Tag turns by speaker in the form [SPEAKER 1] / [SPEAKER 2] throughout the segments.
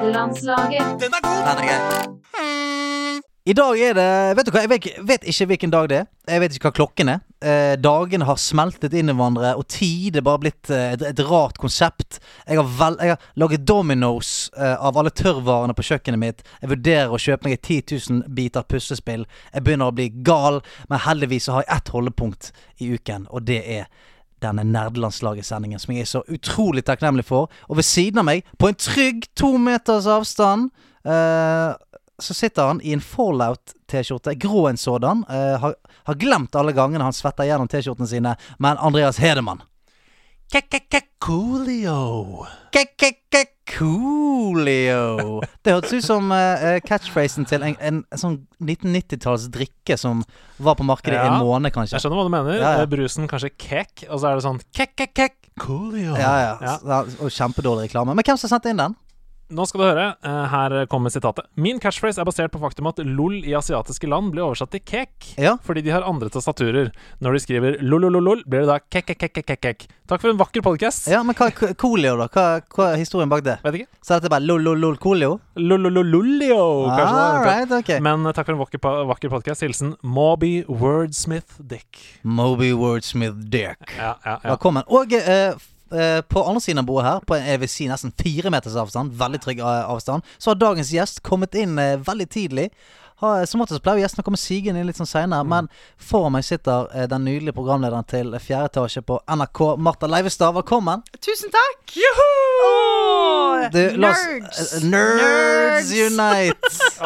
[SPEAKER 1] Landslaget.
[SPEAKER 2] Den er god!
[SPEAKER 3] Den er gøy. I dag er det Vet du hva, jeg vet, ikke- vet ikke hvilken dag det er. Jeg vet ikke hva klokken er. Eh, dagene har smeltet inn i hverandre, og tid er bare blitt eh, et, et rart konsept. Jeg har, vel, jeg har laget dominos eh, av alle tørrvarene på kjøkkenet mitt. Jeg vurderer å kjøpe meg et 10 000 biter puslespill. Jeg begynner å bli gal, men heldigvis så har jeg ett holdepunkt i uken, og det er denne nerdelandslaget-sendingen, som jeg er så utrolig takknemlig for. Og ved siden av meg, på en trygg to meters avstand, eh, så sitter han i en Fallout-T-skjorte, grå en sådan. eh, har, har glemt alle gangene han svetter gjennom T-skjortene sine, men Andreas Hedemann
[SPEAKER 2] Coolio.
[SPEAKER 3] Ke-ke-ke-coolio. Det hørtes ut som eh, eh, catchphrasen til en, en, sånn 1990-talls drikke som var på markedet i
[SPEAKER 2] Ja.
[SPEAKER 3] en måned, kanskje.
[SPEAKER 2] Jeg skjønner hva du mener.
[SPEAKER 3] Ja, ja.
[SPEAKER 2] Eh, Brusen kanskje kek, og så er det sånn kek-kek-kek. Coolio.
[SPEAKER 3] Ja, ja. S- Og kjempedårlig reklame. Men hvem som sendte inn den?
[SPEAKER 2] Nå skal du høre. eh, Her kommer sitatet. Min catchphrase er basert på faktum at LOL i asiatiske land blir oversatt til kek.
[SPEAKER 3] Ja.
[SPEAKER 2] Fordi de har andre tastaturer. Når de skriver lolololol, blir det da kek-kek-kek-kek. Takk for en vakker podcast
[SPEAKER 3] Ja, men hva er Coolio, da? Hva, hva er historien bak det?
[SPEAKER 2] Vet ikke.
[SPEAKER 3] Så er dette bare lol-lol-lol Coolio?
[SPEAKER 2] Lololololio, kanskje. det
[SPEAKER 3] All
[SPEAKER 2] er.
[SPEAKER 3] right, ok.
[SPEAKER 2] Men eh, takk for en vakker, pa- vakker podkast. Hilsen Moby Wordsmith Dick.
[SPEAKER 3] Moby Wordsmith Dirk.
[SPEAKER 2] Ja, ja, ja.
[SPEAKER 3] Velkommen. Og eh, f- eh, på andre siden av bordet her, på en, jeg vil si nesten fire meters avstand, veldig trygg eh, avstand, så har dagens gjest kommet inn eh, veldig tidlig. Har- Som oftest pleier gjestene å komme sigende inn litt sånn seinere, men foran meg sitter eh, den nydelige programlederen til Fjerde etasje på NRK, Marta Leivestad. Velkommen.
[SPEAKER 4] Tusen takk! Juhu!
[SPEAKER 3] Du, la oss-
[SPEAKER 4] Eh, nerds!
[SPEAKER 3] eh, Nerds Unite!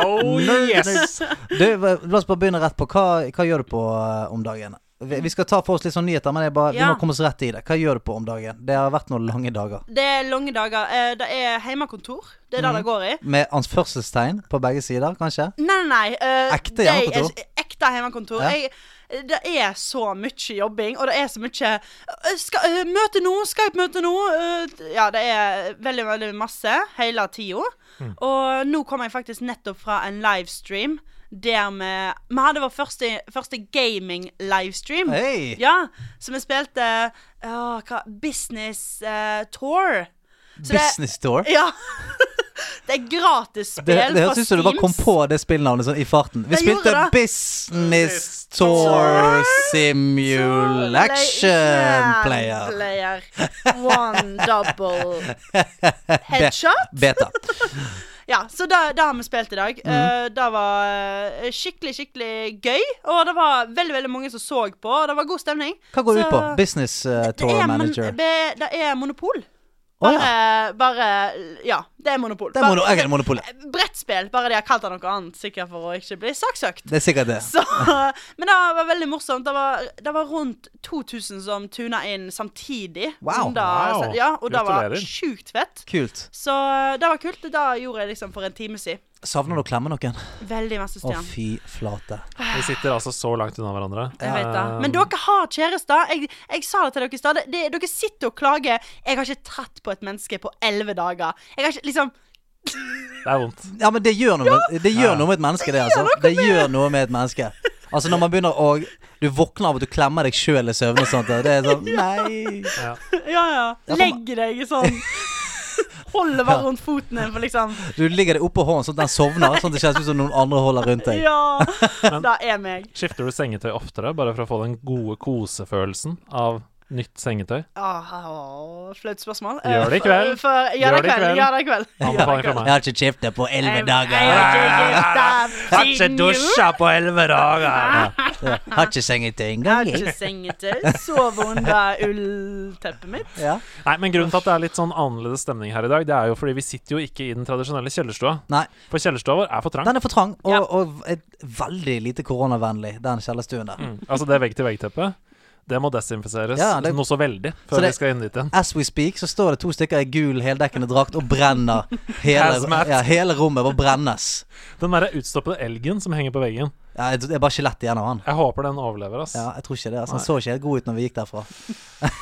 [SPEAKER 2] Oh yes!
[SPEAKER 3] Du, hva- la oss bare begynne rett på. Hva, hva gjør du på eh, om dagen? Vi, vi skal ta for oss litt sånn nyheter, men jeg bare, vi
[SPEAKER 4] Ja.
[SPEAKER 3] må komme oss rett i det. Hva gjør du på om dagen? Det har vært noen lange dager.
[SPEAKER 4] Det er lange dager. Eh, Det er hjemmekontor. Det
[SPEAKER 3] Mhm.
[SPEAKER 4] er det det går i.
[SPEAKER 3] Med anførselstegn på begge sider, kanskje?
[SPEAKER 4] Nei, nei, nei. eh,
[SPEAKER 3] Ekte
[SPEAKER 4] det er-
[SPEAKER 3] hjemmekontor?
[SPEAKER 4] Ekte hjemmekontor.
[SPEAKER 3] Ja.
[SPEAKER 4] Jeg, det er så mye jobbing, og det er så mye eh, skal, eh, Møte nå, Skype-møte nå. eh, ja, det er veldig, veldig masse hele tida.
[SPEAKER 3] Mm.
[SPEAKER 4] Og nå kom jeg faktisk nettopp fra en livestream der vi Vi hadde vår første, første gaming-livestream.
[SPEAKER 3] Hei!
[SPEAKER 4] Ja, så vi spilte eh, åh, hva, Business eh, Tour. Så det-
[SPEAKER 3] Business Store.
[SPEAKER 4] Ja. det er gratis spill
[SPEAKER 3] Det, det
[SPEAKER 4] fra
[SPEAKER 3] høres ut som du bare kom
[SPEAKER 4] Steams.
[SPEAKER 3] på det spillnavnet sånn i farten. Vi
[SPEAKER 4] Jeg
[SPEAKER 3] spilte
[SPEAKER 4] gjorde det.
[SPEAKER 3] Business Tour Simulation
[SPEAKER 4] Simulation
[SPEAKER 3] Player.
[SPEAKER 4] player. One double headshot.
[SPEAKER 3] Beta.
[SPEAKER 4] Ja, så det det har vi spilt i
[SPEAKER 3] Mhm.
[SPEAKER 4] dag. Eh, det var eh, skikkelig, skikkelig gøy. Og det var veldig veldig mange som så på, og det var god stemning.
[SPEAKER 3] Hva går det
[SPEAKER 4] Så-
[SPEAKER 3] ut på? Business eh,
[SPEAKER 4] Det
[SPEAKER 3] Tour
[SPEAKER 4] er, mon-
[SPEAKER 3] Manager.
[SPEAKER 4] be- det er monopol.
[SPEAKER 3] Å,
[SPEAKER 4] Bare,
[SPEAKER 3] ja.
[SPEAKER 4] bare Ja, det er monopol.
[SPEAKER 3] Det er mono, jeg er monopolet.
[SPEAKER 4] Brettspill, bare de har kalt det noe annet, sikkert for å ikke bli saksøkt.
[SPEAKER 3] Det er sikkert det.
[SPEAKER 4] Så, men det var veldig morsomt. Det var, det var rundt 2000 som tuna inn samtidig.
[SPEAKER 3] Wow.
[SPEAKER 4] som da,
[SPEAKER 2] Wow.
[SPEAKER 4] Ja, og det var
[SPEAKER 2] Gratulerer.
[SPEAKER 4] sjukt fett.
[SPEAKER 3] Kult.
[SPEAKER 4] Så det var kult. Det gjorde jeg liksom for en time siden.
[SPEAKER 3] Savner du å klemme noen?
[SPEAKER 4] Veldig masse
[SPEAKER 3] Å,
[SPEAKER 4] Stian.
[SPEAKER 3] fy flate.
[SPEAKER 2] Vi sitter altså så langt unna hverandre.
[SPEAKER 4] Jeg vet det. Men dere har kjærester. Jeg, jeg sa det til dere i stad. Det- det- Dere sitter og klager. 'Jeg har ikke tatt på et menneske på elleve dager'. Jeg har ikke liksom
[SPEAKER 2] Det er vondt.
[SPEAKER 3] Ja, men det gjør noe, med- det gjør
[SPEAKER 2] Ja.
[SPEAKER 3] noe med et menneske, det, altså. Det gjør noe med et menneske. Altså, når man begynner å Du våkner av at du klemmer deg sjøl i søvne og sånt. og Det er sånn Nei.
[SPEAKER 4] Ja, ja.
[SPEAKER 3] for-
[SPEAKER 4] Legg deg i sånn Holder bare rundt foten din for liksom
[SPEAKER 3] Du ligger deg oppå hånden sånn at den sovner, sånn at det kjennes ut som noen andre holder rundt deg.
[SPEAKER 4] Ja. Det er meg.
[SPEAKER 2] Skifter du sengetøy oftere, bare for å få den gode kosefølelsen av nytt sengetøy?
[SPEAKER 4] Ah, Åh, Flaut spørsmål.
[SPEAKER 2] Gjør det i
[SPEAKER 4] Eh,
[SPEAKER 2] kveld.
[SPEAKER 4] For, for, gjør, det i kveld. Gjør det i kveld.
[SPEAKER 2] Anbefaling
[SPEAKER 3] Jeg
[SPEAKER 2] fra meg.
[SPEAKER 3] har ikke skiftet på elleve
[SPEAKER 4] Jeg har
[SPEAKER 3] dager.
[SPEAKER 4] ikke gifta siden jul.
[SPEAKER 3] på elleve dager. Ja. Har ikke sengetøy engang.
[SPEAKER 4] Ikke sengetøy. Sove under ullteppet mitt.
[SPEAKER 3] Ja.
[SPEAKER 2] Nei, men grunnen til at det er litt sånn annerledes stemning her i dag, det er jo fordi vi sitter jo ikke i den tradisjonelle kjellerstua.
[SPEAKER 3] Nei.
[SPEAKER 2] For kjellerstua vår er for trang.
[SPEAKER 3] Den er for trang, og,
[SPEAKER 4] Ja.
[SPEAKER 3] og er veldig lite koronavennlig, den kjellerstuen der.
[SPEAKER 2] Mm. Altså det vegg-til-vegg-teppet. Det må desinfiseres
[SPEAKER 3] Ja, det-
[SPEAKER 2] noe så veldig
[SPEAKER 3] Så
[SPEAKER 2] før
[SPEAKER 3] det-
[SPEAKER 2] vi skal inn dit igjen.
[SPEAKER 3] As we speak så står det to stykker i gul heldekkende drakt og brenner hele,
[SPEAKER 2] Hazmat.
[SPEAKER 3] ja, hele rommet. Bare brennes.
[SPEAKER 2] Den derre utstoppede elgen som henger på veggen.
[SPEAKER 3] Ja, jeg- det er bare skjelett igjen av han.
[SPEAKER 2] Jeg håper den overlever, ass.
[SPEAKER 3] Ja, jeg tror ikke det. Altså, han så ikke helt god ut når vi gikk derfra.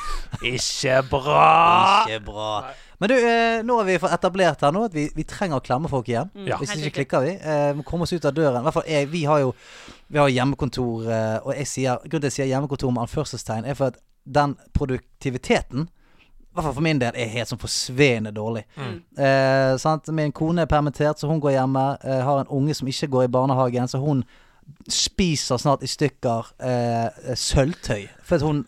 [SPEAKER 2] Ikke bra!
[SPEAKER 3] Ikke bra. Men du, eh, nå har vi fått etablert her nå at vi, vi trenger å klemme folk igjen.
[SPEAKER 2] Ja.
[SPEAKER 3] Hvis
[SPEAKER 4] Helt
[SPEAKER 3] ikke
[SPEAKER 4] riktig.
[SPEAKER 3] klikker vi. Eh, vi må komme oss ut av døren. I hvert fall jeg, vi har jo vi har hjemmekontor, eh, og jeg sier, grunnen til at jeg sier hjemmekontor med anførselstegn, er for at den produktiviteten hvert fall for min del, er helt sånn forsvinnende dårlig.
[SPEAKER 4] Mm.
[SPEAKER 3] Eh, sant? Min kone er permittert, så hun går hjemme. Eh, har en unge som ikke går i barnehagen, så hun spiser snart i stykker eh, sølvtøy. For at hun,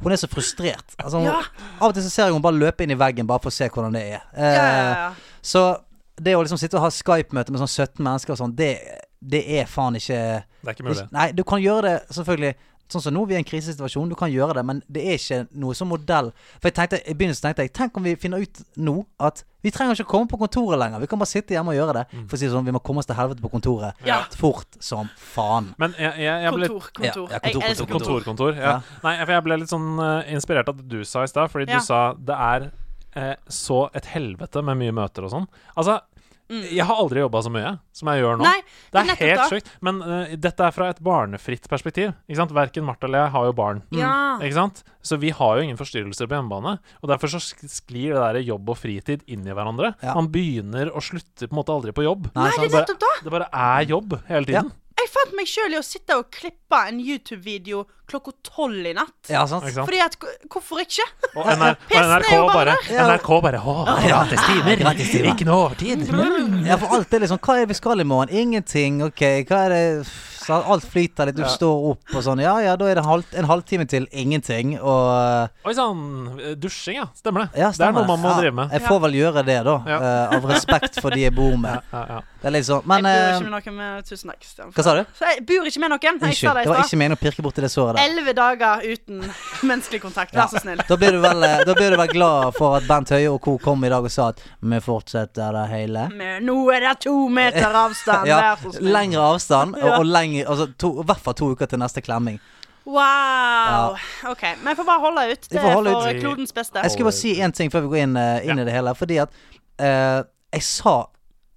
[SPEAKER 3] hun er så frustrert. Altså, hun,
[SPEAKER 4] Ja.
[SPEAKER 3] Av og til så ser jeg hun bare løpe inn i veggen bare for å se hvordan det er. Eh,
[SPEAKER 4] Ja, ja, ja.
[SPEAKER 3] Så det å liksom sitte og ha Skype-møte med sånn 17 mennesker og sånn, det, det er faen ikke
[SPEAKER 2] Det er ikke mulig.
[SPEAKER 3] ikke- Nei, du kan gjøre det, selvfølgelig. Sånn som nå, vi er i en krisesituasjon, du kan gjøre det, men det er ikke noe som modell. For jeg tenkte, I begynnelsen tenkte jeg tenk om vi finner ut nå at vi trenger ikke komme på kontoret lenger. Vi kan bare sitte hjemme og gjøre det.
[SPEAKER 2] Mm.
[SPEAKER 3] For å si det sånn, vi må komme oss til helvete på kontoret
[SPEAKER 4] Ja.
[SPEAKER 3] fort som faen.
[SPEAKER 2] Men jeg, jeg, jeg ble
[SPEAKER 4] Kontor, kontor.
[SPEAKER 3] Ja, ja, kontor,
[SPEAKER 4] Jeg elsker
[SPEAKER 3] kontor.
[SPEAKER 4] kontor.
[SPEAKER 2] Kontorkontor. Ja.
[SPEAKER 3] Ja.
[SPEAKER 2] Nei, for jeg ble litt sånn eh, inspirert av det du sa i stad, fordi
[SPEAKER 4] Ja.
[SPEAKER 2] du sa det er eh, så et helvete med mye møter og sånn. Altså, jeg har aldri jobba så mye som jeg gjør nå.
[SPEAKER 4] Mm. Nei,
[SPEAKER 2] det
[SPEAKER 4] nettopp
[SPEAKER 2] er helt
[SPEAKER 4] da.
[SPEAKER 2] sjukt. Men eh, dette er fra et barnefritt perspektiv. Ikke sant? Verken Martha eller jeg har jo barn.
[SPEAKER 4] Ja.
[SPEAKER 3] Mm.
[SPEAKER 2] Ikke sant? Så vi har jo ingen forstyrrelser på hjemmebane. Og derfor så sk- sklir det der jobb og fritid inn i hverandre.
[SPEAKER 3] Ja.
[SPEAKER 2] Man begynner og slutter på en måte aldri på jobb.
[SPEAKER 3] Nei,
[SPEAKER 4] Nei, det er
[SPEAKER 2] sånn bare-
[SPEAKER 4] nettopp da.
[SPEAKER 2] Det bare er jobb hele
[SPEAKER 3] Ja.
[SPEAKER 2] tiden.
[SPEAKER 4] Jeg fant meg sjøl i å sitte og klippe en YouTube-video klokka tolv i natt.
[SPEAKER 3] Ja, sant?
[SPEAKER 2] Ikke sant?
[SPEAKER 4] Fordi at Hvorfor ikke?
[SPEAKER 2] Og, NR, og
[SPEAKER 4] Pressen er
[SPEAKER 2] NRK
[SPEAKER 4] jo bare
[SPEAKER 2] bare
[SPEAKER 3] der. Ja.
[SPEAKER 2] NRK bare Å,
[SPEAKER 3] Gratis timer, gratis timer. Mm.
[SPEAKER 2] Ikke noe overtid. Mm.
[SPEAKER 3] Ja, for alt er liksom Hva er det vi skal i morgen? Ingenting. Ok, hva er det Så Alt flyter litt, du står opp og sånn. Ja ja, da er det en halv- en halvtime til ingenting, og
[SPEAKER 2] Oi sann. Dusjing, ja. Stemmer det.
[SPEAKER 3] Ja,
[SPEAKER 2] det er
[SPEAKER 3] stemmer
[SPEAKER 2] noe man må
[SPEAKER 3] Ja,
[SPEAKER 2] drive med.
[SPEAKER 3] Jeg får vel gjøre det, da.
[SPEAKER 2] Ja.
[SPEAKER 3] eh, av respekt for de jeg bor med.
[SPEAKER 2] Ja, ja.
[SPEAKER 3] Det er litt sånn Men
[SPEAKER 4] jeg
[SPEAKER 3] eh,
[SPEAKER 4] bor ikke med noen med Tusen takk. Stian.
[SPEAKER 3] hva sa du?
[SPEAKER 4] Så jeg bor ikke med noen. Jeg sa
[SPEAKER 3] Unnskyld.
[SPEAKER 4] det
[SPEAKER 3] Det var
[SPEAKER 4] i
[SPEAKER 3] ikke
[SPEAKER 4] stad.
[SPEAKER 3] meningen å pirke borti det såret der.
[SPEAKER 4] Elleve dager uten menneskelig kontakt. Vær så snill.
[SPEAKER 3] Da blir, du vel, eh, da blir du vel glad for at Bent Høie og co. kom i dag og sa at vi fortsetter det hele.
[SPEAKER 4] Men Nå er det to meter avstand.
[SPEAKER 3] Ja,
[SPEAKER 4] Vær så snill.
[SPEAKER 3] lengre avstand, og,
[SPEAKER 4] Ja.
[SPEAKER 3] og lengre, altså to, i hvert fall to uker til neste klemming.
[SPEAKER 4] Wow. OK. Men jeg får bare holde ut.
[SPEAKER 3] Vi
[SPEAKER 4] Det
[SPEAKER 3] får holde
[SPEAKER 4] er
[SPEAKER 3] ut.
[SPEAKER 4] for klodens beste.
[SPEAKER 3] Jeg skulle bare si én ting før vi går inn, eh, inn
[SPEAKER 2] Ja.
[SPEAKER 3] i det hele. Fordi at eh, jeg sa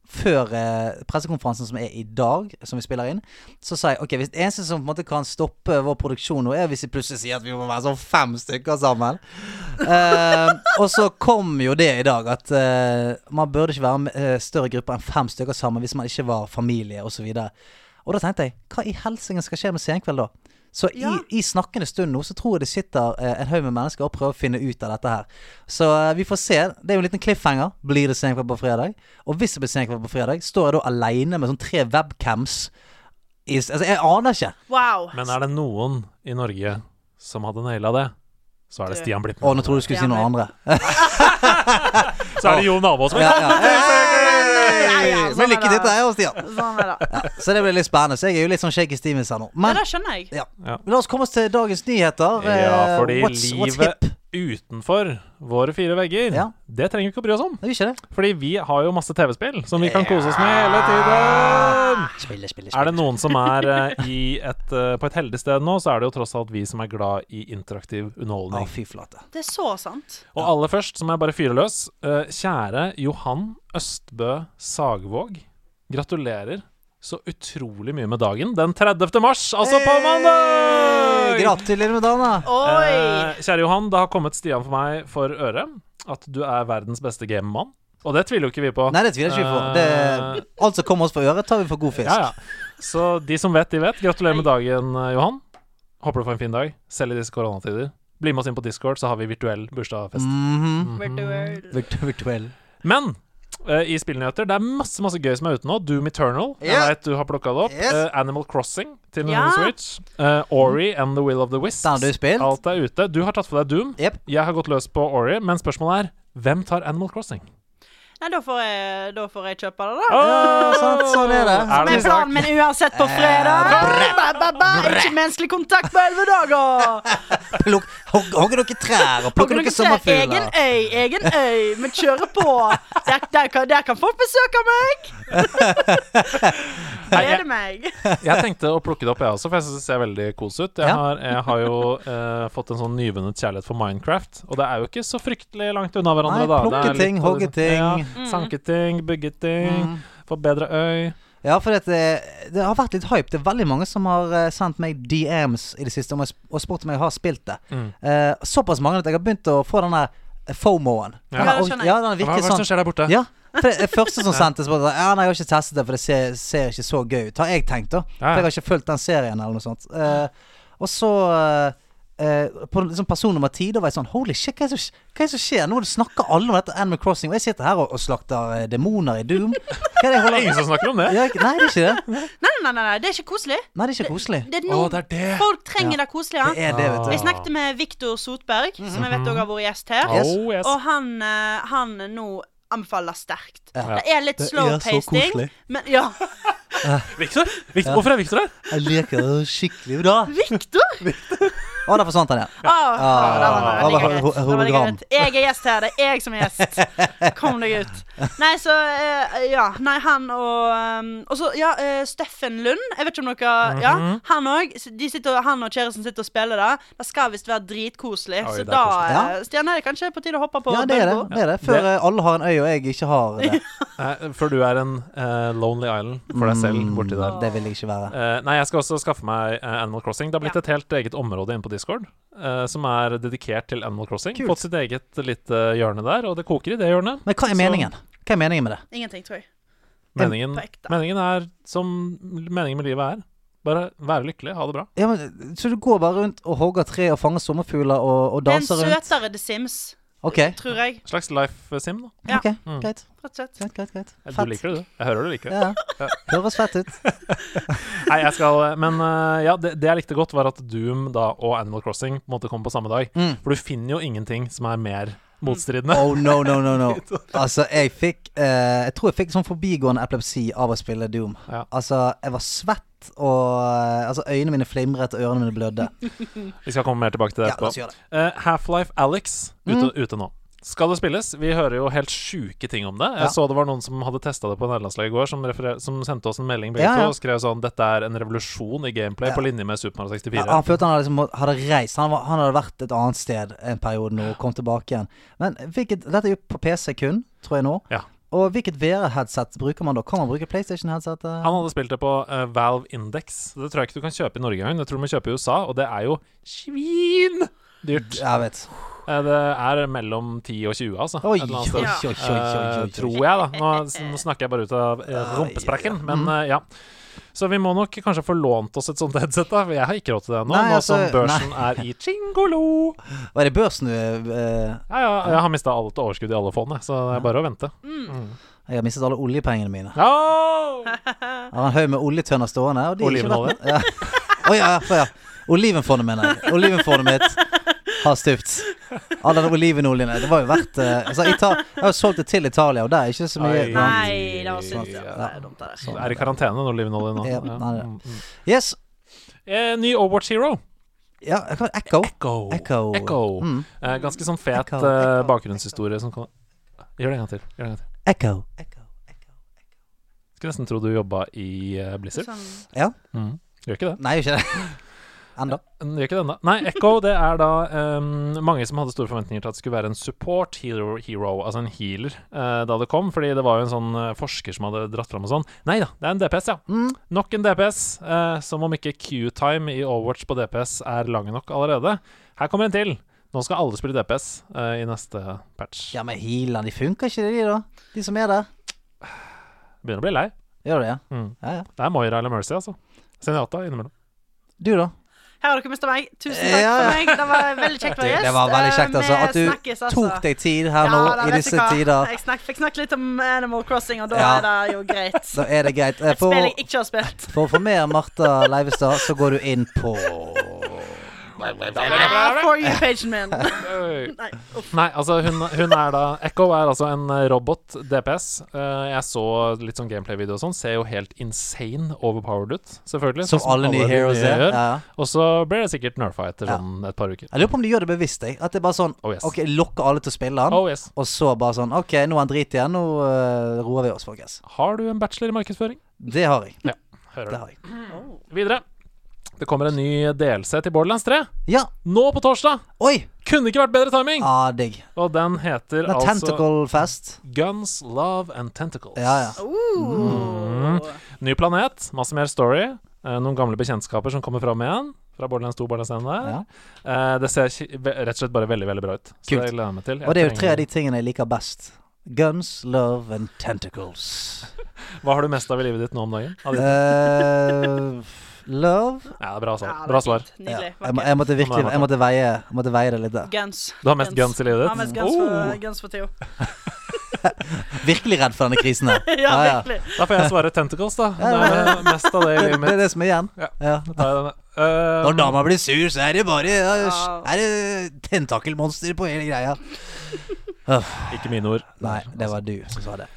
[SPEAKER 3] før eh, pressekonferansen som er i dag, som vi spiller inn, så sa jeg ok, hvis det eneste som på en måte kan stoppe vår produksjon nå, er hvis vi plutselig sier at vi må være sånn fem stykker sammen. Eh, og så kom jo det i dag, at eh, man burde ikke være med, eh, større grupper enn fem stykker sammen hvis man ikke var familie osv. Og da tenkte jeg, hva i helsingen skal skje med Senkveld da? Så i,
[SPEAKER 4] Ja.
[SPEAKER 3] i snakkende stund nå, så tror jeg det sitter eh, en haug med mennesker og prøver å finne ut av dette her. Så eh, vi får se. Det er jo en liten cliffhanger. Blir det Senkveld på fredag? Og hvis det blir Senkveld på fredag, står jeg da aleine med sånn tre webcams. I, altså, jeg aner ikke.
[SPEAKER 4] Wow.
[SPEAKER 2] Men er det noen i Norge som hadde naila det, så er det
[SPEAKER 4] Du.
[SPEAKER 2] Stian Blipp.
[SPEAKER 3] Å, nå trodde du skulle si noen andre.
[SPEAKER 2] Så er det Jon Almaas.
[SPEAKER 3] Ja, ja.
[SPEAKER 4] ja, ja, sånn
[SPEAKER 3] Men lykke til
[SPEAKER 4] er det.
[SPEAKER 3] til deg òg, Stian.
[SPEAKER 4] Sånn er det.
[SPEAKER 3] Så det blir litt spennende. Så jeg er jo litt sånn shaky stevens her nå.
[SPEAKER 4] Ja,
[SPEAKER 3] Men
[SPEAKER 4] det skjønner jeg.
[SPEAKER 3] ja.
[SPEAKER 2] Ja.
[SPEAKER 3] la oss komme oss til dagens nyheter.
[SPEAKER 2] Ja,
[SPEAKER 3] Eh,
[SPEAKER 2] fordi
[SPEAKER 3] what's, what's
[SPEAKER 2] livet-
[SPEAKER 3] hip?
[SPEAKER 2] Utenfor våre fire vegger.
[SPEAKER 3] Ja.
[SPEAKER 2] Det trenger vi ikke å bry oss om.
[SPEAKER 3] Det er jo ikke det.
[SPEAKER 2] Fordi vi har jo masse TV-spill som vi kan kose oss med hele tiden.
[SPEAKER 3] Ah, Spille, spille,
[SPEAKER 2] Er
[SPEAKER 3] spille.
[SPEAKER 2] det noen som er eh, i et, eh, på et heldig sted nå, så er det jo tross alt vi som er glad i interaktiv
[SPEAKER 3] Å,
[SPEAKER 2] underholdning.
[SPEAKER 3] fy flate.
[SPEAKER 4] Det er så sant.
[SPEAKER 2] Og aller først, så må jeg bare fyre løs. Eh, kjære Johan Østbø Sagvåg. Gratulerer så utrolig mye med dagen. Den 30. mars, altså på mandag!
[SPEAKER 3] Eh, Gratulerer med dagen, da.
[SPEAKER 4] Oi.
[SPEAKER 2] Eh, kjære Johan, det har kommet Stian for meg for øre at du er verdens beste gamemann. Og det tviler jo ikke vi på.
[SPEAKER 3] Nei, det tviler ikke vi på. Det, alt som kommer oss for øret, tar vi for god fisk.
[SPEAKER 2] Ja, ja. Så de som vet, de vet. Gratulerer med dagen, eh, Johan. Håper du får en fin dag, selv i disse koronatider. Bli med oss inn på Discord, så har vi virtuell bursdagsfest.
[SPEAKER 3] Mhm.
[SPEAKER 4] Where the world.
[SPEAKER 3] Virt- Virtuell.
[SPEAKER 2] Men eh, i spillnyheter, det er masse masse gøy som er ute nå. Doom Eternal,
[SPEAKER 3] Ja.
[SPEAKER 2] jeg vet du har plukka det opp.
[SPEAKER 3] Yes.
[SPEAKER 2] Eh, Animal Crossing til
[SPEAKER 4] Ja.
[SPEAKER 2] Nintendo Switch. Eh, Ori and The Will of the Wisps.
[SPEAKER 3] Den har du spilt.
[SPEAKER 2] Alt er ute. Du har tatt for deg Doom.
[SPEAKER 3] Jep.
[SPEAKER 2] Jeg har gått løs på Ori, men spørsmålet er hvem tar Animal Crossing?
[SPEAKER 4] Nei, da får jeg, da får jeg kjøpe det, da.
[SPEAKER 3] Ja, sant, sånn er det.
[SPEAKER 2] Er
[SPEAKER 4] Som er
[SPEAKER 2] det
[SPEAKER 4] planen min uansett
[SPEAKER 3] Eh.
[SPEAKER 4] på fredag. Ba, ba, ba, Ikke menneskelig kontakt på elleve dager.
[SPEAKER 3] Plukk, hogg, hogg dere trær, og plukk
[SPEAKER 4] Dere
[SPEAKER 3] dere
[SPEAKER 4] ser Egen
[SPEAKER 3] sommerfugler.
[SPEAKER 4] øy, egen øy. Vi kjører på. Der, der, kan, der kan folk besøke meg.
[SPEAKER 2] Nei, jeg,
[SPEAKER 4] Gleder meg.
[SPEAKER 2] jeg tenkte å plukke det opp, jeg også, for jeg syns det ser veldig kos ut. Jeg
[SPEAKER 3] Ja.
[SPEAKER 2] har, jeg har jo eh, fått en sånn nyvunnet kjærlighet for Minecraft, og det er jo ikke så fryktelig langt unna hverandre,
[SPEAKER 3] Nei,
[SPEAKER 2] da. Det
[SPEAKER 3] plukke
[SPEAKER 2] er litt
[SPEAKER 3] ting,
[SPEAKER 2] på
[SPEAKER 3] hogge
[SPEAKER 2] det- liksom.
[SPEAKER 3] ting. Mm.
[SPEAKER 2] Ja, sanke ting, bygge
[SPEAKER 3] Mhm.
[SPEAKER 2] ting, forbedre øy.
[SPEAKER 3] Ja, for det, det har vært litt hype. Det er veldig mange som har eh, sendt meg DMs i det siste om jeg, sp- og spurt om jeg har spilt det.
[SPEAKER 2] Mm.
[SPEAKER 3] Eh, såpass mange at jeg har begynt å få den der FOMO-en. Den
[SPEAKER 4] Ja,
[SPEAKER 3] er-
[SPEAKER 4] det skjønner jeg.
[SPEAKER 3] ja, den er
[SPEAKER 2] Hva, hva
[SPEAKER 3] virkelig
[SPEAKER 2] er det
[SPEAKER 3] sånn
[SPEAKER 2] som skjer der borte?
[SPEAKER 3] Ja. For det det første som sendte, så var det sånn, ja, nei, jeg har ikke testet det, for det ser, ser ikke så gøy ut. Har jeg tenkt, da.
[SPEAKER 2] Ja, ja.
[SPEAKER 3] For jeg har ikke fulgt den serien eller noe sånt. Eh, og så eh, eh, på liksom person nummer ti, da var jeg sånn Holy shit, hva er det som, sk- hva er det som skjer? Nå snakker alle om dette Animal Crossing, og jeg sitter her og, og slakter eh, demoner i Doom. Hva er det jeg
[SPEAKER 2] Det er
[SPEAKER 3] holder
[SPEAKER 2] ingen som snakker om det.
[SPEAKER 3] Ja, ikke- Nei, det er ikke det.
[SPEAKER 4] Nei, nei, nei, nei, det er ikke koselig.
[SPEAKER 3] Nei, det er ikke koselig.
[SPEAKER 4] Det er
[SPEAKER 2] Å,
[SPEAKER 4] noe
[SPEAKER 2] det er det!
[SPEAKER 4] folk trenger det koselige.
[SPEAKER 3] Det er det, vet Mhm,
[SPEAKER 4] Jeg snakket med Viktor Sotberg, som jeg vet også har vært gjest her.
[SPEAKER 3] Yes.
[SPEAKER 2] Oh, yes.
[SPEAKER 4] Og han, eh, han nå anbefaler sterkt.
[SPEAKER 3] Ja.
[SPEAKER 4] Det er litt
[SPEAKER 3] Det er
[SPEAKER 4] slow
[SPEAKER 3] så
[SPEAKER 4] pasting.
[SPEAKER 3] koselig.
[SPEAKER 4] Men ja,
[SPEAKER 2] Victor? Victor? Hvorfor er Victor her?
[SPEAKER 3] du. Jeg liker det skikkelig bra.
[SPEAKER 4] Viktor!
[SPEAKER 3] Å, der forsvant han igjen.
[SPEAKER 4] Ah, ah, der var han.
[SPEAKER 3] Ah,
[SPEAKER 4] Jeg er
[SPEAKER 3] hologram.
[SPEAKER 4] greit. Der var det greit. Jeg er gjest her. Det er jeg som er gjest. Kom deg ut. Nei, så eh, Ja. Nei, han og eh, Og så, ja, eh, Steffen Lund. Jeg vet ikke om dere Ja,
[SPEAKER 2] Mhm.
[SPEAKER 4] han òg. Han og kjæresten sitter og spiller det. Det skal visst være dritkoselig.
[SPEAKER 2] Oi,
[SPEAKER 4] Så
[SPEAKER 2] det er
[SPEAKER 4] da,
[SPEAKER 2] koselig.
[SPEAKER 3] Ja.
[SPEAKER 4] eh, Stjerne, er det kanskje på tide å hoppe på
[SPEAKER 3] Ja, det er det.
[SPEAKER 4] Bølgo?
[SPEAKER 3] det, er det. Før eh, alle har en øy, og jeg ikke har det.
[SPEAKER 2] Nei, før du er en eh, lonely island for deg selv borti der.
[SPEAKER 3] Mm, Det vil jeg ikke være.
[SPEAKER 2] Eh, nei, jeg skal også skaffe meg eh, Animal Crossing. Det har blitt
[SPEAKER 4] Ja.
[SPEAKER 2] et helt eget område inne på Discord eh, som er dedikert til Animal Crossing.
[SPEAKER 3] Kult.
[SPEAKER 2] Fått sitt eget lite hjørne der, og det koker i det hjørnet.
[SPEAKER 3] Men hva er
[SPEAKER 2] Så-
[SPEAKER 3] meningen? Hva er meningen med det?
[SPEAKER 4] Ingenting, tror jeg.
[SPEAKER 2] Meningen,
[SPEAKER 4] På ekte.
[SPEAKER 2] meningen er som meningen med livet er. Bare være lykkelig, ha det bra.
[SPEAKER 3] Ja, men, så du går bare rundt og hogger tre og fanger sommerfugler og, og
[SPEAKER 4] Det er en
[SPEAKER 3] danser rundt?
[SPEAKER 4] søtere The Sims,
[SPEAKER 3] Ok,
[SPEAKER 4] tror jeg.
[SPEAKER 2] En slags life sim, da.
[SPEAKER 4] Ja.
[SPEAKER 3] ok,
[SPEAKER 2] Mm.
[SPEAKER 3] greit.
[SPEAKER 4] Rett og slett.
[SPEAKER 3] greit, greit, greit.
[SPEAKER 2] Eh, Du liker det, du. Jeg hører du liker det.
[SPEAKER 3] Ja, ja. Høres fett ut.
[SPEAKER 2] Nei, jeg skal Men eh, ja, det, det jeg likte godt, var at Doom da og Animal Crossing på en måte kom på samme dag.
[SPEAKER 3] Mm.
[SPEAKER 2] For du finner jo ingenting som er mer motstridende.
[SPEAKER 3] Oh no, no, no, no. Altså, jeg fikk eh, Jeg tror jeg fikk sånn forbigående epilepsi av å spille Doom.
[SPEAKER 2] Ja.
[SPEAKER 3] Altså, jeg var svett, og eh, altså, øynene mine flimret, og ørene mine blødde.
[SPEAKER 2] Vi skal komme mer tilbake til det
[SPEAKER 3] Ja, la
[SPEAKER 2] etterpå.
[SPEAKER 3] oss gjøre det.
[SPEAKER 2] Eh, Half-Life Alex
[SPEAKER 3] Mm.
[SPEAKER 2] ute, ute nå. Skal det spilles? Vi hører jo helt sjuke ting om det. Jeg
[SPEAKER 3] Ja.
[SPEAKER 2] så det var noen som hadde testa det på nederlandslaget i går, som, referer- som sendte oss en melding begge
[SPEAKER 3] Ja, ja.
[SPEAKER 2] to og skrev sånn Dette er en revolusjon i gameplay på linje med Super Mario 64.
[SPEAKER 3] Ja, han følte han hadde, liksom, må- hadde reist. Han, var, han hadde vært et annet sted en periode nå, og kom tilbake igjen. Men hvilket, dette er jo på PC kun, tror jeg nå.
[SPEAKER 2] Ja.
[SPEAKER 3] Og hvilket VR-headset bruker man da? Kan man bruke PlayStation-headsetet?
[SPEAKER 2] Han hadde spilt det på eh, Valve Index. Det tror jeg ikke du kan kjøpe i Norge engang. Det tror jeg du må kjøpe i USA, og det er jo svin dyrt.
[SPEAKER 3] Jeg vet.
[SPEAKER 2] Eh, det er mellom 10 og 20, altså.
[SPEAKER 3] Oi,
[SPEAKER 2] et eller
[SPEAKER 3] oi,
[SPEAKER 2] annet
[SPEAKER 3] oi,
[SPEAKER 2] sted.
[SPEAKER 4] Ja.
[SPEAKER 3] oi, oi, oi,
[SPEAKER 2] Eh,
[SPEAKER 3] oi.
[SPEAKER 2] tror jeg, da. Nå, nå snakker jeg bare ut av eh, rumpesprekken, men
[SPEAKER 3] Mm.
[SPEAKER 2] eh, ja. Så vi må nok kanskje få lånt oss et sånt headset, da. For jeg har ikke råd til det ennå,
[SPEAKER 3] Nei,
[SPEAKER 2] nå
[SPEAKER 3] altså,
[SPEAKER 2] som børsen er i chingolo.
[SPEAKER 3] Var det børsen du eh,
[SPEAKER 2] Ja, ja, jeg har mista alt overskudd i alle fondene, så det er bare å vente.
[SPEAKER 3] Jeg har mistet alle oljepengene mine.
[SPEAKER 2] Oh!
[SPEAKER 3] Jeg har en haug med oljetønner stående. Og de er ikke
[SPEAKER 2] Olivenolje?
[SPEAKER 3] verdt- Ja. Å ja, ja, for ja. Olivenfondet, mener jeg. Olivenfondet mitt har stupt. All den olivenoljen Det var jo verdt eh, altså, Ita Jeg har solgt det til Italia, og der er ikke så mye
[SPEAKER 2] Oi.
[SPEAKER 3] blant-
[SPEAKER 4] Nei, det var synd. Ja, det er dumt, det der.
[SPEAKER 2] Er i karantene nå, Livenolje. nå.
[SPEAKER 3] Ja,
[SPEAKER 2] Ja.
[SPEAKER 3] nei, ja.
[SPEAKER 2] Mm, mm.
[SPEAKER 3] Yes.
[SPEAKER 2] Eh, ny Overwatch Hero.
[SPEAKER 3] Ja, hva var det? Echo.
[SPEAKER 2] Echo.
[SPEAKER 3] Echo.
[SPEAKER 2] Echo.
[SPEAKER 3] Mm.
[SPEAKER 2] Eh, ganske sånn fet
[SPEAKER 3] Echo,
[SPEAKER 2] eh,
[SPEAKER 3] Echo,
[SPEAKER 2] bakgrunnshistorie som kan Gjør det en gang til. Gjør det en gang til.
[SPEAKER 3] Echo.
[SPEAKER 2] Skulle nesten tro du jobba i eh, Blizzard.
[SPEAKER 4] Sånn.
[SPEAKER 2] Mm. Gjør ikke det.
[SPEAKER 3] Nei, ikke det. Enda.
[SPEAKER 2] Den Gjør ikke den, da. Nei, Echo det er da ehm, mange som hadde store forventninger til at det skulle være en support hero, hero altså en healer, eh, da det kom. Fordi det var jo en sånn eh, forsker som hadde dratt fram og sånn. Nei da, det er en DPS, ja.
[SPEAKER 3] Mm.
[SPEAKER 2] Nok en DPS. eh, som om ikke Q-time i Overwatch på DPS er lang nok allerede. Her kommer en til. Nå skal alle spille DPS eh, i neste patch.
[SPEAKER 3] Ja, men healene, de funker ikke det, de, da? De som er der?
[SPEAKER 2] Begynner å bli lei.
[SPEAKER 3] Gjør det, ja?
[SPEAKER 2] Mm.
[SPEAKER 3] Ja, ja.
[SPEAKER 2] Det er Moira eller Mercy, altså. Senjata innimellom.
[SPEAKER 3] Du, da?
[SPEAKER 4] Her har dere mista meg. Tusen
[SPEAKER 3] Ja,
[SPEAKER 4] takk
[SPEAKER 3] ja.
[SPEAKER 4] for meg. Det var veldig kjekt å være
[SPEAKER 3] Du,
[SPEAKER 4] gjest.
[SPEAKER 3] det var veldig kjekt,
[SPEAKER 4] Eh,
[SPEAKER 3] altså,
[SPEAKER 4] vi
[SPEAKER 3] at du
[SPEAKER 4] snakkes, altså.
[SPEAKER 3] Tok deg tid her nå
[SPEAKER 4] da
[SPEAKER 3] i
[SPEAKER 4] vet du
[SPEAKER 3] disse
[SPEAKER 4] hva.
[SPEAKER 3] tider.
[SPEAKER 4] Jeg snak, fikk snakket litt om Animal Crossing, og da
[SPEAKER 3] Ja.
[SPEAKER 4] er det jo greit.
[SPEAKER 3] Da er det greit. Eh,
[SPEAKER 4] Et
[SPEAKER 3] For,
[SPEAKER 4] spill jeg ikke har spilt.
[SPEAKER 3] for å få med Martha Leivestad, så går du inn på
[SPEAKER 4] Ah, For you-pagen min.
[SPEAKER 2] Øy.
[SPEAKER 4] Nei, uff.
[SPEAKER 2] Nei, altså hun, hun er da Echo er altså en eh, robot DPS. Eh, jeg så litt sånn gameplay-video og sånn. Ser jo helt insane overpowered ut, selvfølgelig.
[SPEAKER 3] Som
[SPEAKER 2] sånn
[SPEAKER 3] alle nye
[SPEAKER 2] de
[SPEAKER 3] heroes
[SPEAKER 2] nye
[SPEAKER 3] er.
[SPEAKER 2] gjør.
[SPEAKER 3] Ja.
[SPEAKER 2] Og så blir det sikkert nerfa etter
[SPEAKER 3] Ja.
[SPEAKER 2] sånn et par uker.
[SPEAKER 3] Jeg lurer på om de gjør det bevisst. Jeg. At det er bare sånn
[SPEAKER 2] Oh yes.
[SPEAKER 3] Ok, lokker alle til å spille han,
[SPEAKER 2] Oh yes.
[SPEAKER 3] og så bare sånn OK, nå er han drit igjen. Nå eh, roer vi oss, folkens.
[SPEAKER 2] Har du en bachelor i markedsføring?
[SPEAKER 3] Det har jeg. Det
[SPEAKER 2] Hører du.
[SPEAKER 3] har jeg.
[SPEAKER 4] Oh.
[SPEAKER 2] Videre. Det kommer en ny DLC til Borderlands 3.
[SPEAKER 3] Ja.
[SPEAKER 2] Nå på torsdag!
[SPEAKER 3] Oi!
[SPEAKER 2] Kunne ikke vært bedre timing!
[SPEAKER 3] Ah, digg.
[SPEAKER 2] Og den
[SPEAKER 3] Det
[SPEAKER 2] heter
[SPEAKER 3] er
[SPEAKER 2] altså
[SPEAKER 3] Tentacle Fest.
[SPEAKER 2] Guns, Love and Tentacles.
[SPEAKER 3] Ja, ja.
[SPEAKER 4] Oh.
[SPEAKER 2] Ny planet, masse mer story. eh, noen gamle bekjentskaper som kommer fram igjen. Fra Borderlands 2 Borderlands 1 der.
[SPEAKER 3] Ja.
[SPEAKER 2] Eh, det ser ki- ve- rett og slett bare veldig veldig bra ut. Så
[SPEAKER 3] Kult.
[SPEAKER 2] det gleder jeg meg til. Jeg
[SPEAKER 3] Og det er jo tre
[SPEAKER 2] trenger-
[SPEAKER 3] av de tingene jeg liker best. Guns, love and tentacles.
[SPEAKER 2] Hva har du mest av i livet ditt nå om dagen? Av de-
[SPEAKER 3] Eh, love
[SPEAKER 2] ja, er bra svar.
[SPEAKER 4] Ja, det er
[SPEAKER 2] Bra svar.
[SPEAKER 4] fint.
[SPEAKER 3] Ja.
[SPEAKER 4] Nydelig.
[SPEAKER 3] Jeg, må- jeg måtte virkelig Jeg måtte veie, jeg måtte veie det litt der.
[SPEAKER 4] Guns.
[SPEAKER 2] Du har mest guns i livet
[SPEAKER 4] Ja, mest
[SPEAKER 2] ditt?
[SPEAKER 4] guns for,
[SPEAKER 2] Oh,
[SPEAKER 4] guns for Theo.
[SPEAKER 3] Virkelig redd for denne krisen her.
[SPEAKER 4] ja,
[SPEAKER 3] Ja, ja.
[SPEAKER 4] virkelig.
[SPEAKER 2] da får jeg svare tentacles, da. Det
[SPEAKER 3] Ja,
[SPEAKER 2] er eh, mest av det i
[SPEAKER 3] Det,
[SPEAKER 2] livet
[SPEAKER 3] det er
[SPEAKER 2] mitt.
[SPEAKER 3] det som er igjen.
[SPEAKER 2] Ja.
[SPEAKER 3] Ja.
[SPEAKER 2] Da tar jeg denne. Eh,
[SPEAKER 3] Når dama blir sur, så er det bare ja,
[SPEAKER 4] Ja.
[SPEAKER 3] Er det tentakelmonster på hele greia. Uff,
[SPEAKER 2] Ikke mine ord.
[SPEAKER 3] nei, det var du som sa det.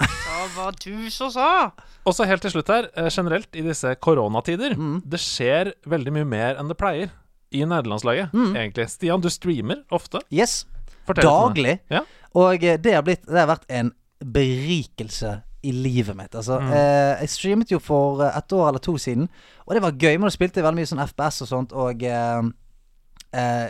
[SPEAKER 4] Hva var du som sa?
[SPEAKER 2] Og så helt til slutt her, eh, generelt i disse koronatider,
[SPEAKER 3] Mm.
[SPEAKER 2] det skjer veldig mye mer enn det pleier i nederlandslaget, egentlig. Stian, du streamer ofte.
[SPEAKER 3] Yes.
[SPEAKER 2] Fortell litt om det.
[SPEAKER 3] Mm. Daglig.
[SPEAKER 2] Ja.
[SPEAKER 3] Og eh, det har, blitt, det har vært en berikelse i livet mitt. Altså,
[SPEAKER 2] Mm.
[SPEAKER 3] eh, jeg streamet jo for eh, et år eller to siden, og det var gøy. Men da spilte jeg veldig mye sånn FPS og sånt, og eh, eh,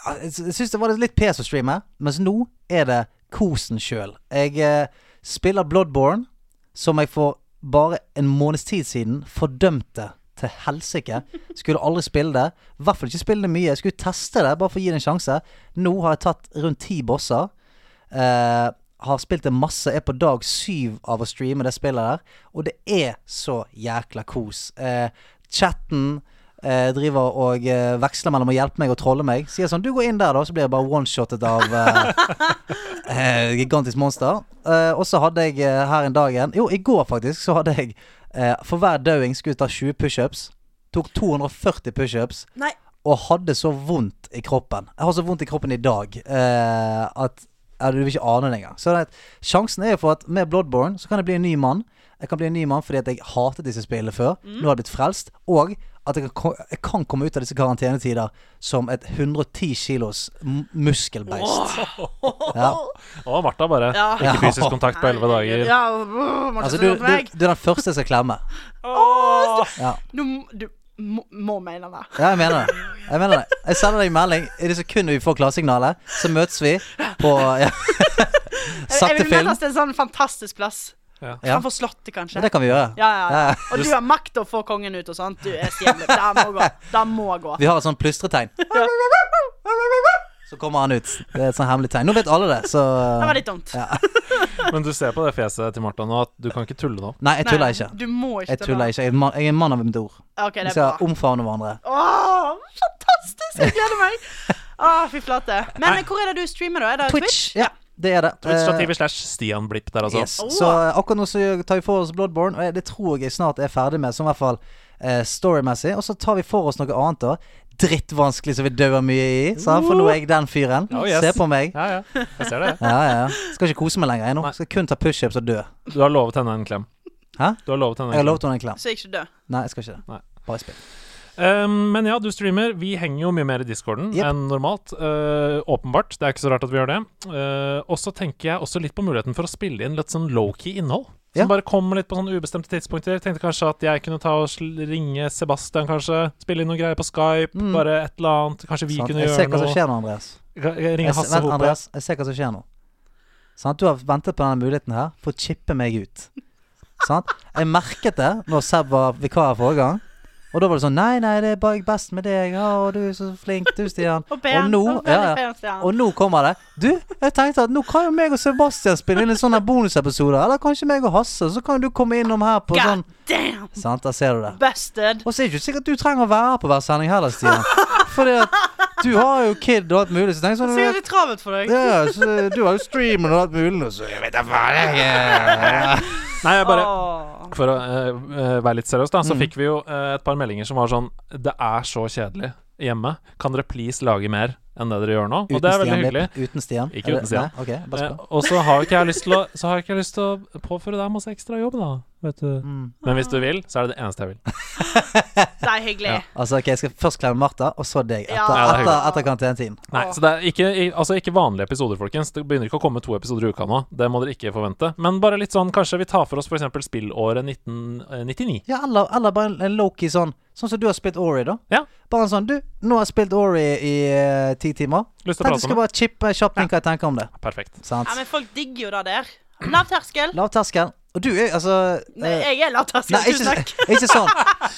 [SPEAKER 3] ja, Jeg sy- jeg syns det var litt pes å streame, mens nå er det kosen sjøl. Jeg eh, spiller Bloodborne, som jeg for bare en måneds tid siden fordømte til helsike. Skulle aldri spille det. I hvert fall ikke spille det mye. Jeg skulle teste det, bare for å gi det en sjanse. Nå har jeg tatt rundt ti bosser. Eh, har spilt det masse. Er på dag syv av å streame det spillet der. Og det er så jækla kos. Eh, chatten eh, driver og eh, veksler mellom å hjelpe meg og trolle meg. Sier sånn 'Du går inn der, da', så blir jeg bare one-shotet av eh, Eh, gigantisk monster. Eh, og så hadde jeg eh, her en dag igjen Jo, i går faktisk så hadde jeg eh, For hver dauing skulle jeg ta 20 pushups. Tok 240 pushups
[SPEAKER 4] Nei,
[SPEAKER 3] og hadde så vondt i kroppen. Jeg har så vondt i kroppen i dag eh, at ja, du vil ikke ane det engang. Så det, er at sjansen er jo for at med Bloodborne så kan jeg bli en ny mann. Jeg kan bli en ny mann fordi at jeg hatet disse spillene før. Nå har jeg blitt frelst. Og at jeg kan, ko- jeg kan komme ut av disse karantenetider som et 110 kilos m- muskelbeist. Ja.
[SPEAKER 2] Å, Martha bare.
[SPEAKER 4] Ja.
[SPEAKER 2] Ikke fysisk kontakt på elleve dager.
[SPEAKER 4] Ja, øh,
[SPEAKER 3] Altså,
[SPEAKER 4] Martha, altså,
[SPEAKER 3] du, du, du er den første jeg skal klemme. Ja.
[SPEAKER 4] Nå m- du må, må mene det.
[SPEAKER 3] ja, jeg mener det. Jeg mener det Jeg sender deg en melding. I det sekundet vi får klarsignalet, så møtes vi på ja.
[SPEAKER 4] Jeg, jeg
[SPEAKER 3] Sakte
[SPEAKER 4] vil mene
[SPEAKER 3] film.
[SPEAKER 4] at det er en sånn fantastisk plass.
[SPEAKER 3] Ja.
[SPEAKER 4] Framfor Slottet, kanskje.
[SPEAKER 3] Men det kan vi gjøre.
[SPEAKER 4] Ja, ja, ja.
[SPEAKER 3] Ja.
[SPEAKER 4] Og du har makt å få kongen ut og sånt. Du er stjerne. Det må gå. Det må gå.
[SPEAKER 3] Vi har et sånt plystretegn. Så kommer han ut. Det er et sånt hemmelig tegn. Nå vet alle det, så eh,
[SPEAKER 4] Det var litt dumt.
[SPEAKER 2] Men du ser på det fjeset til Martha nå at du kan ikke tulle nå.
[SPEAKER 3] Nei, jeg tuller
[SPEAKER 4] Nei,
[SPEAKER 3] ikke.
[SPEAKER 4] Du må ikke
[SPEAKER 3] Jeg tuller ikke. Jeg er en mann- jeg er en mann av mitt ord.
[SPEAKER 4] Ok,
[SPEAKER 3] Vi
[SPEAKER 4] det er
[SPEAKER 3] skal
[SPEAKER 4] bra.
[SPEAKER 3] omfavne hverandre.
[SPEAKER 4] Åh, fantastisk! Jeg gleder meg. Å, fy flate. Men hvor er det du streamer, da? Er det Twitch?
[SPEAKER 3] Ja, det er det. Eh,
[SPEAKER 2] Twitch.tv slash Stian Blipp der, altså.
[SPEAKER 3] Yes. Så eh, akkurat nå så tar vi for oss Bloodborne, og jeg- det tror jeg jeg snart er ferdig med, som i hvert fall eh, storymessig. Og så tar vi for oss noe annet, da. Drittvanskelig som vi dauer mye i, sant? for nå er jeg den fyren.
[SPEAKER 2] Oh, yes.
[SPEAKER 3] Se på meg.
[SPEAKER 2] Ja, ja. Jeg ser det. jeg.
[SPEAKER 3] Ja, ja, ja. Skal ikke kose meg lenger, jeg nå. Skal kun ta pushups og dø.
[SPEAKER 2] Du har lovet henne en klem.
[SPEAKER 3] Hæ?
[SPEAKER 2] Du har lovet henne
[SPEAKER 3] Jeg har
[SPEAKER 2] en klem.
[SPEAKER 3] lovt henne en klem.
[SPEAKER 4] Så jeg ikke dør.
[SPEAKER 3] Nei, jeg skal ikke
[SPEAKER 2] Nei.
[SPEAKER 3] det. Bare spill.
[SPEAKER 2] Um, men ja, du streamer. Vi henger jo mye mer i discorden
[SPEAKER 3] Jep.
[SPEAKER 2] enn normalt. Eh, åpenbart. Det er ikke så rart at vi gjør det. Eh, og så tenker jeg også litt på muligheten for å spille inn litt sånn low-key innhold. Som
[SPEAKER 3] Ja.
[SPEAKER 2] bare kommer litt på sånne ubestemte tidspunkter. Tenkte kanskje at jeg kunne ta og sl- ringe Sebastian, kanskje. Spille inn noen greier på Skype. Bare et eller annet. Kanskje vi
[SPEAKER 3] Mm. Sant?
[SPEAKER 2] kunne
[SPEAKER 3] Jeg ser
[SPEAKER 2] gjøre
[SPEAKER 3] hva som
[SPEAKER 2] noe.
[SPEAKER 3] skjer nå, Andreas. Jeg,
[SPEAKER 2] Ringe
[SPEAKER 3] se-
[SPEAKER 2] Hasse
[SPEAKER 3] vent,
[SPEAKER 2] Hope.
[SPEAKER 3] Andreas, jeg ser hva som skjer nå. Sant? Du har ventet på denne muligheten her for å chippe meg ut. Sant? Jeg merket det når Seb var vikar forrige gang. Og da var det sånn Nei, nei, det er bare best med deg. Ja, og du er så flink, du, Stian.
[SPEAKER 4] Og pen.
[SPEAKER 3] nå,
[SPEAKER 4] Og veldig
[SPEAKER 3] ja, ja.
[SPEAKER 4] pen, Stian.
[SPEAKER 3] og nå kommer det. Du, jeg tenkte at nå kan jo meg og Sebastian spille inn en sånn her bonusepisode. Eller kanskje meg og Hasse, så kan jo du komme innom her på
[SPEAKER 4] God
[SPEAKER 3] sånn
[SPEAKER 4] damn!
[SPEAKER 3] Sant, der ser du det.
[SPEAKER 4] Busted.
[SPEAKER 3] Og så er det ikke sikkert du trenger å være her på hver sending heller, Stian. Fordi at du har jo kid og alt mulig. Så tenk sånn
[SPEAKER 4] Sikkert litt travelt for deg.
[SPEAKER 3] ja, så du har jo streamen og alt mulig, nå, så jeg vet da faen jeg eh.
[SPEAKER 2] Nei, jeg bare
[SPEAKER 4] Åh.
[SPEAKER 2] For å eh, eh, være litt seriøs, da,
[SPEAKER 3] Mm.
[SPEAKER 2] så fikk vi jo eh, et par meldinger som var sånn Det er så kjedelig hjemme. Kan dere please lage mer enn det dere gjør nå? Og det er veldig
[SPEAKER 3] Stian
[SPEAKER 2] hyggelig.
[SPEAKER 3] Blipp. Uten Stian. Er
[SPEAKER 2] Ikke
[SPEAKER 3] det-
[SPEAKER 2] uten Stian.
[SPEAKER 3] Nei, ok, bare
[SPEAKER 2] Eh,
[SPEAKER 3] spør.
[SPEAKER 2] og så har ikke jeg lyst til å Så har ikke jeg lyst til å påføre deg masse ekstra jobb, da. Vet du.
[SPEAKER 3] Mm.
[SPEAKER 2] Men hvis du vil, så er det det eneste jeg vil.
[SPEAKER 4] Det er hyggelig.
[SPEAKER 3] Altså, ok, Jeg skal først klemme Martha, og så deg. Etter,
[SPEAKER 4] Ja. Ja,
[SPEAKER 2] det er
[SPEAKER 3] etter, etter karantenetiden.
[SPEAKER 2] Nei,
[SPEAKER 4] Åh.
[SPEAKER 2] så det er ikke, i- altså ikke vanlige episoder, folkens. Det begynner ikke å komme to episoder i uka nå. Det må dere ikke forvente. Men bare litt sånn, kanskje vi tar for oss f.eks. spillåret eh, 1999.
[SPEAKER 3] Ja, eller, eller bare en- en Loki sånn. Sånn som du har spilt Ori, da.
[SPEAKER 2] Ja.
[SPEAKER 3] Bare en sånn Du, nå har jeg spilt Ori i eh, ti timer.
[SPEAKER 2] Lyst
[SPEAKER 3] Tenkte jeg
[SPEAKER 2] til å prate
[SPEAKER 3] skulle
[SPEAKER 2] om det?
[SPEAKER 3] bare chippe kjapt inn hva jeg tenker om det.
[SPEAKER 2] Perfekt.
[SPEAKER 3] Sant?
[SPEAKER 4] Ja, men folk digger jo det der. Lav terskel.
[SPEAKER 3] Lav terskel. Og du er altså
[SPEAKER 4] Nei,
[SPEAKER 3] eh,
[SPEAKER 4] jeg er lav terskel.
[SPEAKER 3] Nei,
[SPEAKER 4] Tusen
[SPEAKER 3] ikke,
[SPEAKER 4] takk.
[SPEAKER 3] ikke sånn.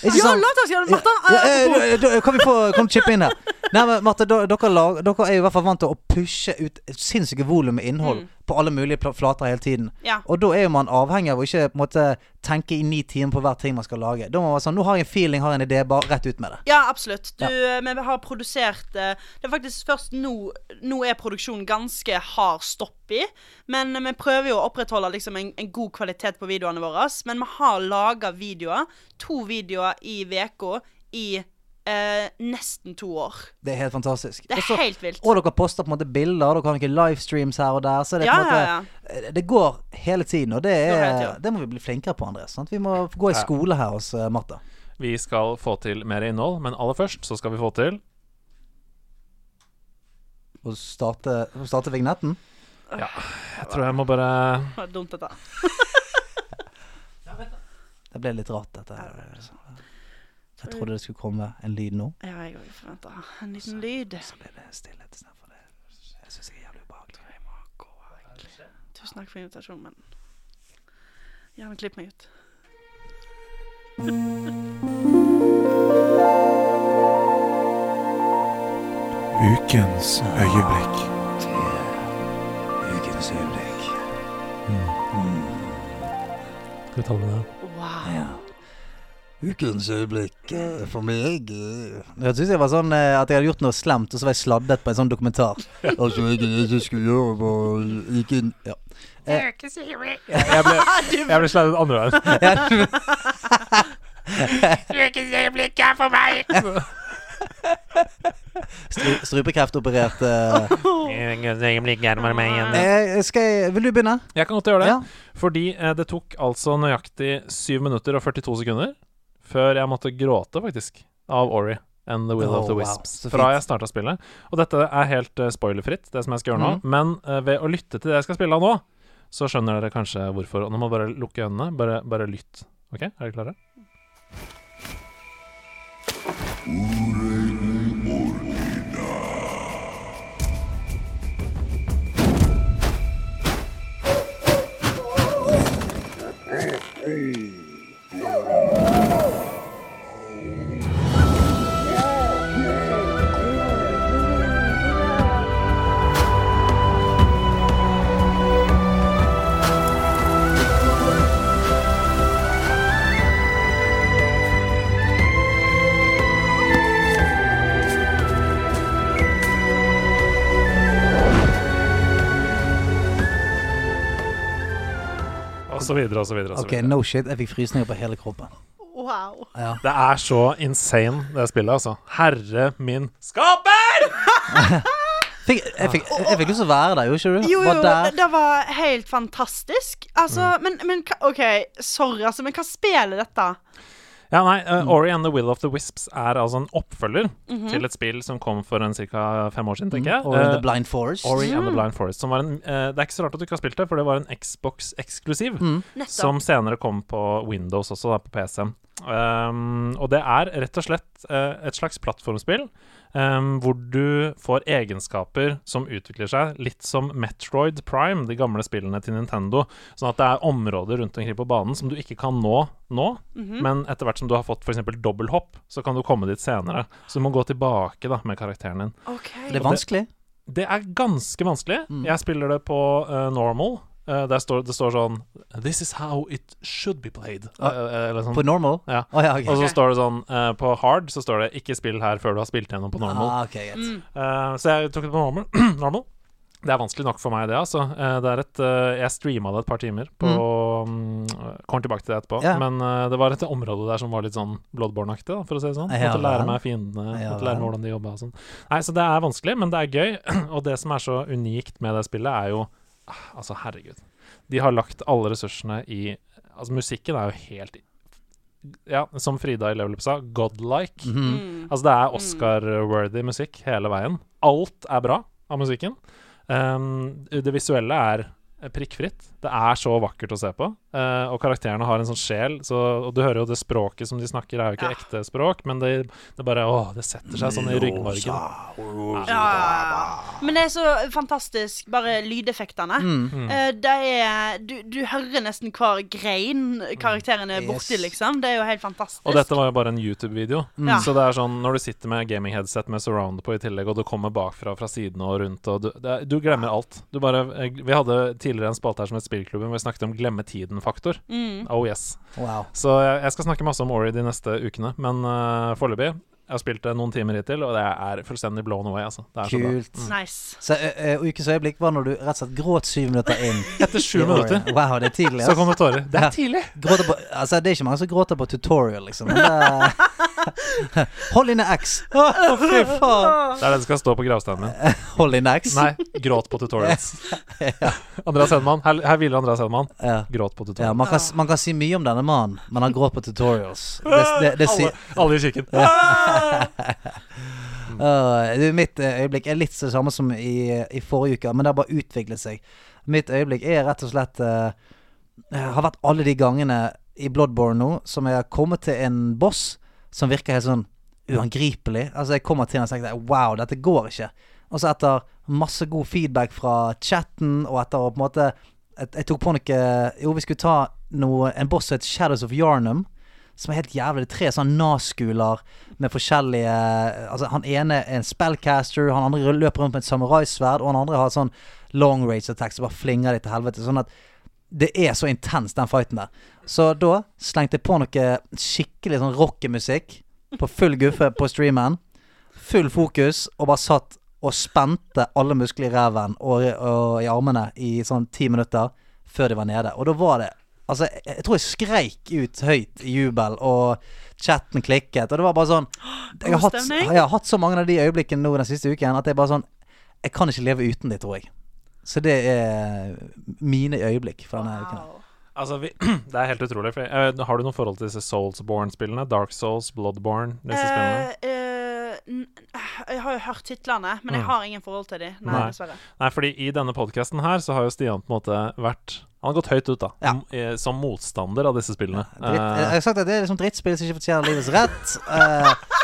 [SPEAKER 3] Ikke
[SPEAKER 4] Ja,
[SPEAKER 3] sånn.
[SPEAKER 4] lav terskel, Martha!
[SPEAKER 3] Ja, eh, da- da- kan vi få Kan du chippe inn her? Nei, men Marte, da- dere, lag, dere er jo i hvert fall vant til å pushe ut et sinnssyke volum med innhold på alle mulige pla- flater hele tiden.
[SPEAKER 4] Mm. Ja.
[SPEAKER 3] Og da er jo man avhengig av å ikke på en måte, tenke i ni timer på hver ting man skal lage. Da må man være sånn Nå har jeg en feeling, har en idé, bare rett ut med det.
[SPEAKER 4] Ja, absolutt. Du, eh, Vi har produsert eh, Det er faktisk først nå Nå er produksjonen ganske hard stopp i. Men vi prøver jo å opprettholde liksom en, en god kvalitet på videoene våre. Men vi har laga videoer. To videoer i uka i eh, nesten to år.
[SPEAKER 3] Det er helt fantastisk.
[SPEAKER 4] Det er
[SPEAKER 3] Og så-
[SPEAKER 4] helt vilt.
[SPEAKER 3] Og dere poster på en måte bilder, dere har noen livestreams her og der. Så det, er på en
[SPEAKER 4] Ja, ja,
[SPEAKER 3] måte, det går hele tiden, og det,
[SPEAKER 4] Går hele
[SPEAKER 3] er,
[SPEAKER 4] tiden.
[SPEAKER 3] det må vi bli flinkere på, Andres. Sant? Vi må gå i
[SPEAKER 2] Ja.
[SPEAKER 3] skole her hos eh, Martha.
[SPEAKER 2] Vi skal få til mer innhold, men aller først så skal vi få til
[SPEAKER 3] Og starte, starte vignetten.
[SPEAKER 2] Jeg tror jeg må bare
[SPEAKER 4] Det var dumt, dette.
[SPEAKER 3] Det ble litt rart, dette her. Jeg trodde det skulle komme en lyd nå.
[SPEAKER 4] Ja, jeg òg forventa en liten lyd.
[SPEAKER 3] Så ble det stillhet istedenfor det. Jeg syns jeg er jævlig ubehagelig.
[SPEAKER 4] Tusen takk for invitasjonen, men Gjerne klipp meg ut.
[SPEAKER 1] Ukens øyeblikk.
[SPEAKER 3] Ukens øyeblikk.
[SPEAKER 2] Skal vi ta med det?
[SPEAKER 4] Wow.
[SPEAKER 3] Ja. Ukens øyeblikk eh, for meg eh. Jeg syns jeg var sånn eh, at jeg hadde gjort noe slemt, og så var jeg sladdet på en sånn dokumentar. Altså, jeg, jeg, jeg skulle gjøre var ikke ja.
[SPEAKER 2] Jeg ble, jeg ble sleidet andre veien.
[SPEAKER 3] Stru, Strupekreftoperert eh.
[SPEAKER 2] Jeg
[SPEAKER 3] eh, Skal jeg Vil du begynne?
[SPEAKER 2] kan godt gjøre det.
[SPEAKER 3] Ja.
[SPEAKER 2] Fordi eh, det tok altså nøyaktig 7 minutter og 42 sekunder før jeg måtte gråte, faktisk, av Ori and The Will
[SPEAKER 3] Åh,
[SPEAKER 2] of the
[SPEAKER 3] Oh, wow,
[SPEAKER 2] Wisps.
[SPEAKER 3] så
[SPEAKER 2] fra
[SPEAKER 3] fint.
[SPEAKER 2] jeg starta spillet. Og dette er helt eh, spoilerfritt, det som jeg skal gjøre nå.
[SPEAKER 3] Mhm.
[SPEAKER 2] Men eh, ved å lytte til det jeg skal spille av nå, så skjønner dere kanskje hvorfor. Og nå må dere bare lukke øynene. Bare, bare lytt. OK, er dere klare? Og så videre og så videre. Og så
[SPEAKER 3] Ok,
[SPEAKER 2] videre.
[SPEAKER 3] no shit. Jeg fikk frysninger på hele kroppen.
[SPEAKER 4] wow.
[SPEAKER 2] Det er så insane, det spillet, altså. Herre min skaper!
[SPEAKER 3] Fikk, jeg, fikk, jeg fikk lyst til å være der, gjorde ikke du?
[SPEAKER 4] Jo, jo,
[SPEAKER 3] Var
[SPEAKER 4] det,
[SPEAKER 3] der.
[SPEAKER 4] det var helt fantastisk.
[SPEAKER 2] Mm.
[SPEAKER 4] Altså, men, men hva- OK, sorry, altså, men hva spiller dette?
[SPEAKER 2] Ja, nei, eh, Ori and the Will of the Wisps er altså en oppfølger til et spill som kom for en ca. fem år siden, tenker jeg.
[SPEAKER 3] Mm. Or in
[SPEAKER 2] Eh,
[SPEAKER 3] the Blind Forest.
[SPEAKER 2] Ori and the Blind Forest. Som var en, eh, det er ikke så rart at du ikke har spilt det, for det var en Xbox-eksklusiv.
[SPEAKER 3] Mm.
[SPEAKER 4] Nettopp.
[SPEAKER 2] Som senere kom på Windows også, da, på PC. Um, og det er rett og slett eh, et slags plattformspill um, hvor du får egenskaper som utvikler seg litt som Metroid Prime, de gamle spillene til Nintendo. Sånn at det er områder rundt omkring på banen som du ikke kan nå nå, men etter hvert som du har fått f.eks. dobbelthopp, så kan du komme dit senere. Så du må gå tilbake da med karakteren din.
[SPEAKER 4] OK.
[SPEAKER 3] Det er vanskelig.
[SPEAKER 2] Det er ganske vanskelig.
[SPEAKER 3] Mm.
[SPEAKER 2] Jeg spiller det på eh, normal. Eh, der står, det står sånn This is how it should be played.
[SPEAKER 3] Ah.
[SPEAKER 2] Eh, eller sånn.
[SPEAKER 3] På E. normal?
[SPEAKER 2] Ja.
[SPEAKER 3] Å ja, ok.
[SPEAKER 2] Og så
[SPEAKER 4] Ok.
[SPEAKER 2] står det sånn eh, På hard så står det 'ikke spill her før du har spilt gjennom på normal'.
[SPEAKER 3] Ah, ok, greit.
[SPEAKER 4] Mm.
[SPEAKER 2] Eh, så jeg tok det på normal. normal. Det er vanskelig nok for meg, det. altså Eh, det er et, eh, Jeg streama det et par timer på mm, Kommer tilbake til det etterpå.
[SPEAKER 3] Ja.
[SPEAKER 2] Men eh, det var et område der som var litt sånn Bloodborne-aktig, da, for å si det sånn.
[SPEAKER 3] Ja
[SPEAKER 2] måtte lære
[SPEAKER 3] vel.
[SPEAKER 2] meg fiendene,
[SPEAKER 3] Ja
[SPEAKER 2] måtte lære meg
[SPEAKER 3] vel.
[SPEAKER 2] hvordan de jobba og sånn. Nei, Så det er vanskelig, men det er gøy. Og det som er så unikt med det spillet, er jo ah, Altså, herregud. De har lagt alle ressursene i Altså, musikken er jo helt Ja, som Frida i Level Up sa, godlike.
[SPEAKER 3] Mhm.
[SPEAKER 4] Mm.
[SPEAKER 2] Altså det er Oscar-worthy musikk hele veien. Alt Ehm, er bra av musikken. Um, det visuelle er prikkfritt. Det Det er så vakkert å se på. Eh, og karakterene har en sånn sjel. Så, og du hører jo det språket som de snakker, er jo ikke
[SPEAKER 4] Ja.
[SPEAKER 2] ekte språk, men det, det bare Å, det setter seg sånn i ryggmargen.
[SPEAKER 4] Ja, Men det er så fantastisk, bare lydeffektene.
[SPEAKER 2] Mm.
[SPEAKER 4] Eh, det er du, du hører nesten hver grein karakteren er
[SPEAKER 3] Mm.
[SPEAKER 4] borti,
[SPEAKER 3] Yes.
[SPEAKER 4] liksom. Det er jo helt fantastisk.
[SPEAKER 2] Og dette var jo bare en YouTube-video.
[SPEAKER 4] Ja.
[SPEAKER 2] Så det er sånn når du sitter med gaming-headset med surround på i tillegg, og det kommer bakfra fra sidene og rundt, og du, det, er- du glemmer alt. Du bare eh, Vi hadde tidligere en spalte her som het Spillklubben, hvor vi snakket om glemme tiden-faktor.
[SPEAKER 4] Mm.
[SPEAKER 2] Oh yes.
[SPEAKER 3] Wow.
[SPEAKER 2] Så jeg, jeg skal snakke masse om Ori de neste ukene, men uh, foreløpig Jeg har spilt det noen timer hittil, og det er fullstendig blown away, altså. Det er så bra.
[SPEAKER 3] Kult.
[SPEAKER 4] Nice.
[SPEAKER 3] Så ø, ø, ukens øyeblikk var når du rett og slett gråt syv minutter inn.
[SPEAKER 2] Etter
[SPEAKER 3] i
[SPEAKER 2] sju minutter
[SPEAKER 3] Orient. Wow, det er tidlig.
[SPEAKER 2] så
[SPEAKER 3] ass.
[SPEAKER 2] kom det tårer. Det
[SPEAKER 3] Ja.
[SPEAKER 2] er tidlig!
[SPEAKER 3] Gråter på, altså, det er ikke mange som gråter på tutorial, liksom. Men det, hold inne X. Å, fy faen.
[SPEAKER 2] Det er det som skal stå på gravsteinen min.
[SPEAKER 3] Hold inne X.
[SPEAKER 2] Nei, gråt på tutorials. Andreas Hedman. Her, her hviler Andreas Hedman.
[SPEAKER 3] Ja.
[SPEAKER 2] Gråt på
[SPEAKER 3] Ja,
[SPEAKER 2] tutorials.
[SPEAKER 3] man, kan, s- man kan si mye om denne mannen, men han gråt på tutorials. Det, det, det, sier-
[SPEAKER 2] alle, alle i kirken.
[SPEAKER 3] Åh, du, mitt eh, øyeblikk er litt så det samme som i, i forrige uke, men det har bare utviklet seg. Mitt øyeblikk er rett og slett eh, Har vært alle de gangene i Bloodborne nå som jeg har kommet til en boss som virker helt sånn uangripelig. Altså Jeg kommer til den og tenker wow, dette går ikke. Og så etter masse god feedback fra chatten, og etter å på en måte Jeg, jeg tok på noe Jo, vi skulle ta noe, en boss som het Shadows of Yarnum som er helt jævlig. Det er tre sånne Nas-skuler med forskjellige Altså, han ene er en spellcaster, han andre løper rundt med et samuraisverd, og han andre har sånn long range attack som bare flinger de til helvete. Sånn at det er så intens, den fighten der. Så da slengte jeg på noe skikkelig sånn rockemusikk på full guffe på streamen. Full fokus, og bare satt og spente alle muskler i ræven og, og i armene i sånn ti minutter før de var nede. Og da var det Altså, jeg, jeg tror jeg skreik ut høyt i jubel, og chatten klikket, og det var bare sånn Jeg har hatt,
[SPEAKER 4] Omstemning?
[SPEAKER 3] jeg har hatt så mange av de øyeblikkene nå den siste uken at jeg bare sånn Jeg kan ikke leve uten de, tror jeg. Så det er mine øyeblikk fra denne uken. her.
[SPEAKER 4] Wow.
[SPEAKER 2] Altså, vi, det er helt utrolig. For, jeg- har du noe forhold til disse Soulsborne-spillene? Dark Souls, Bloodborne, disse spillene?
[SPEAKER 4] Eh, eh, n- jeg har jo hørt titlene, men jeg
[SPEAKER 2] Mm.
[SPEAKER 4] har ingen forhold til dem. Nei,
[SPEAKER 2] Nei.
[SPEAKER 4] dessverre.
[SPEAKER 2] Nei, fordi i denne podkasten her så har jo Stian på en måte vært Han har gått høyt ut, da.
[SPEAKER 3] Ja.
[SPEAKER 2] m- eh, Som motstander av disse spillene.
[SPEAKER 3] Dritt, jeg
[SPEAKER 2] Eh,
[SPEAKER 3] har sagt at det er liksom drittspill som ikke fortjener livets rett. Eh,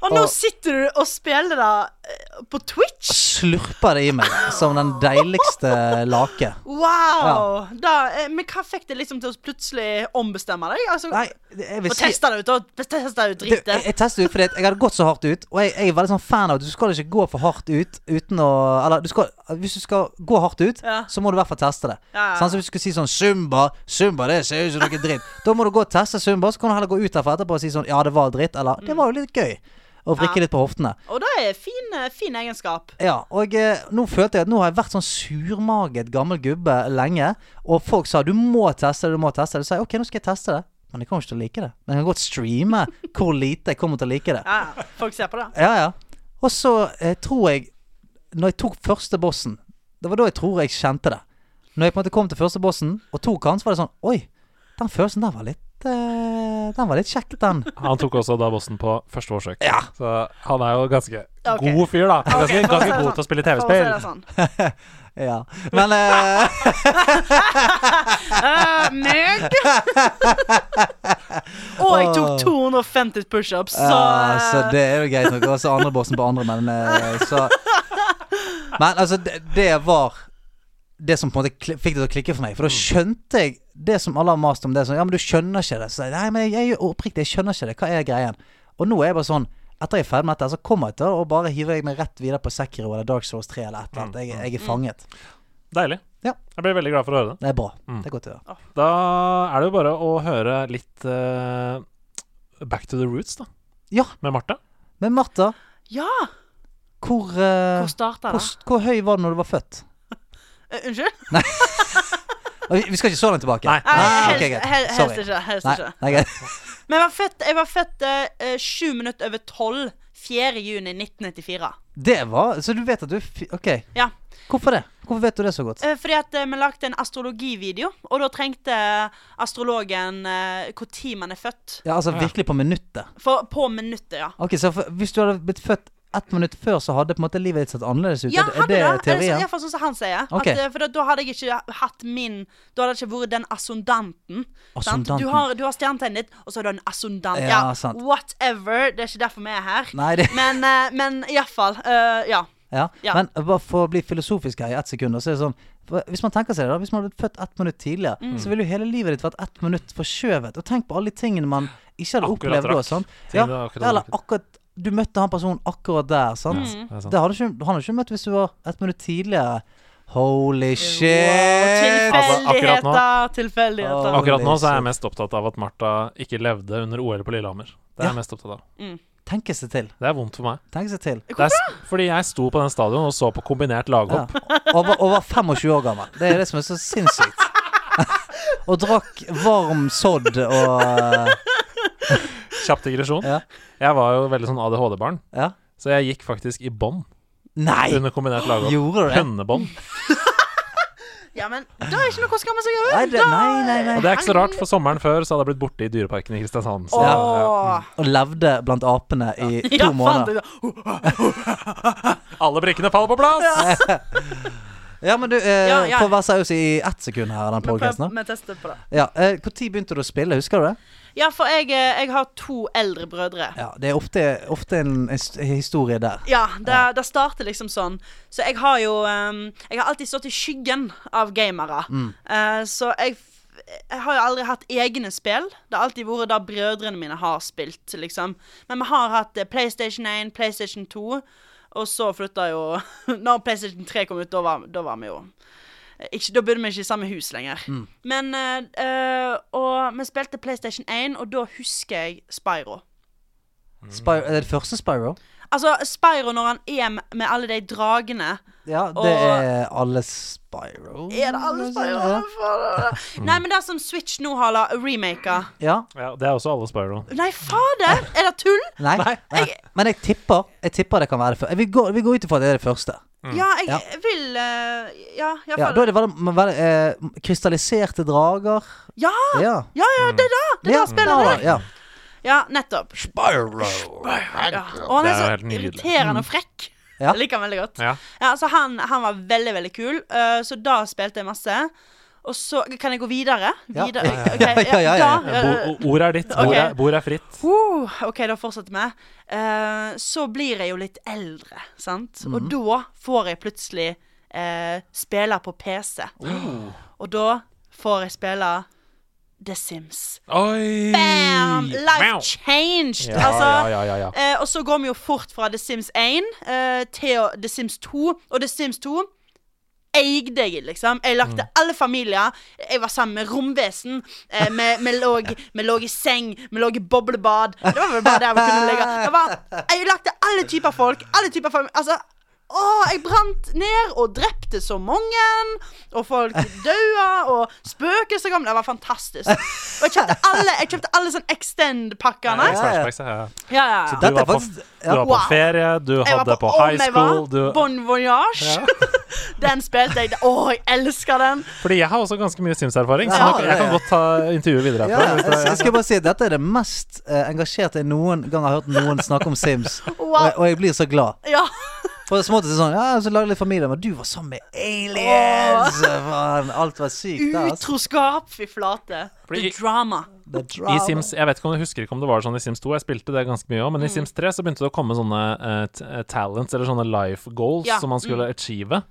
[SPEAKER 4] Og nå
[SPEAKER 3] Og-
[SPEAKER 4] sitter du og spiller det eh, på Twitch!
[SPEAKER 3] slurper det i meg som den deiligste lake.
[SPEAKER 4] Wow! Da, eh, men hva fikk det liksom til å plutselig ombestemme deg? Altså,
[SPEAKER 3] Nei, det- jeg vil
[SPEAKER 4] og
[SPEAKER 3] si
[SPEAKER 4] teste det ut, og teste det ut eh.
[SPEAKER 3] det, jeg,
[SPEAKER 4] drittet.
[SPEAKER 3] jeg testet ut fordi at jeg hadde gått så hardt ut, og jeg, jeg er veldig sånn fan av at du skal ikke gå for hardt ut uten å Eller du skal, hvis du skal gå hardt ut,
[SPEAKER 4] Ja.
[SPEAKER 3] så må du i hvert fall teste det.
[SPEAKER 4] Ja, ja.
[SPEAKER 3] Sånn som hvis du skulle si sånn Zumba, Zumba det ser ut som noe dritt. Da må du gå og teste Zumba, så kan du heller gå ut derfra etterpå og si sånn Ja, det var dritt, eller Det var jo litt gøy. Og vrikke
[SPEAKER 4] Mm. Ja.
[SPEAKER 3] litt på hoftene.
[SPEAKER 4] Og det er fin, eh, fin egenskap.
[SPEAKER 3] Ja, og eh, nå følte jeg at nå har jeg vært sånn surmaget gammel gubbe lenge. Og folk sa du må teste det, du må teste det. Så sa jeg ok, nå skal jeg teste det. Men jeg kommer ikke til å like det. Men jeg kan godt streame hvor lite jeg kommer til å like det.
[SPEAKER 4] Ja, ja. folk ser på det.
[SPEAKER 3] Ja, ja. Og så eh, tror jeg Når jeg tok første bossen, det var da jeg tror jeg kjente det. Når jeg på en måte kom til første bossen og tok han, så var det sånn Oi, den følelsen der var litt eh, Den var litt kjekk, den.
[SPEAKER 2] han tok også da bossen på første forsøk.
[SPEAKER 3] Ja.
[SPEAKER 2] Så han er jo ganske
[SPEAKER 4] Ok.
[SPEAKER 2] god fyr, da. Ganske,
[SPEAKER 4] Ok, for å si
[SPEAKER 2] ganske god
[SPEAKER 4] det sånn.
[SPEAKER 2] til å spille
[SPEAKER 4] For å si det
[SPEAKER 2] TV-spill.
[SPEAKER 4] sånn.
[SPEAKER 3] Ja. Men eh,
[SPEAKER 4] Eh, meg? og jeg tok 250 pushups, så,
[SPEAKER 3] Ja, Ah, så
[SPEAKER 4] eh,
[SPEAKER 3] det er jo greit nok. Og så andrebossen på andre, men eh, så Men altså, det, det var det som på en måte kli- fikk det til å klikke for meg. For da skjønte jeg det som alle har mast om. det er sånn, Ja, men du skjønner ikke det. Så jeg, Nei, men jeg, jeg er jo oppriktig, jeg skjønner ikke det. Hva er greien? Og nå er jeg bare sånn etter jeg er ferdig med dette, så kommer jeg til å bare hive meg rett videre på Sekiro eller Dark Souls 3 eller et eller annet. Jeg, jeg er fanget.
[SPEAKER 2] Deilig.
[SPEAKER 3] Ja.
[SPEAKER 2] Jeg ble veldig glad for å høre det.
[SPEAKER 3] Det er bra.
[SPEAKER 2] Mm.
[SPEAKER 3] Det er godt å høre.
[SPEAKER 2] Da er det jo bare å høre litt eh, Back to the Roots, da.
[SPEAKER 3] Ja.
[SPEAKER 2] Med Marte.
[SPEAKER 3] Men Martha,
[SPEAKER 4] Ja!
[SPEAKER 3] hvor, eh,
[SPEAKER 4] Hvor starta det?
[SPEAKER 3] hvor, hvor høy var du når du var født?
[SPEAKER 4] Eh, unnskyld?
[SPEAKER 3] Vi vi skal ikke så langt tilbake.
[SPEAKER 2] Nei.
[SPEAKER 4] Nei,
[SPEAKER 3] Nei,
[SPEAKER 4] Eh,
[SPEAKER 3] Ah,
[SPEAKER 4] helst,
[SPEAKER 3] ok, greit.
[SPEAKER 4] hel- helst
[SPEAKER 3] Sorry.
[SPEAKER 4] ikke. Helst
[SPEAKER 3] Nei,
[SPEAKER 4] ikke.
[SPEAKER 3] nei, greit.
[SPEAKER 4] Men jeg var født, jeg var født eh, eh, sju minutter over tolv 4. juni 1994.
[SPEAKER 3] Det var Så du vet at du fi- Ok.
[SPEAKER 4] Ja.
[SPEAKER 3] Hvorfor det? Hvorfor vet du det så godt?
[SPEAKER 4] Eh, fordi at eh, vi lagde en astrologivideo, og da trengte eh, astrologen eh, hvor tid man er født.
[SPEAKER 3] Ja, altså virkelig på minuttet.
[SPEAKER 4] For, på minuttet, ja.
[SPEAKER 3] Ok, så for, Hvis du hadde blitt født ett minutt før så hadde på en måte livet ditt sett annerledes ut.
[SPEAKER 4] Ja,
[SPEAKER 3] Er-
[SPEAKER 4] hadde
[SPEAKER 3] er det
[SPEAKER 4] det.
[SPEAKER 3] teorien?
[SPEAKER 4] Iallfall sånn som han sier.
[SPEAKER 3] Ok.
[SPEAKER 4] At, eh, for da, da hadde jeg ikke hatt min Da hadde jeg ikke vært den assondanten. sant?
[SPEAKER 3] Assondanten.
[SPEAKER 4] Du har, du har stjernetegnet ditt, og så har du en assondant.
[SPEAKER 3] Ja,
[SPEAKER 4] Ja,
[SPEAKER 3] sant.
[SPEAKER 4] whatever. Det er ikke derfor vi er her.
[SPEAKER 3] Nei, det
[SPEAKER 4] Men, uh, men iallfall. Uh, ja.
[SPEAKER 3] Ja.
[SPEAKER 4] Ja.
[SPEAKER 3] Men bare for å bli filosofisk her i ett sekund, så er det sånn for Hvis man tenker seg det, da. Hvis man hadde blitt født ett minutt tidligere, så ville jo hele livet ditt vært ett minutt forskjøvet. Og tenk på alle de tingene man ikke hadde
[SPEAKER 2] Akkurat
[SPEAKER 3] opplevd da.
[SPEAKER 2] rakk.
[SPEAKER 3] Sant?
[SPEAKER 2] Til
[SPEAKER 3] Ja,
[SPEAKER 2] det akkurat
[SPEAKER 3] eller
[SPEAKER 2] rakk.
[SPEAKER 3] akkurat Du møtte han personen akkurat der, sant?
[SPEAKER 2] det er sant.
[SPEAKER 3] Det hadde ikke, han hadde ikke møtt hvis du var ett minutt tidligere. Holy shit!
[SPEAKER 2] Altså, akkurat
[SPEAKER 4] tilfeldigheter. tilfeldigheter.
[SPEAKER 3] Åh.
[SPEAKER 2] Akkurat nå så er
[SPEAKER 3] shit.
[SPEAKER 2] jeg mest opptatt av at Martha ikke levde under OL på Lillehammer. Det er jeg mest opptatt av.
[SPEAKER 3] Tenke seg til.
[SPEAKER 2] Det er vondt for meg.
[SPEAKER 3] Tenke seg til.
[SPEAKER 2] Det er, s- fordi jeg sto på den stadion og så på kombinert
[SPEAKER 3] Ja.
[SPEAKER 2] laghopp.
[SPEAKER 3] Og, var, og var 25 år gammel. Det er det som er så sinnssykt. og drakk varm sodd og eh,
[SPEAKER 2] Kjapp digresjon.
[SPEAKER 3] Ja.
[SPEAKER 2] Jeg var jo veldig sånn ADHD-barn,
[SPEAKER 3] Ja.
[SPEAKER 2] så jeg gikk faktisk i bånd
[SPEAKER 3] Nei!
[SPEAKER 2] under kombinert laghopp.
[SPEAKER 3] Gjorde du det?
[SPEAKER 2] Hønnebånd.
[SPEAKER 4] Ja, men det er ikke noe å skamme seg
[SPEAKER 3] Nei,
[SPEAKER 4] over.
[SPEAKER 3] det, nei, nei,
[SPEAKER 2] Og
[SPEAKER 3] nei.
[SPEAKER 2] det er ikke så rart, for sommeren før så hadde jeg blitt borte i Dyreparken i Kristiansand. Så,
[SPEAKER 4] Åh.
[SPEAKER 3] Og levde blant apene i to
[SPEAKER 4] Ja, faen,
[SPEAKER 3] måneder.
[SPEAKER 4] det-
[SPEAKER 2] ja. Alle brikkene faller på plass!
[SPEAKER 3] Ja, men du, eh,
[SPEAKER 4] Ja, ja.
[SPEAKER 3] får være seriøs i ett sekund her. i den
[SPEAKER 4] Vi
[SPEAKER 3] podcasten
[SPEAKER 4] prøver-
[SPEAKER 3] da.
[SPEAKER 4] Vi tester på det.
[SPEAKER 3] Ja, eh, Når begynte du å spille? Husker du det?
[SPEAKER 4] Ja, for jeg, eh, jeg har to eldre brødre.
[SPEAKER 3] Ja, Det er ofte, ofte en, en st- historie der.
[SPEAKER 4] Ja, det, det starter liksom sånn. Så jeg har jo ehm, Jeg har alltid stått i skyggen av gamere. Eh, så jeg, f- jeg har jo aldri hatt egne spill. Det har alltid vært der brødrene mine har spilt, liksom. Men vi har hatt eh, PlayStation 1, PlayStation 2, og så flytta jo Når PlayStation 3 kom ut, da var, da var vi jo eh, ikke, da bodde vi ikke i samme hus lenger. Men eh, eh, Og vi spilte PlayStation 1, og da husker jeg Spyro. Mm.
[SPEAKER 3] Spyro, er det det første Spyro?
[SPEAKER 4] Altså, Spyro når han er med- med alle de dragene
[SPEAKER 3] Ja, det
[SPEAKER 4] Og-
[SPEAKER 3] er alle Spyro.
[SPEAKER 4] Er det alle
[SPEAKER 3] Ja.
[SPEAKER 4] Spyro?
[SPEAKER 3] Mm.
[SPEAKER 4] Nei, men det er som Switch nå har la- remaka.
[SPEAKER 3] Ja.
[SPEAKER 2] Ja, det er også alle Spyro.
[SPEAKER 4] Nei, fader! Er det tull?
[SPEAKER 3] Nei. Nei. Men jeg tipper, jeg tipper det kan være det første. Vi går, vi går ut ifra at det er det første.
[SPEAKER 4] Ja,
[SPEAKER 3] Mm.
[SPEAKER 4] jeg
[SPEAKER 3] Ja.
[SPEAKER 4] vil eh, Ja,
[SPEAKER 3] Ja,
[SPEAKER 4] ja,
[SPEAKER 3] da
[SPEAKER 4] fader.
[SPEAKER 3] er det vel, vel, eh, krystalliserte drager.
[SPEAKER 4] Ja,
[SPEAKER 3] Ja.
[SPEAKER 4] ja, ja, det er da! Ah,
[SPEAKER 3] Mm.
[SPEAKER 4] Det er
[SPEAKER 3] ja,
[SPEAKER 4] da spillet
[SPEAKER 3] ja,
[SPEAKER 4] er.
[SPEAKER 3] ja.
[SPEAKER 4] Ja, nettopp. Ja. Og han
[SPEAKER 2] Det er jo
[SPEAKER 4] er
[SPEAKER 2] helt
[SPEAKER 4] så
[SPEAKER 2] nydelig.
[SPEAKER 4] irriterende og frekk.
[SPEAKER 3] Mm. Ja.
[SPEAKER 4] Jeg liker han veldig godt.
[SPEAKER 2] Ja.
[SPEAKER 4] Ja, så han, han var veldig, veldig kul, eh, så da spilte jeg masse. Og så Kan jeg gå videre?
[SPEAKER 3] Ja.
[SPEAKER 4] Videre?
[SPEAKER 3] Ja,
[SPEAKER 4] Ok,
[SPEAKER 3] ja, ja, ja.
[SPEAKER 4] da, eh,
[SPEAKER 2] Bo- o- Ord er ditt. Bord er,
[SPEAKER 4] Ok.
[SPEAKER 2] bord er fritt.
[SPEAKER 4] Uh, OK, da fortsetter vi. Eh, så blir jeg jo litt eldre, sant? Og
[SPEAKER 2] Mhm.
[SPEAKER 4] da får jeg plutselig eh, spille på PC.
[SPEAKER 2] Oh.
[SPEAKER 4] Og da får jeg spille The Sims.
[SPEAKER 2] Oi!
[SPEAKER 4] Bam! Life
[SPEAKER 2] Wow.
[SPEAKER 4] changed!
[SPEAKER 2] Ja,
[SPEAKER 4] altså
[SPEAKER 2] ja, ja, ja, ja.
[SPEAKER 4] eh, Og så går vi jo fort fra The Sims 1 eh, til å- The Sims 2, og The Sims 2 eide jeg, liksom. Jeg lagde
[SPEAKER 2] Mm.
[SPEAKER 4] alle familier. Jeg var sammen med romvesen. Eh, vi, vi, lå, vi lå i seng, vi lå i boblebad. Det var vel bare der vi kunne ligge. Det var, jeg lagde alle typer folk. Alle typer familier. Altså, å, jeg brant ned og drepte så mange. Og folk daua, og spøkelser kom. Det var fantastisk. Og jeg kjøpte alle, jeg kjøpte alle sånn Extend-pakkene.
[SPEAKER 2] Ja, ja, ja.
[SPEAKER 4] Ja, ja, ja.
[SPEAKER 2] Du
[SPEAKER 3] Dette er
[SPEAKER 2] var, på,
[SPEAKER 3] faktisk-
[SPEAKER 2] du
[SPEAKER 3] ja.
[SPEAKER 2] var på
[SPEAKER 4] Wow.
[SPEAKER 2] ferie, du
[SPEAKER 4] Jeg var
[SPEAKER 2] hadde på
[SPEAKER 4] Om
[SPEAKER 2] high
[SPEAKER 4] jeg var,
[SPEAKER 2] school du,
[SPEAKER 4] Bon Voyage. den spilte jeg. Å, jeg elsker den.
[SPEAKER 2] Fordi jeg har også ganske mye Sims-erfaring, så
[SPEAKER 3] Ja,
[SPEAKER 2] nå- jeg kan
[SPEAKER 3] ja, ja.
[SPEAKER 2] godt ta intervjuet videre.
[SPEAKER 3] Ja,
[SPEAKER 2] etterpå, hvis det-
[SPEAKER 3] jeg, jeg skal bare si at Dette er det mest eh, engasjerte jeg noen gang har hørt noen snakke om Sims. Og jeg, og jeg blir så glad.
[SPEAKER 4] Ja.
[SPEAKER 3] På en måte sånn, ja, så lagde jeg litt familie, men du var sammen med aliens! Faen, alt var sykt der. altså.
[SPEAKER 4] Utroskap, fy flate.
[SPEAKER 2] Fordi- Mm,
[SPEAKER 4] The drama.
[SPEAKER 3] The
[SPEAKER 2] I
[SPEAKER 3] drama.
[SPEAKER 2] Sims, jeg vet ikke om jeg husker ikke om det var sånn i Sims 2, jeg spilte det ganske mye òg,
[SPEAKER 4] Mm.
[SPEAKER 2] men i Sims 3 så begynte det å komme sånne eh, t- eh, talents, eller sånne life goals,
[SPEAKER 4] Ja, mm.
[SPEAKER 2] som man skulle achieve.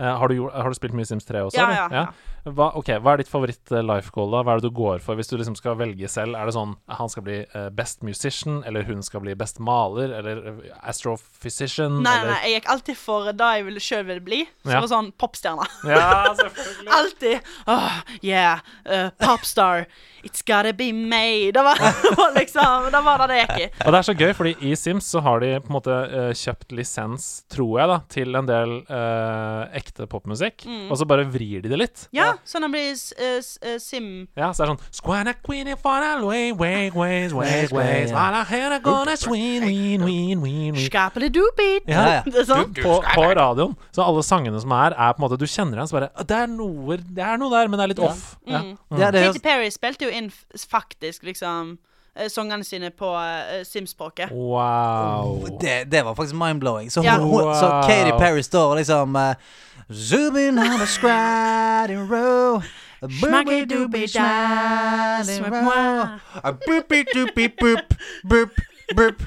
[SPEAKER 2] Eh, har, du, gjort- har du spilt mye Sims 3 også?
[SPEAKER 4] Ja,
[SPEAKER 2] eller?
[SPEAKER 4] ja,
[SPEAKER 2] Hva, ok, hva er ditt favoritt-life goal, da? Hva er det du går for hvis du liksom skal velge selv? Er det sånn han skal bli eh, best musician, eller hun skal bli best maler, eller eh, astrophysician?
[SPEAKER 4] Nei, nei,
[SPEAKER 2] eller?
[SPEAKER 4] jeg gikk alltid for det jeg ville sjøl ville bli. Så
[SPEAKER 2] Ja.
[SPEAKER 4] var sånn popstjerne.
[SPEAKER 2] Ja, selvfølgelig.
[SPEAKER 4] Alltid. Åh, yeah, uh, popstar. It's gotta be me. Det var, det var liksom Det var det det gikk i.
[SPEAKER 2] Og det er så gøy, fordi i Sims så har de på en måte eh, kjøpt lisens, tror jeg, da, til en del eh, ekte popmusikk. Og så bare vrir de det litt.
[SPEAKER 4] Ja, sånn han blir s- eh, s- eh, Sim.
[SPEAKER 2] Ja, så det er sånn Squanna queenie fana way, way, way, way,
[SPEAKER 3] Ways,
[SPEAKER 2] way
[SPEAKER 3] ways.
[SPEAKER 2] Squanna hena gonna sween, ween, ween, ween, ween
[SPEAKER 4] Skapely doopit.
[SPEAKER 2] Ja,
[SPEAKER 3] ja.
[SPEAKER 4] Det er sånn.
[SPEAKER 2] på, på radioen, så alle sangene som er, er på en måte Du kjenner igjen, så bare Det er noe, det er noe der, men det er litt off. Ja.
[SPEAKER 3] Ja, det
[SPEAKER 4] Katy
[SPEAKER 3] høres
[SPEAKER 4] Perry spilte jo inn f- faktisk liksom eh, sangene sine på eh, Sims-språket.
[SPEAKER 2] Wow.
[SPEAKER 3] Det, det var faktisk mind-blowing. Så,
[SPEAKER 4] Ja.
[SPEAKER 3] hun, hun, så
[SPEAKER 2] Wow.
[SPEAKER 3] Katy Perry står og liksom eh, Zoom in on a squad in row. Schmacky-dooby-squad in row. A boopy-doopy-boop. Boop, boop.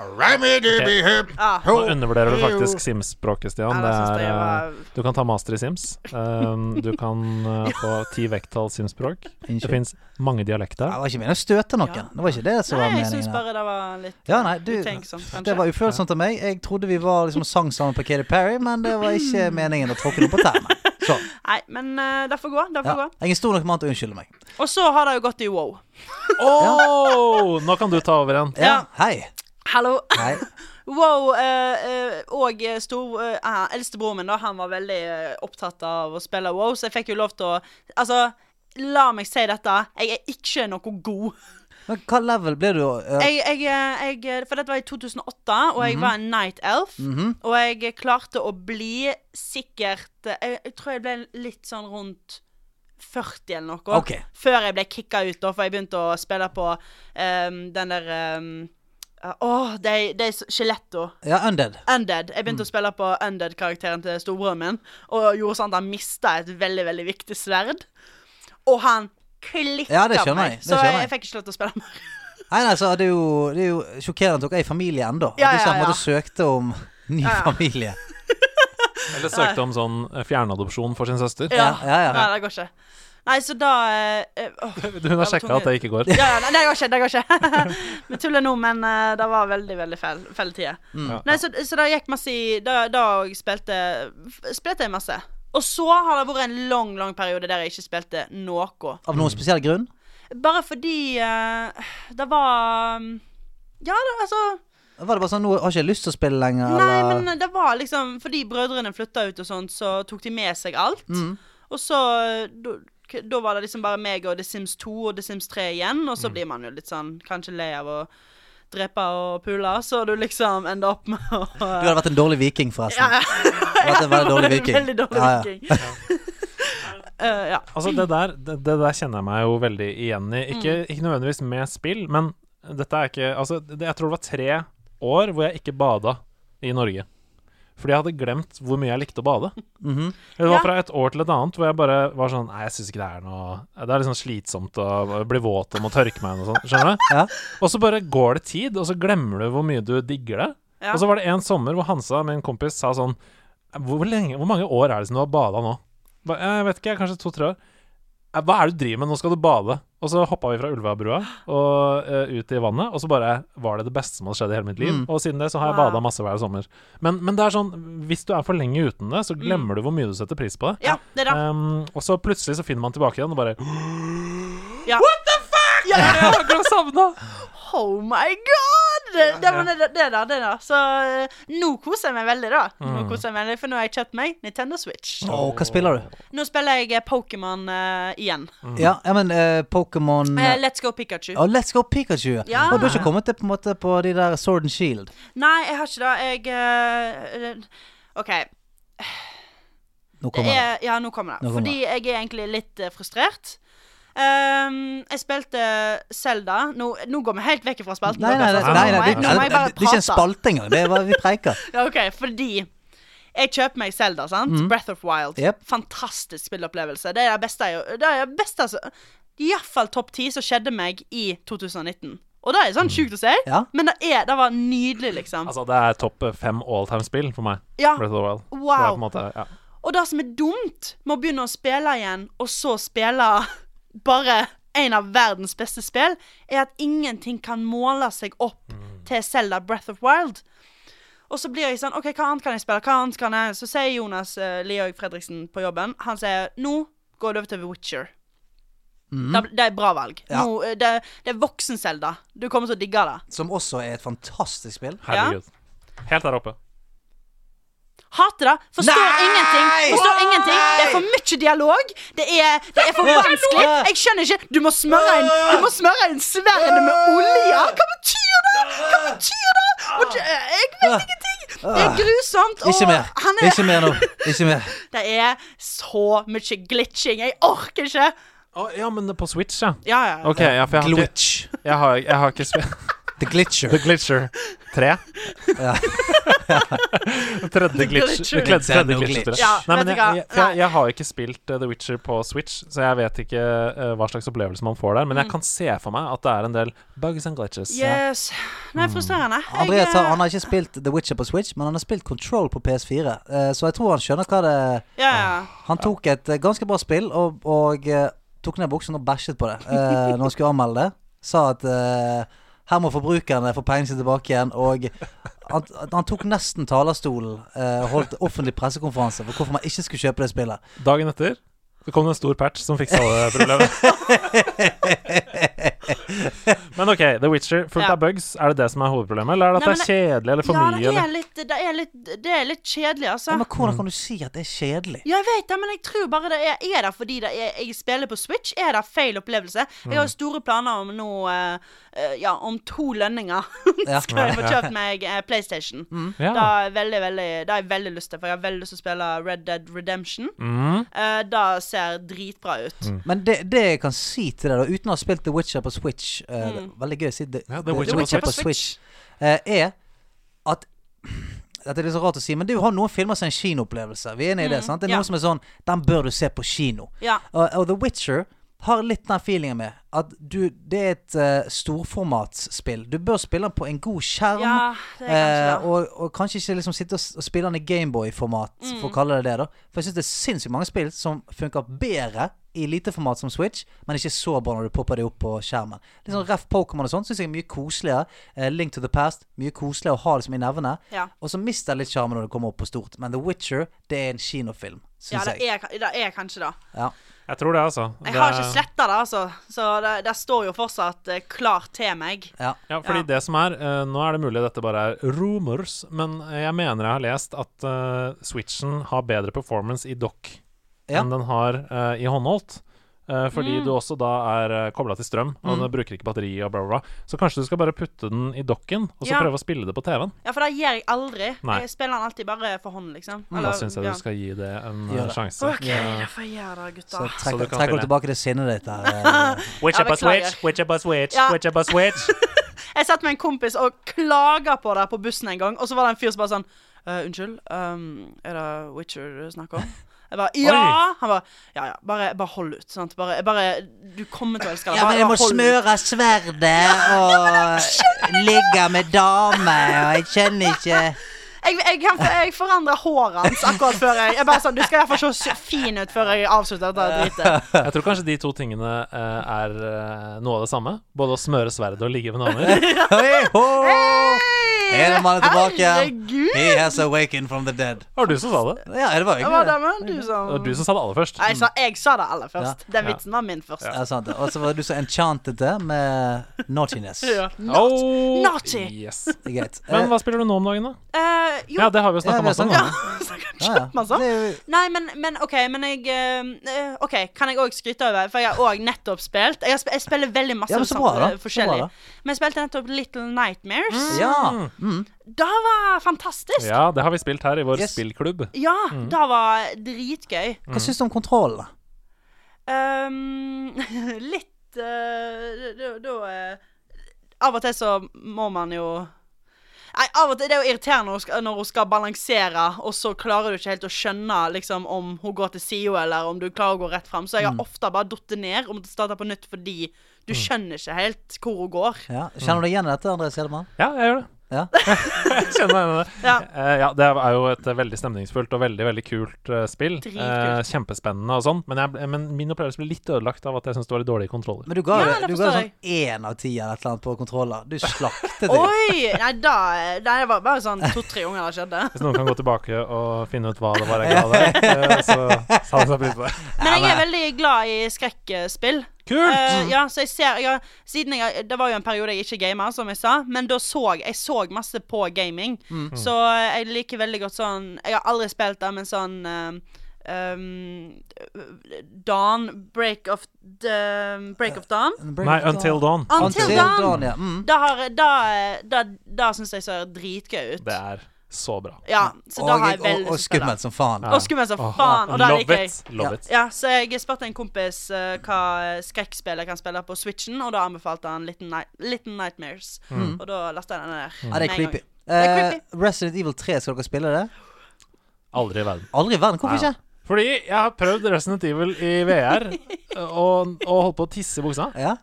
[SPEAKER 3] A rhymy-dooby-hoop.
[SPEAKER 4] Ja.
[SPEAKER 2] Nå undervurderer du faktisk Sims-språket, Stian.
[SPEAKER 4] Ja, det synes
[SPEAKER 2] det
[SPEAKER 4] jeg
[SPEAKER 2] er,
[SPEAKER 4] var-
[SPEAKER 2] eh, du kan ta master i Sims. Um, du kan eh, få ti vekttall Sims-språk. Det
[SPEAKER 3] Unnskyld.
[SPEAKER 2] fins mange dialekter.
[SPEAKER 3] Det var ikke meningen å støte
[SPEAKER 4] Ja.
[SPEAKER 3] noen. Det var ikke det som
[SPEAKER 4] Nei,
[SPEAKER 3] var
[SPEAKER 4] jeg syns
[SPEAKER 3] meningen.
[SPEAKER 4] bare det var litt
[SPEAKER 3] Ja, nei, du,
[SPEAKER 4] utenksomt, kanskje.
[SPEAKER 3] det var ufølsomt av meg. Jeg trodde vi var liksom og sang sammen på Katy Perry, men det var ikke meningen å tråkke noe på tærne. Sånn.
[SPEAKER 4] Nei, men eh, det får gå. Det får
[SPEAKER 3] Ja.
[SPEAKER 4] gå.
[SPEAKER 3] Jeg er en stor nok mann til å unnskylde meg.
[SPEAKER 4] Og så har det jo gått i wow.
[SPEAKER 2] Oh, nå kan du ta over igjen.
[SPEAKER 3] Ja,
[SPEAKER 4] Ja.
[SPEAKER 3] Hei.
[SPEAKER 4] Hallo.
[SPEAKER 3] Hei.
[SPEAKER 4] Wow, eh, eh, og eh, stor, eh, eh, eldstebroren min da, han var veldig eh, opptatt av å spille wow, så jeg fikk jo lov til å Altså, la meg si dette, jeg er ikke noe god.
[SPEAKER 3] Men hva level ble du? eh,
[SPEAKER 4] Jeg, jeg, eh, jeg, for dette var i 2008, og
[SPEAKER 3] Mhm.
[SPEAKER 4] jeg var en night elf. Og jeg klarte å bli sikkert eh, jeg, jeg tror jeg ble litt sånn rundt 40 eller noe.
[SPEAKER 3] Ok.
[SPEAKER 4] Før jeg ble kicka ut, da, for jeg begynte å spille på ehm, den der ehm, Åh, de, de skjeletto.
[SPEAKER 3] Ja, Undead.
[SPEAKER 4] Undead. Jeg
[SPEAKER 3] Mm.
[SPEAKER 4] begynte å spille på Undead-karakteren til storebroren min, og gjorde sånn at han mista et veldig, veldig viktig sverd. Og han klikka
[SPEAKER 3] Ja, det skjønner
[SPEAKER 4] meg,
[SPEAKER 3] jeg. Det
[SPEAKER 4] så
[SPEAKER 3] skjønner
[SPEAKER 4] jeg,
[SPEAKER 3] jeg.
[SPEAKER 4] jeg fikk ikke lov til å spille mer.
[SPEAKER 3] Nei, nei, så er det, jo, det er jo sjokkerende at dere er i familie ennå.
[SPEAKER 4] Ja,
[SPEAKER 3] at du ikke
[SPEAKER 4] ja,
[SPEAKER 3] på en måte
[SPEAKER 4] ja.
[SPEAKER 3] søkte om ny
[SPEAKER 4] Ja, ja.
[SPEAKER 3] familie.
[SPEAKER 2] Eller søkte om sånn eh, fjernadopsjon for sin søster.
[SPEAKER 3] Ja, ja, ja.
[SPEAKER 4] Nei, det går ikke. Nei, så da eh, åh.
[SPEAKER 2] Hun har sjekka at det ikke går.
[SPEAKER 4] Ja, ja, nei, det går ikke. Det går ikke. Vi tuller nå, men eh, det var veldig, veldig feil, feil tid.
[SPEAKER 3] Mm.
[SPEAKER 2] Ja.
[SPEAKER 4] Nei, så, så det gikk masse i Da, da jeg spilte f- Spilte jeg masse. Og så har det vært en lang, lang periode der jeg ikke spilte noe.
[SPEAKER 3] Av noen spesiell grunn?
[SPEAKER 4] Bare fordi eh, det var um, Ja, det, altså
[SPEAKER 3] Var det bare sånn 'Nå har ikke jeg lyst til å spille lenger',
[SPEAKER 4] Nei,
[SPEAKER 3] eller
[SPEAKER 4] men det var liksom Fordi brødrene flytta ut og sånt, så tok de med seg alt.
[SPEAKER 3] Mm.
[SPEAKER 4] Og så da, k- da var det liksom bare meg og The Sims 2 og The Sims 3 igjen, og så
[SPEAKER 3] Mm.
[SPEAKER 4] blir man jo litt sånn kanskje lei av å drepe og pule, så du liksom ender opp med å
[SPEAKER 3] Du hadde vært en dårlig viking, forresten.
[SPEAKER 4] Ja, ja.
[SPEAKER 3] Du hadde vært en veldig dårlig
[SPEAKER 4] En
[SPEAKER 3] viking.
[SPEAKER 4] Veldig dårlig
[SPEAKER 3] Ja, ja.
[SPEAKER 4] viking. Eh, ja.
[SPEAKER 2] Altså, det der, det, det der kjenner jeg meg jo veldig igjen i. Ikke,
[SPEAKER 4] Mm.
[SPEAKER 2] ikke nødvendigvis med spill, men dette er ikke Altså, det, jeg tror det var tre år hvor jeg ikke bada i Norge. Fordi jeg hadde glemt hvor mye jeg likte å bade.
[SPEAKER 3] Mhm.
[SPEAKER 2] Det var
[SPEAKER 4] Ja.
[SPEAKER 2] fra et år til et annet hvor jeg bare var sånn Nei, jeg syns ikke det er noe Det er litt sånn slitsomt å bli våt og må tørke meg og sånn. Skjønner du?
[SPEAKER 3] Ja.
[SPEAKER 2] Og så bare går det tid, og så glemmer du hvor mye du digger det.
[SPEAKER 4] Ja.
[SPEAKER 2] Og så var det en sommer hvor Hansa, min kompis, sa sånn Hvor, lenge, hvor mange år er det siden du har bada nå? Ba, jeg vet ikke, jeg er kanskje to-tre år. «Eh, Hva er det du driver med? Nå skal du bade. Og så hoppa vi fra Ulvebrua og eh, ut i vannet, og så bare var det det beste som hadde skjedd i hele mitt liv.
[SPEAKER 3] Mm.
[SPEAKER 2] Og siden det så har jeg
[SPEAKER 4] Wow.
[SPEAKER 2] bada masse hver sommer. Men, men det er sånn, hvis du er for lenge uten det, så glemmer du hvor mye du setter pris på det.
[SPEAKER 4] Mm. ja, det da.
[SPEAKER 2] Ehm, og så plutselig så finner man tilbake igjen og bare
[SPEAKER 4] Ja. What the fuck?! Ja, ja, ja.
[SPEAKER 2] Jeg har savna!
[SPEAKER 4] Oh my god! Det, det, men det, det da, det da. Så eh, nå koser jeg meg veldig, da.
[SPEAKER 3] Mm.
[SPEAKER 4] Nå koser jeg meg veldig, For nå har jeg kjøpt meg Nintendo Switch.
[SPEAKER 3] Å, hva spiller du?
[SPEAKER 4] Nå spiller jeg eh, Pokémon eh, igjen.
[SPEAKER 3] Ja, ja men eh, Pokémon
[SPEAKER 4] Eh, let's go Pikachu.
[SPEAKER 3] Mm. Ja, Let's Go Pikachu.
[SPEAKER 4] Ja.
[SPEAKER 3] Og du har ikke kommet til på, en måte, på de der Sword and Shield?
[SPEAKER 4] Nei, jeg har ikke det. Jeg eh, eh, OK.
[SPEAKER 3] Nå
[SPEAKER 4] Det
[SPEAKER 3] kommer det.
[SPEAKER 4] er, ja, nå kommer det.
[SPEAKER 3] Nå kommer
[SPEAKER 4] Fordi jeg er egentlig litt eh, frustrert. Ehm, jeg spilte Selda. Nå, nå går vi helt vekk fra spalten.
[SPEAKER 3] Nei, nei,
[SPEAKER 4] dere,
[SPEAKER 3] det,
[SPEAKER 4] så
[SPEAKER 3] nei, nei,
[SPEAKER 4] nå må
[SPEAKER 3] det,
[SPEAKER 4] jeg- nå må jeg
[SPEAKER 3] det,
[SPEAKER 4] bare
[SPEAKER 3] det er ikke en
[SPEAKER 4] prate.
[SPEAKER 3] spalte engang. Det er hva vi preiker.
[SPEAKER 4] Ja, ok, fordi jeg kjøper meg Zelda, sant? Breath of Wild.
[SPEAKER 3] Yep.
[SPEAKER 4] Fantastisk spillopplevelse. Det er det beste jeg Det er det beste altså. som Iallfall topp ti som skjedde meg i 2019. Og det er sånn sjukt å si,
[SPEAKER 3] Ja.
[SPEAKER 4] men det, er, det var nydelig, liksom.
[SPEAKER 2] Altså, det er topp fem all time-spill for meg.
[SPEAKER 4] Ja.
[SPEAKER 2] Breath of the Wild. Det er på en
[SPEAKER 4] Wow.
[SPEAKER 2] måte, ja.
[SPEAKER 4] Og det som er dumt med å begynne å spille igjen, og så spille bare en av verdens beste spill, er at ingenting kan måle seg opp til Zelda Breath of Wild. Og så blir jeg sånn OK, hva annet kan jeg spille? Hva annet kan jeg Så sier Jonas uh, Liaug Fredriksen på jobben Han sier nå går det over til The Witcher. Det, det er et bra valg.
[SPEAKER 3] Ja.
[SPEAKER 4] Nå, eh, det, det er voksen-Selda. Du kommer til å digge det.
[SPEAKER 3] Som også er et fantastisk spill.
[SPEAKER 2] Herregud. Helt der oppe.
[SPEAKER 4] Hater det. Forstår
[SPEAKER 3] Nei!
[SPEAKER 4] ingenting. Forstår ingenting. Det er for mye dialog. Det er, det er for vanskelig. Jeg skjønner ikke. Du må smøre en, du må smøre en sverd med olje. Hva betyr det? Hva betyr det? Og det- jeg vet ingenting. Det er grusomt. Og
[SPEAKER 3] Ikke mer.
[SPEAKER 4] han er,
[SPEAKER 3] Ikke mer nå. Ikke mer.
[SPEAKER 4] Det er så mye glitching. Jeg orker ikke.
[SPEAKER 2] Å, ja, men på Switch, ja.
[SPEAKER 4] Ja, ja. ja.
[SPEAKER 2] OK, ja, for jeg har ikke,
[SPEAKER 3] Glitch.
[SPEAKER 2] jeg har, jeg har ikke spilt
[SPEAKER 3] The Glitcher.
[SPEAKER 2] The Glitcher 3.
[SPEAKER 3] Ja.
[SPEAKER 2] Tredje glitch.
[SPEAKER 4] Glitcher.
[SPEAKER 2] Tredje, tredje
[SPEAKER 3] Nintendo
[SPEAKER 2] glitch.
[SPEAKER 3] glitch.
[SPEAKER 4] Ja,
[SPEAKER 2] Nei, men jeg,
[SPEAKER 4] vet du hva?
[SPEAKER 2] jeg, for jeg,
[SPEAKER 4] Nei.
[SPEAKER 2] jeg har ikke spilt eh, The Witcher på Switch, så jeg vet ikke eh, hva slags opplevelse man får der. Men jeg
[SPEAKER 4] Mm.
[SPEAKER 2] kan se for meg at det er en del bugs and glitches.
[SPEAKER 4] Yes. Nei, frustrerende. Jeg,
[SPEAKER 3] Andreas sa
[SPEAKER 4] eh,
[SPEAKER 3] han har ikke spilt The Witcher på Switch, men han har spilt Control på PS4. eh, Så jeg tror han skjønner hva det
[SPEAKER 4] Ja, ja.
[SPEAKER 3] Han tok et eh, ganske bra spill og, og eh, tok ned buksen og bæsjet på det eh, når han skulle anmelde det. Sa at eh, her må forbrukerne få pengene sine tilbake igjen. Og han, han tok nesten talerstolen eh, og holdt offentlig pressekonferanse for hvorfor man ikke skulle kjøpe det spillet.
[SPEAKER 2] Dagen etter så kom det en stor patch som fiksa alle problemene. men OK, The Witcher fullt
[SPEAKER 4] Ja.
[SPEAKER 2] av bugs. Er det det som er hovedproblemet, eller er det at
[SPEAKER 4] Nei,
[SPEAKER 2] det er kjedelig eller for
[SPEAKER 4] ja,
[SPEAKER 2] mye?
[SPEAKER 4] det er,
[SPEAKER 2] Eller?
[SPEAKER 4] litt, det, er litt, det er litt kjedelig, altså.
[SPEAKER 3] Ja, men hvordan kan du si at det er kjedelig?
[SPEAKER 4] Ja, jeg vet det, men jeg tror bare det er Er det fordi det er, jeg spiller på Switch? Er det feil opplevelse? Jeg
[SPEAKER 2] Mm.
[SPEAKER 4] har jo store planer om nå eh, eh, Ja, om to lønninger
[SPEAKER 3] Ja.
[SPEAKER 4] skal jeg få kjøpt meg eh, PlayStation. Da,
[SPEAKER 2] Ja.
[SPEAKER 4] er jeg veldig, veldig, da har jeg veldig lyst til, for jeg har veldig lyst til å spille Red Dead Redemption.
[SPEAKER 2] Mm.
[SPEAKER 4] Eh, da ser dritbra ut.
[SPEAKER 3] Men det, det jeg kan si til deg, da, uten å ha spilt The Witcher på Switch eh, det er Veldig gøy å si The,
[SPEAKER 2] Ja, The Witcher på Switch.
[SPEAKER 3] eh, er at dette er litt så rart å si, men du har noen filmer som er en kinoopplevelse. Vi er enige i det, sant? Det er
[SPEAKER 4] ja.
[SPEAKER 3] noen som er sånn Den bør du se på kino.
[SPEAKER 4] Ja.
[SPEAKER 3] Og, og The Witcher har litt den feelingen med at du Det er et eh, storformatsspill. Du bør spille den på en god skjerm.
[SPEAKER 4] Ja, det er kanskje
[SPEAKER 3] eh,
[SPEAKER 4] det.
[SPEAKER 3] og, og kanskje ikke liksom sitte og, s- og spille den i Gameboy-format,
[SPEAKER 4] Mm.
[SPEAKER 3] for å kalle det det. da For jeg syns det er sinnssykt mange spill som funker bedre i lite format som Switch, men ikke så bra når du popper det opp på skjermen. Litt
[SPEAKER 4] Mm.
[SPEAKER 3] sånn Ref Pokémon og sånn syns jeg er mye koseligere. Eh, Link to the Past mye koseligere å ha liksom i nevene.
[SPEAKER 4] Ja.
[SPEAKER 3] Og så mister jeg litt sjarmen når det kommer opp på stort. Men The Witcher, det er en kinofilm,
[SPEAKER 4] Ja,
[SPEAKER 3] syns
[SPEAKER 4] det
[SPEAKER 3] jeg.
[SPEAKER 4] er, ka- det er kanskje det.
[SPEAKER 3] Ja.
[SPEAKER 2] Jeg tror det, altså.
[SPEAKER 4] Jeg
[SPEAKER 2] Det-
[SPEAKER 4] har ikke sletta det, altså. Så det, det står jo fortsatt eh, klart til meg.
[SPEAKER 3] Ja.
[SPEAKER 2] Ja, fordi
[SPEAKER 4] Ja.
[SPEAKER 2] det som er eh, Nå er det mulig dette bare er rumors, men jeg mener jeg har lest at eh, Switchen har bedre performance i dock
[SPEAKER 3] Ja.
[SPEAKER 2] enn den har eh, i håndholdt. Eh, fordi
[SPEAKER 4] Mm.
[SPEAKER 2] du også da er uh, kobla til strøm, og den bruker ikke batteri og bla, bla, bla. Så kanskje du skal bare putte den i docken, og så
[SPEAKER 4] Ja.
[SPEAKER 2] prøve å spille det på TV-en.
[SPEAKER 4] Ja, for det gjør jeg aldri.
[SPEAKER 2] Nei.
[SPEAKER 4] Jeg spiller den alltid bare for hånd, liksom.
[SPEAKER 2] Da syns jeg
[SPEAKER 4] ja.
[SPEAKER 2] du skal gi det en eh,
[SPEAKER 3] Gjør det.
[SPEAKER 2] sjanse.
[SPEAKER 4] OK,
[SPEAKER 2] Eh,
[SPEAKER 4] da får jeg gjøre det,
[SPEAKER 3] Så
[SPEAKER 2] Så
[SPEAKER 4] gutta.
[SPEAKER 2] du
[SPEAKER 3] trekker trekker
[SPEAKER 2] kan spille.
[SPEAKER 3] du tilbake det sinnet ditt der. eh.
[SPEAKER 2] Witcher på
[SPEAKER 4] beklager.
[SPEAKER 2] Switch, Witcher på Switch,
[SPEAKER 4] Ja.
[SPEAKER 2] Witcher på Switch.
[SPEAKER 4] Jeg satt med en kompis og klaga på det på bussen en gang, og så var det en fyr som bare sånn «Eh, Unnskyld, ehm, er det Witcher du snakker om? Jeg bare Ja! Han bare Ja, ja, bare, bare hold ut. Sant? Bare, bare Du kommer til å elske det.
[SPEAKER 3] Ja, men
[SPEAKER 4] Bare-
[SPEAKER 3] jeg må
[SPEAKER 4] bare hold ut.»
[SPEAKER 3] smøre sverdet og ligge med dame, og jeg skjønner ikke
[SPEAKER 4] Jeg, jeg, kan- jeg forandra håret hans akkurat før jeg Jeg bare sånn Du skal i hvert fall se så fin ut før jeg avslutter dette dritet.
[SPEAKER 2] Jeg tror kanskje de to tingene eh, er eh, noe av det samme. Både å smøre sverdet og ligge med damer.
[SPEAKER 3] Hei, ho! Er det mannen tilbake igjen?
[SPEAKER 4] Herregud!
[SPEAKER 3] He has awakened from the dead.
[SPEAKER 2] Var det du som sa det?
[SPEAKER 3] Ja, det var jo
[SPEAKER 4] Det var
[SPEAKER 3] ikke
[SPEAKER 4] det,
[SPEAKER 3] det.
[SPEAKER 4] men du som
[SPEAKER 2] Det var du som sa det aller først.
[SPEAKER 4] Nei, jeg sa, jeg sa det aller først. Den
[SPEAKER 2] Ja.
[SPEAKER 4] vitsen var min først.
[SPEAKER 3] Ja, sant det. Og så var du så enchanted det med naughtiness.
[SPEAKER 4] Ja.
[SPEAKER 2] Oh,
[SPEAKER 4] Naughty.
[SPEAKER 2] Yes.
[SPEAKER 3] Det er greit.
[SPEAKER 2] Men
[SPEAKER 3] Eh,
[SPEAKER 2] hva spiller du nå om dagen, da?
[SPEAKER 4] Eh, jo,
[SPEAKER 2] Ja, det har vi jo
[SPEAKER 3] ja, vi
[SPEAKER 2] snakka
[SPEAKER 3] har
[SPEAKER 2] masse om.
[SPEAKER 3] snakket
[SPEAKER 2] da.
[SPEAKER 4] ja, så
[SPEAKER 3] Eh, ja,
[SPEAKER 4] kjøpt
[SPEAKER 3] ja.
[SPEAKER 4] masse.
[SPEAKER 3] Det er jo-
[SPEAKER 4] Nei, men, men OK, men jeg eh, OK, kan jeg òg skryte over? For jeg har òg nettopp spilt. Jeg, har sp jeg spiller veldig masse
[SPEAKER 3] Ja, men så bra,
[SPEAKER 4] sånn,
[SPEAKER 3] da.
[SPEAKER 4] eh,
[SPEAKER 3] Så
[SPEAKER 4] forskjellig.
[SPEAKER 3] bra, da.
[SPEAKER 4] Men jeg spilte nettopp Little Nightmares.
[SPEAKER 3] Ja. Mm.
[SPEAKER 4] Det var fantastisk. Ja,
[SPEAKER 2] Ja, det har vi spilt her i vår
[SPEAKER 3] Yes.
[SPEAKER 2] spillklubb.
[SPEAKER 3] Mm.
[SPEAKER 4] det var dritgøy.
[SPEAKER 3] Hva syns du om kontrollen?
[SPEAKER 4] Um, litt eh, Da da, eh, Av og til så må man jo Nei, av og til Det er jo irriterende når hun skal, når hun skal balansere, og så klarer du ikke helt å skjønne liksom, om hun går til SIO, eller om du klarer å gå rett fram. Så jeg har ofte bare datt ned og måttet starte på nytt fordi du skjønner ikke helt hvor hun går.
[SPEAKER 3] Ja. Kjenner du deg igjen i dette, Andreas Hedemann?
[SPEAKER 2] Ja, jeg gjør det.
[SPEAKER 3] Ja.
[SPEAKER 2] Jeg Kjenner meg igjen i det.
[SPEAKER 4] Ja.
[SPEAKER 2] Eh, ja, det er jo et eh, veldig stemningsfullt og veldig veldig kult eh, spill.
[SPEAKER 4] Dritkult.
[SPEAKER 2] Eh, kjempespennende og sånn. Men, jeg, ble- men min opplevelse ble litt ødelagt av at jeg syns det var litt dårlige kontroller.
[SPEAKER 3] Men du ga
[SPEAKER 4] Ja,
[SPEAKER 3] det,
[SPEAKER 4] det
[SPEAKER 3] du ga det
[SPEAKER 4] forstår
[SPEAKER 3] sånn én av ti eller et eller annet på kontroller. Du slaktet det.
[SPEAKER 4] Oi! Nei, da Nei, det var bare sånn to-tre ganger det skjedde.
[SPEAKER 2] Hvis noen kan gå tilbake og finne ut hva det var jeg ga deg, eh, så så hadde jeg satt pris på det.
[SPEAKER 4] Men jeg er veldig glad i skrekkspill.
[SPEAKER 2] Kult! Mm.
[SPEAKER 4] Eh, ja, så jeg ser jeg, har- Siden jeg Det var jo en periode jeg ikke gamet, som jeg sa, men da så jeg så masse på gaming.
[SPEAKER 2] Mm.
[SPEAKER 3] Mm.
[SPEAKER 4] Så jeg liker veldig godt sånn Jeg har aldri spilt det, men sånn eh, um, Dawn Break of the, um, Break of Dawn.
[SPEAKER 2] Nei, Until Dawn.
[SPEAKER 4] Until, Dawn!
[SPEAKER 3] ja. Mm.
[SPEAKER 4] eh, Da, har, da, da, da syns jeg ser dritgøy ut.
[SPEAKER 2] Det er Så bra.
[SPEAKER 4] Ja, så da
[SPEAKER 3] og,
[SPEAKER 4] har jeg
[SPEAKER 3] og, og
[SPEAKER 4] veldig lyst til å spille
[SPEAKER 3] skummelt som faen.
[SPEAKER 4] Og skummelt som
[SPEAKER 2] Åh,
[SPEAKER 4] altså, faen. Og da
[SPEAKER 2] love
[SPEAKER 4] liker jeg
[SPEAKER 2] it, love
[SPEAKER 3] Ja.
[SPEAKER 2] it.
[SPEAKER 4] Ja, så jeg spurte en kompis eh, hva skrekkspill jeg kan spille på Switchen, og da anbefalte han Little, Night Little Nightmares.
[SPEAKER 2] Mm.
[SPEAKER 4] Og da lasta jeg den ned.
[SPEAKER 3] Ja, det er
[SPEAKER 4] med en
[SPEAKER 3] creepy.
[SPEAKER 4] gang. Det er creepy.
[SPEAKER 3] Eh, Resident Evil 3, skal dere spille det?
[SPEAKER 2] Aldri i verden.
[SPEAKER 3] Aldri i verden. Hvorfor
[SPEAKER 2] Ja.
[SPEAKER 3] ikke?
[SPEAKER 2] Fordi jeg har prøvd Resident Evil i VR og, og holdt på å tisse i buksa.
[SPEAKER 3] Ja.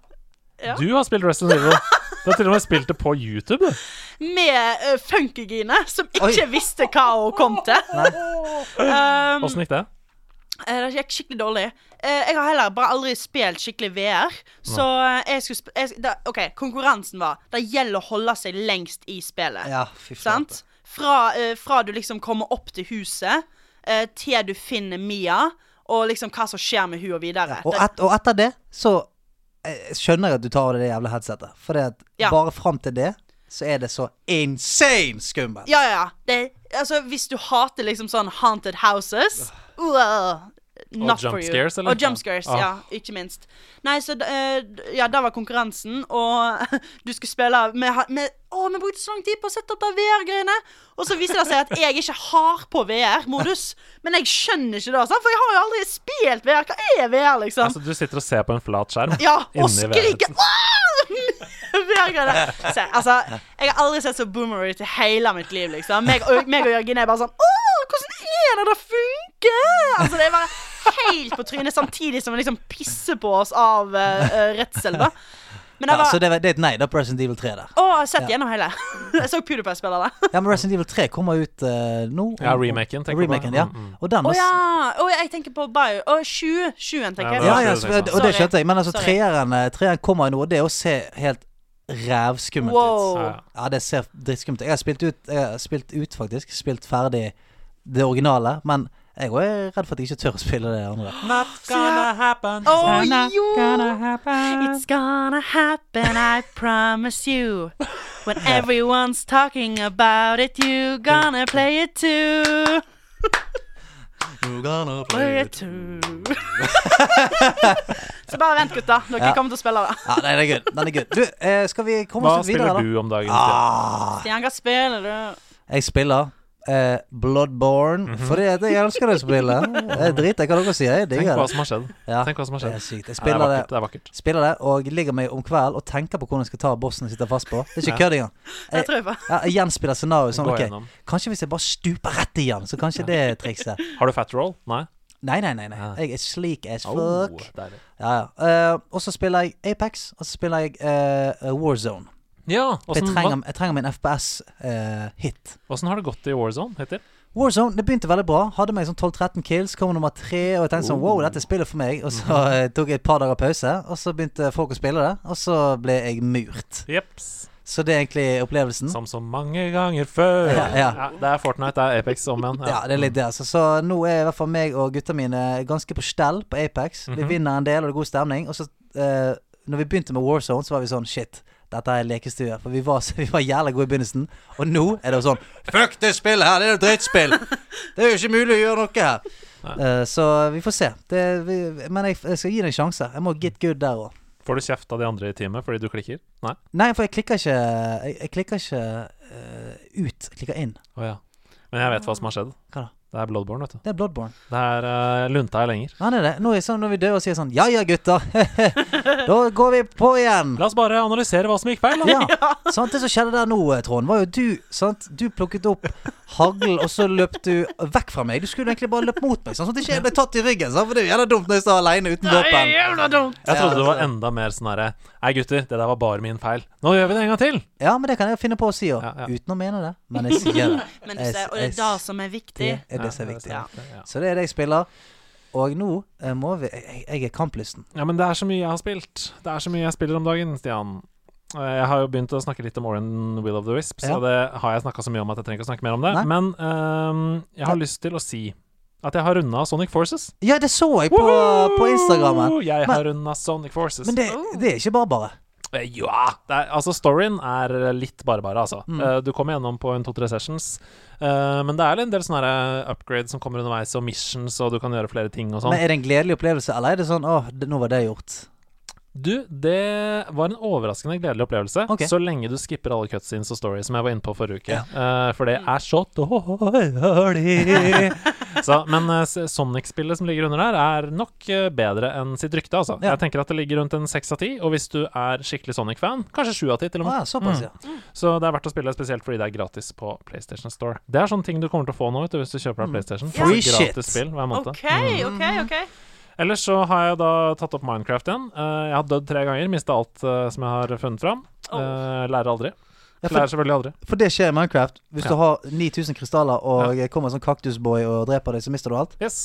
[SPEAKER 4] Ja.
[SPEAKER 2] Du har spilt Resident Evil. Du har til og med spilt det på YouTube. du.
[SPEAKER 4] Med uh, funkygine, som
[SPEAKER 3] Oi.
[SPEAKER 4] ikke visste hva hun kom til. Um,
[SPEAKER 2] Åssen gikk det?
[SPEAKER 4] eh, det gikk skikkelig dårlig. Eh, jeg har heller bare aldri spilt skikkelig VR. Så eh, jeg skulle sp jeg, da, OK, konkurransen var Det gjelder å holde seg lengst i spillet.
[SPEAKER 3] ja, fy flate.
[SPEAKER 4] Sant? Fra, eh, fra du liksom kommer opp til huset, eh, til du finner Mia, og liksom hva som skjer med hun og videre.
[SPEAKER 3] Og, et, og etter det så eh, skjønner jeg at du tar av deg det jævla headsetet. For det at
[SPEAKER 4] Ja.
[SPEAKER 3] bare fram til det så er det så insane skummelt.
[SPEAKER 4] ja, ja, ja. Det, altså, hvis du hater liksom sånn haunted houses wow, Not
[SPEAKER 2] jump
[SPEAKER 4] for you.
[SPEAKER 2] scares, eller?
[SPEAKER 4] Og jump scares,
[SPEAKER 2] Ah.
[SPEAKER 4] ja. Ikke minst. Nei, så eh, Ja, der var konkurransen, og du skulle spille med, ha- med Å, vi brukte så lang tid på å sette opp de VR-greiene! Og så viser det seg at jeg ikke har på VR-modus. Men jeg skjønner ikke det, sant? for jeg har jo aldri spilt VR. Hva er VR, liksom?
[SPEAKER 2] Altså, du sitter og ser på en flat skjerm.
[SPEAKER 4] Ja, og
[SPEAKER 2] inni
[SPEAKER 4] skrike VR-greiene. Se, altså, jeg har aldri sett så boomery til hele mitt liv, liksom. Meg og, meg og Jørgen er bare sånn Å, hvordan er det det funker? Altså, det er bare helt på trynet, samtidig som vi liksom pisser på oss av eh, eh, redsel, da. Men
[SPEAKER 3] Ja,
[SPEAKER 4] jeg
[SPEAKER 3] så
[SPEAKER 4] var
[SPEAKER 3] det, var- det er et nei da på Resident Evil 3 der.
[SPEAKER 4] Å, jeg har sett gjennom hele. Jeg så PewDiePie spille det.
[SPEAKER 3] Ja, men Resident Evil 3 kommer ut eh, nå.
[SPEAKER 2] Ja, remaken, tenker du på.
[SPEAKER 3] Remaken, ja.
[SPEAKER 2] Mm, mm.
[SPEAKER 3] Og den
[SPEAKER 4] Å
[SPEAKER 3] må
[SPEAKER 4] ja. Å, jeg tenker på Bio. Å, 20. 20, tenker
[SPEAKER 3] Ja,
[SPEAKER 4] jeg.
[SPEAKER 3] ja,
[SPEAKER 2] det
[SPEAKER 3] så,
[SPEAKER 2] er det
[SPEAKER 3] og det
[SPEAKER 4] Sorry.
[SPEAKER 3] skjønte jeg. Men altså,
[SPEAKER 4] Sorry.
[SPEAKER 3] treeren, eh, treeren kommer jo nå, og det å se helt rævskummelt
[SPEAKER 4] Wow.
[SPEAKER 3] ut.
[SPEAKER 2] Ja, ja.
[SPEAKER 3] Ja, det ser dritskummelt ut. Jeg har spilt ut, jeg har spilt ut faktisk. Spilt ferdig det originale. Men jeg også er redd for at jeg ikke tør å spille det andre.
[SPEAKER 4] gonna
[SPEAKER 2] happen.
[SPEAKER 4] Å jo! It's gonna happen, I promise you. When everyone's talking about it, you gonna play it too. Play it too. Så bare vent, gutta. Dere
[SPEAKER 3] Ja.
[SPEAKER 4] kommer til å spille det.
[SPEAKER 3] Ja, nei, den er good. Den er good. Du, eh, skal vi komme
[SPEAKER 2] Hva
[SPEAKER 3] oss litt videre,
[SPEAKER 2] spiller
[SPEAKER 3] da?
[SPEAKER 2] du om dagen?
[SPEAKER 3] Ah,
[SPEAKER 4] Stian, hva spiller du?
[SPEAKER 3] jeg spiller eh, Bloodborne.
[SPEAKER 2] Mhm.
[SPEAKER 3] Fordi at jeg elsker det spillet. Jeg driter i hva dere sier. Jeg
[SPEAKER 2] Tenk
[SPEAKER 3] digger
[SPEAKER 2] hva
[SPEAKER 3] det.
[SPEAKER 2] som har skjedd.
[SPEAKER 3] Ja,
[SPEAKER 2] Tenk hva som har
[SPEAKER 3] det
[SPEAKER 2] skjedd.
[SPEAKER 3] er sykt. Jeg
[SPEAKER 2] Nei, det er
[SPEAKER 3] spiller det
[SPEAKER 2] vakkert. Det er vakkert.
[SPEAKER 3] spiller det og ligger meg om kvelden og tenker på hvordan jeg skal ta bossen jeg sitter fast på. Det er ikke
[SPEAKER 2] Ja.
[SPEAKER 3] kødd engang.
[SPEAKER 4] Det tror jeg på.
[SPEAKER 3] Ja, Jeg gjenspiller scenarioet sånn.
[SPEAKER 2] Gå
[SPEAKER 3] ok,
[SPEAKER 2] gjennom.
[SPEAKER 3] Kanskje hvis jeg bare stuper rett i han, så kanskje det er trikset.
[SPEAKER 2] Har du fat roll? Nei?
[SPEAKER 3] Nei, nei, nei. nei.
[SPEAKER 2] Ja.
[SPEAKER 3] Jeg er sleek as
[SPEAKER 2] Oh,
[SPEAKER 3] fuck.
[SPEAKER 2] deilig.
[SPEAKER 3] Ja, ja. Eh, og så spiller jeg Apex, og så spiller jeg eh, War Zone.
[SPEAKER 2] Ja,
[SPEAKER 3] For jeg
[SPEAKER 2] åssen
[SPEAKER 3] trenger, jeg trenger min FPS-hit.
[SPEAKER 2] åssen har det gått i War Zone hittil?
[SPEAKER 3] War Zone eh, det begynte veldig bra. Hadde meg sånn 12-13 kills, kom nummer tre. Og jeg tenkte sånn
[SPEAKER 2] Oh.
[SPEAKER 3] wow, dette er spillet for meg. Og så eh, tok jeg et par dager pause, og så begynte folk å spille det. Og så ble jeg murt.
[SPEAKER 2] Jeps.
[SPEAKER 3] Så det er egentlig opplevelsen.
[SPEAKER 2] Som så mange ganger før.
[SPEAKER 3] Ja, ja.
[SPEAKER 2] det er Fortnite, det er Apex om igjen.
[SPEAKER 3] Ja, det er litt det, altså. Så nå er i hvert fall meg og gutta mine ganske på stell på Apex. Vi
[SPEAKER 2] Mhm.
[SPEAKER 3] vinner en del, og det er god stemning. Og så, eh, når vi begynte med War Zone, så var vi sånn shit. Dette er lekestue. For vi var, vi var jævla gode i begynnelsen. Og nå er det jo sånn Fuck det spillet her! Det er jo drittspill! Det er jo ikke mulig å gjøre noe her! Eh, så vi får se. Det, vi, men jeg, jeg skal gi det en sjanse. Jeg må get good der òg.
[SPEAKER 2] Får du kjeft av de andre i teamet fordi du klikker? Nei?
[SPEAKER 3] Nei, for jeg klikker ikke Jeg, jeg klikker ikke eh, ut. Jeg klikker inn.
[SPEAKER 2] Å ja. Men jeg vet hva som har skjedd.
[SPEAKER 3] Hva da?
[SPEAKER 2] Det er Bloodborne, vet du.
[SPEAKER 3] Det er Bloodborne.
[SPEAKER 2] Det er uh, lunta er lenger.
[SPEAKER 3] Nei, det er det. Nå er det sånn, når vi dør og sier sånn Ja ja, gutter. da går vi på igjen.
[SPEAKER 2] La oss bare analysere hva som gikk feil. Da.
[SPEAKER 3] Ja. Sant, det som skjedde der nå, eh, Trond, var jo du sant? Du plukket opp hagl, og så løp du vekk fra meg. Du skulle egentlig bare løpt mot meg, sånn sånn at jeg ikke ble tatt i ryggen. Sant? For det er jo jævla dumt når jeg står alene uten våpen.
[SPEAKER 4] Jævla dumt.
[SPEAKER 2] Jeg
[SPEAKER 3] Ja,
[SPEAKER 2] trodde det var
[SPEAKER 3] altså.
[SPEAKER 2] enda mer sånn herre Nei, gutter, det der var bare min feil. Nå gjør vi det en gang til!
[SPEAKER 3] Ja, men det kan jeg finne på å si òg.
[SPEAKER 2] Ja, ja.
[SPEAKER 3] Uten å mene det. Men jeg sier det.
[SPEAKER 4] Men du ser, og det er det som er
[SPEAKER 3] Det
[SPEAKER 4] viktig.
[SPEAKER 3] er det som er
[SPEAKER 2] Ja,
[SPEAKER 3] viktig.
[SPEAKER 2] sant, det, ja.
[SPEAKER 3] Så det er det jeg spiller. Og nå eh, må vi Jeg, jeg er kamplysten.
[SPEAKER 2] Ja, men det er så mye jeg har spilt. Det er så mye jeg spiller om dagen, Stian. Eh, Jeg har jo begynt å snakke litt om Oren Will of the Wisps,
[SPEAKER 3] Ja.
[SPEAKER 2] og det har jeg snakka så mye om at jeg trenger ikke å snakke mer om det.
[SPEAKER 3] Nei.
[SPEAKER 2] Men ehm, jeg har lyst til å si at jeg har runda Sonic Forces.
[SPEAKER 3] Ja, det så jeg på, på Instagrammen.
[SPEAKER 2] Jeg
[SPEAKER 3] Men-
[SPEAKER 2] har runda Sonic Forces. Oh.
[SPEAKER 3] Men det,
[SPEAKER 4] Oh.
[SPEAKER 3] det er ikke bare bare.
[SPEAKER 2] Eh, Ja! Det er, altså, storyen er litt bare-bare, altså.
[SPEAKER 3] Mm.
[SPEAKER 2] Eh, du kommer gjennom på en to-tre sessions. Eh, men det er en del sånne her eh, upgrades som kommer underveis, og missions, og du kan gjøre flere ting og sånn.
[SPEAKER 3] Men er det en gledelig opplevelse, eller er det sånn åh, det- nå var det gjort?
[SPEAKER 2] Du, det var en overraskende gledelig opplevelse.
[SPEAKER 3] Ok.
[SPEAKER 2] Så lenge du skipper alle cutscenes og stories, som jeg var inne på forrige uke.
[SPEAKER 3] Ja.
[SPEAKER 2] Eh, for det er så dårlig. så, men eh, S- Sonic-spillet som ligger under der, er nok eh, bedre enn sitt rykte, altså.
[SPEAKER 3] Ja.
[SPEAKER 2] Jeg tenker at det ligger rundt en seks av ti, og hvis du er skikkelig Sonic-fan, kanskje sju av ti, til og med.
[SPEAKER 3] Ah, såpass, ja.
[SPEAKER 2] Så det er verdt å spille, spesielt fordi det er gratis på PlayStation Store. Det er sånne ting du kommer til å få nå, vet du, hvis du kjøper deg PlayStation.
[SPEAKER 3] Mm. Free
[SPEAKER 2] Får du
[SPEAKER 3] shit.
[SPEAKER 2] Gratis spill hver måned.
[SPEAKER 4] OK, OK, OK.
[SPEAKER 2] Ellers så har jeg da tatt opp Minecraft igjen. Eh, jeg har dødd tre ganger, mista alt eh, som jeg har funnet fram.
[SPEAKER 4] Oh.
[SPEAKER 2] Eh, lærer aldri.
[SPEAKER 3] Ja, for,
[SPEAKER 2] Lærer selvfølgelig aldri.
[SPEAKER 3] for det skjer i Minecraft. Hvis
[SPEAKER 2] Ja.
[SPEAKER 3] du har 9000 krystaller og kommer en sånn kaktusboy og dreper deg, så mister du alt.
[SPEAKER 2] Yes.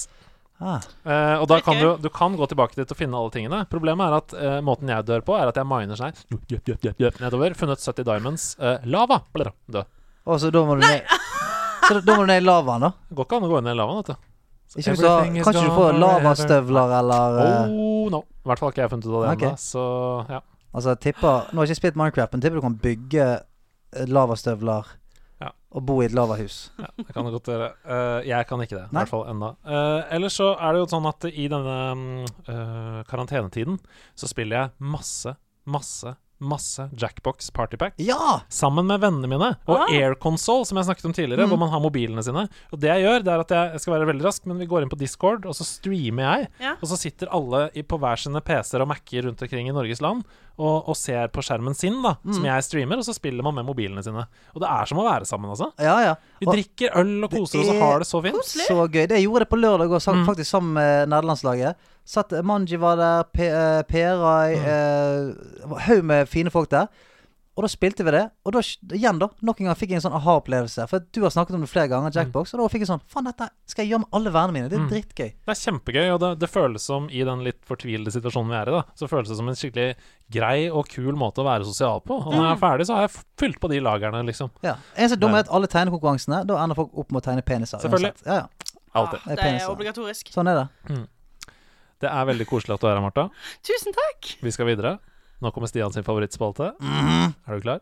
[SPEAKER 3] Ah.
[SPEAKER 2] Eh, og da kan
[SPEAKER 4] Ok.
[SPEAKER 2] du, du kan gå tilbake dit og finne alle tingene. Problemet er at eh, måten jeg dør på, er at jeg miner sånn her, jup, jup, jup, jup, jup, nedover. Funnet 70 diamonds. Eh, lava! Blir det. Død.
[SPEAKER 3] Og så da må du ned Så da, da må du ned i lavaen, da.
[SPEAKER 2] Går ikke an å gå inn i lavaen, vet du. Så
[SPEAKER 3] Ikke hvis du har,
[SPEAKER 2] everything is
[SPEAKER 3] kanskje du
[SPEAKER 2] gone
[SPEAKER 3] får
[SPEAKER 2] forever.
[SPEAKER 3] lavastøvler eller eh,
[SPEAKER 2] Oh no. I hvert fall har ikke jeg funnet ut av det
[SPEAKER 3] Ok.
[SPEAKER 2] ennå. Så ja.
[SPEAKER 3] Altså, jeg tipper Nå har jeg ikke spilt Minecraft, men tipper du kan bygge eh, lavastøvler
[SPEAKER 2] Ja.
[SPEAKER 3] og bo i et lavahus.
[SPEAKER 2] Det kan det godt gjøre. Eh, jeg kan ikke det, i
[SPEAKER 3] Nei.
[SPEAKER 2] hvert fall ennå. Eh, ellers så er det jo sånn at i denne mm, eh, karantenetiden så spiller jeg masse, masse, masse Jackbox Partypack.
[SPEAKER 3] Ja!
[SPEAKER 2] Sammen med vennene mine, og
[SPEAKER 4] Ah. Mm.
[SPEAKER 2] Air Console, som jeg snakket om tidligere, hvor man har mobilene sine. Og det jeg gjør, det er at jeg, jeg skal være veldig rask, men vi går inn på Discord, og så streamer jeg.
[SPEAKER 4] Ja.
[SPEAKER 2] Og så sitter alle i, på hver sine PC-er og Mac-er rundt omkring i Norges land og, og ser på skjermen sin, da,
[SPEAKER 4] Mm.
[SPEAKER 2] som jeg streamer, og så spiller man med mobilene sine. Og det er som å være sammen, altså.
[SPEAKER 3] Ja, ja.
[SPEAKER 2] Vi
[SPEAKER 3] Og
[SPEAKER 2] drikker øl og koser oss og
[SPEAKER 3] er-
[SPEAKER 2] har det så fint. Mm.
[SPEAKER 3] så gøy. Det jeg gjorde det på lørdag òg, faktisk sammen med nederlandslaget. Satt eh, Manji var der, Pe- eh, Perai
[SPEAKER 2] Mm.
[SPEAKER 3] eh, Haug med fine folk der. Og da spilte vi det. Og da, igjen, da, nok en gang fikk jeg en sånn aha-opplevelse. For du har snakket om det flere ganger,
[SPEAKER 2] Mm.
[SPEAKER 3] Jackbox, og da fikk jeg sånn Faen, dette skal jeg gjøre med alle vennene mine. Det er drittgøy.
[SPEAKER 2] Det er kjempegøy, og det, det føles som i den litt fortvilede situasjonen vi er i, da, så føles det som en skikkelig grei og kul måte å være sosial på. Og når jeg er ferdig, så har jeg f- fylt på de lagerne, liksom.
[SPEAKER 3] Ja. Eneste dumme er at alle tegnekonkurransene, da ender folk opp med å tegne peniser.
[SPEAKER 2] Selvfølgelig.
[SPEAKER 3] uansett. Ja, ja.
[SPEAKER 2] Alltid.
[SPEAKER 4] Ja, det
[SPEAKER 3] Penis,
[SPEAKER 4] er
[SPEAKER 3] da.
[SPEAKER 4] obligatorisk.
[SPEAKER 3] Sånn er det.
[SPEAKER 2] Det er veldig koselig at du er her, Marta.
[SPEAKER 4] Tusen takk.
[SPEAKER 2] Vi skal videre. Nå kommer Stian sin favorittspalte. Er du klar?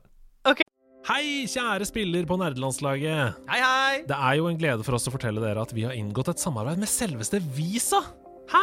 [SPEAKER 4] Ok.
[SPEAKER 2] Hei, kjære spiller på nerdelandslaget.
[SPEAKER 5] Hei, hei!
[SPEAKER 2] Det er jo en glede for oss å fortelle dere at vi har inngått et samarbeid med selveste Visa. Hæ?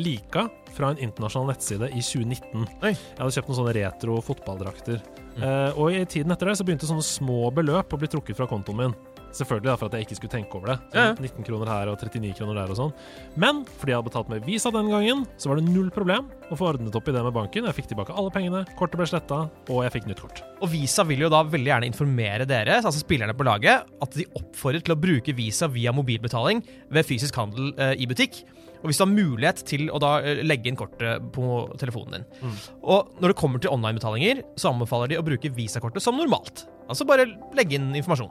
[SPEAKER 2] lika fra en internasjonal nettside i 2019.
[SPEAKER 5] Oi. Mm.
[SPEAKER 2] Jeg hadde kjøpt noen sånne retro fotballdrakter. Eh, og i tiden etter det så begynte sånne små beløp å bli trukket fra kontoen min. Selvfølgelig da, for at jeg ikke skulle tenke over det. Sånn
[SPEAKER 5] Ja, ja.
[SPEAKER 2] 19 kroner her og 39 kroner der og sånn. Men fordi jeg hadde betalt med Visa den gangen, så var det null problem å få ordnet opp i det med banken. Jeg fikk tilbake alle pengene, kortet ble sletta, og jeg fikk nytt kort.
[SPEAKER 5] Og Visa vil jo da veldig gjerne informere dere, altså spillerne på laget, at de oppfordrer til å bruke Visa via mobilbetaling ved fysisk handel eh, i butikk. Og hvis du har mulighet til å da eh, legge inn kortet på telefonen din. Og når det kommer til online-betalinger, så anbefaler de å bruke Visa-kortet som normalt. Altså bare legge inn informasjon.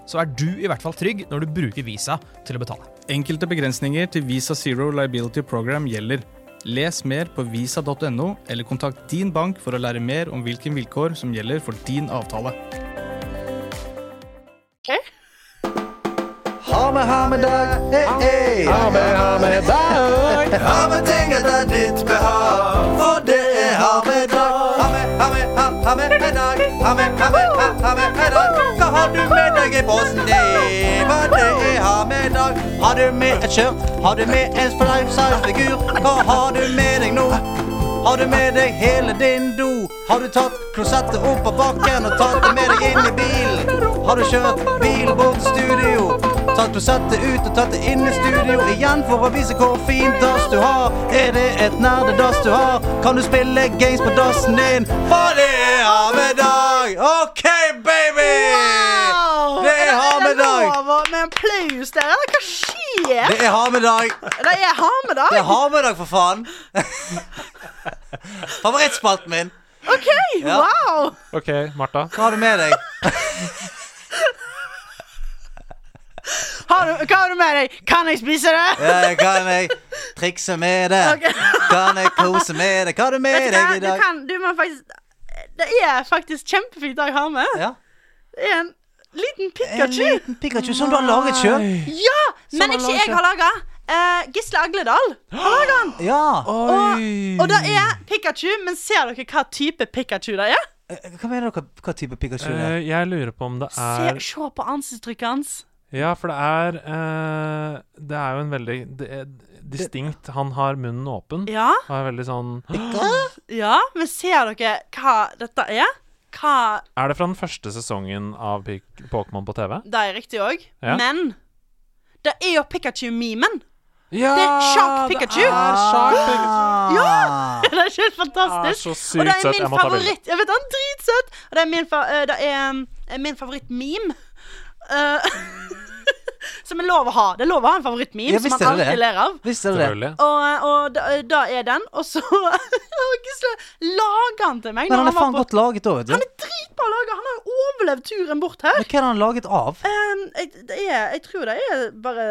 [SPEAKER 5] så er du i hvert fall trygg når du bruker Visa til å betale.
[SPEAKER 6] Enkelte begrensninger til Visa Zero Liability Program gjelder. Les mer på visa.no, eller kontakt din bank for å lære mer om hvilke vilkår som gjelder for din avtale.
[SPEAKER 3] Ha med, ha med dag, hey, hey. Ha med, ha med dag. ha med ting etter ditt behag, for det er ha med dag. Ha med, ha med, ha, ha med en dag. Ha med, ha med, ha, ha med en dag. Hva har du med deg i posten din? Hva det er ha med dag? Har du med et skjørt? Har du med en life size-figur? Hva har du med deg nå? Har du med deg hele din do? Har du tatt klosettet opp av bakken og tatt det med deg inn i bilen? Har du kjørt bil bort til studio? Tatt klosettet ut og tatt det inn i studio igjen for å vise hvor fin dass du har? Er det et nerdedass du har? Kan du spille games på dassen din? For det er hamedag! OK, baby!
[SPEAKER 4] Wow!
[SPEAKER 3] Det er hamedag!
[SPEAKER 4] lov å- med applaus der, eller hva skjer?
[SPEAKER 3] Det er hamedag!
[SPEAKER 4] Det er hamedag.
[SPEAKER 3] Det er hamedag, for faen! Favorittspalten min.
[SPEAKER 4] OK,
[SPEAKER 3] Ja.
[SPEAKER 4] wow!
[SPEAKER 2] OK, Martha.
[SPEAKER 3] Hva har du med deg? Eh,
[SPEAKER 4] Har du, hva har du med deg? Kan jeg spise det?
[SPEAKER 3] Ja, jeg kan er jeg trikse med det?
[SPEAKER 4] Ok.
[SPEAKER 3] Kan jeg kose med det? Hva har du med
[SPEAKER 4] Vet du hva,
[SPEAKER 3] deg i
[SPEAKER 4] du
[SPEAKER 3] dag?
[SPEAKER 4] kan Du må faktisk Det er faktisk kjempefint dag jeg har med.
[SPEAKER 3] Ja.
[SPEAKER 4] Det er en liten
[SPEAKER 3] En
[SPEAKER 4] Pikachu.
[SPEAKER 3] liten Pikachu som du har laget sjøl.
[SPEAKER 4] Ja! Men ikke jeg har laga. Eh, Gisle Agledal har laga den.
[SPEAKER 3] Ja.
[SPEAKER 4] Og, og det er Pikachu, men ser dere hva type Pikachu det er?
[SPEAKER 3] Eh, Hva mener dere hva type Pikachu det er?
[SPEAKER 2] Eh, jeg lurer på om det
[SPEAKER 4] Se,
[SPEAKER 2] er
[SPEAKER 4] se på ansiktstrykket hans.
[SPEAKER 2] Ja, for det er eh, Det er jo en veldig det er distinkt Han har munnen åpen.
[SPEAKER 4] Ja,
[SPEAKER 2] Og er veldig sånn
[SPEAKER 4] ja, men ser dere hva dette er? Hva
[SPEAKER 2] Er det fra den første sesongen av Pik- Pokémon på TV?
[SPEAKER 4] Det er riktig òg,
[SPEAKER 2] Ja.
[SPEAKER 4] men det er jo Pikachu-memen.
[SPEAKER 2] Ja!
[SPEAKER 4] Det er Shark Pikachu.
[SPEAKER 2] Ah, Det er Shark Pikachu.
[SPEAKER 3] Ja!
[SPEAKER 4] Det er helt
[SPEAKER 2] Ah,
[SPEAKER 4] fantastisk.
[SPEAKER 2] så sykt
[SPEAKER 4] og det er
[SPEAKER 2] søt.
[SPEAKER 4] min
[SPEAKER 2] Jeg må ta bilde.
[SPEAKER 4] favoritt. Jeg vet han er dritsøt. Og det er min, fa eh, det er, eh, min favorittmeme. Eh, som er lov å ha. Det er lov å ha en favorittmeme
[SPEAKER 3] Ja,
[SPEAKER 4] som
[SPEAKER 3] visst
[SPEAKER 4] man
[SPEAKER 3] er det
[SPEAKER 4] alltid
[SPEAKER 3] det.
[SPEAKER 4] ler av.
[SPEAKER 3] Visste dere det?
[SPEAKER 2] Selvfølgelig.
[SPEAKER 4] Og, eh, og da, da er den. Og så Å, Gisle lager han til meg. når
[SPEAKER 3] Men han er
[SPEAKER 4] var
[SPEAKER 3] faen
[SPEAKER 4] på-
[SPEAKER 3] godt laget òg, vet
[SPEAKER 4] Han
[SPEAKER 3] du.
[SPEAKER 4] er dritbra laga. Han har jo overlevd turen bort her.
[SPEAKER 3] Men hva er han laget av?
[SPEAKER 4] Ehm, jeg, det er, jeg tror det er bare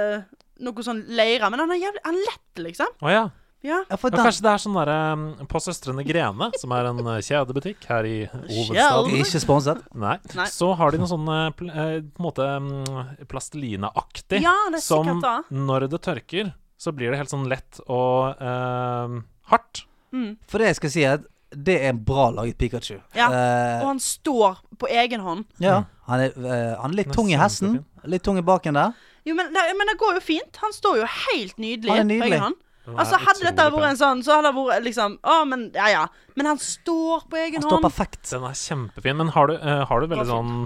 [SPEAKER 4] noe sånn leire, men han er jævlig Han er lett, liksom.
[SPEAKER 2] Å ja.
[SPEAKER 4] Ja.
[SPEAKER 3] Ja, for
[SPEAKER 2] ja.
[SPEAKER 3] den,
[SPEAKER 2] Kanskje det er sånn derre um, På Søstrene Grene, som er en eh, kjedebutikk her i
[SPEAKER 3] de
[SPEAKER 2] hovedstaden.
[SPEAKER 3] er ikke sponset.
[SPEAKER 2] Nei.
[SPEAKER 4] Nei.
[SPEAKER 2] Så har de noe sånn eh, pl eh, på en måte mm, plastelinaaktig
[SPEAKER 4] Ja, det er
[SPEAKER 2] som
[SPEAKER 4] sikkert da.
[SPEAKER 2] når det tørker, så blir det helt sånn lett og eh, hardt.
[SPEAKER 3] For det jeg skal si, er at det er en bra laget Pikachu.
[SPEAKER 4] Ja.
[SPEAKER 3] Eh,
[SPEAKER 4] Og han står på egen hånd.
[SPEAKER 3] ja. Han, er, eh, han er litt
[SPEAKER 2] Den er
[SPEAKER 3] tung i hesten. Litt tung i baken der.
[SPEAKER 4] Jo, men det, men det går jo fint. Han står jo helt nydelig.
[SPEAKER 3] Han er
[SPEAKER 4] på
[SPEAKER 3] nydelig.
[SPEAKER 4] egen hånd. Altså, Hadde dette vært en sånn, så hadde det vært liksom Å, men ja, ja. Men han står på egen
[SPEAKER 3] Han står
[SPEAKER 4] hånd.
[SPEAKER 3] perfekt.
[SPEAKER 2] Den er kjempefin. Men har du, eh, har du veldig
[SPEAKER 4] Hva
[SPEAKER 2] sånn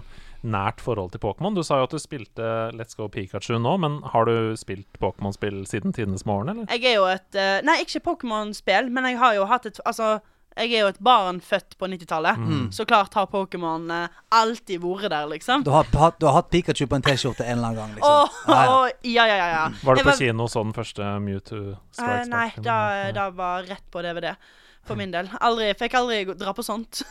[SPEAKER 2] nært forhold til Pokémon? Du sa jo at du spilte Let's Go Pikachu nå, men har du spilt Pokémon-spill siden tidenes morgen, eller?
[SPEAKER 4] Jeg er jo et eh, Nei, ikke Pokémon-spill, men jeg har jo hatt et Altså, jeg er jo et barn født på 90-tallet.
[SPEAKER 2] Mm.
[SPEAKER 4] Så klart har Pokémon eh, alltid vært der, liksom.
[SPEAKER 3] Du har, hatt- du har hatt Pikachu på en T-skjorte en eller annen gang.
[SPEAKER 4] Åh,
[SPEAKER 3] Liksom. Ja, ja.
[SPEAKER 4] åh, ja, ja, ja, ja.
[SPEAKER 2] Mm. Var du
[SPEAKER 4] Jeg
[SPEAKER 2] på kino og så den første Mewtwo
[SPEAKER 4] Eh,
[SPEAKER 2] Strikes
[SPEAKER 4] nei,
[SPEAKER 2] Back? Mm.
[SPEAKER 4] da, da var rett på DVD. For min del. Aldri, fikk aldri gå- dra på sånt.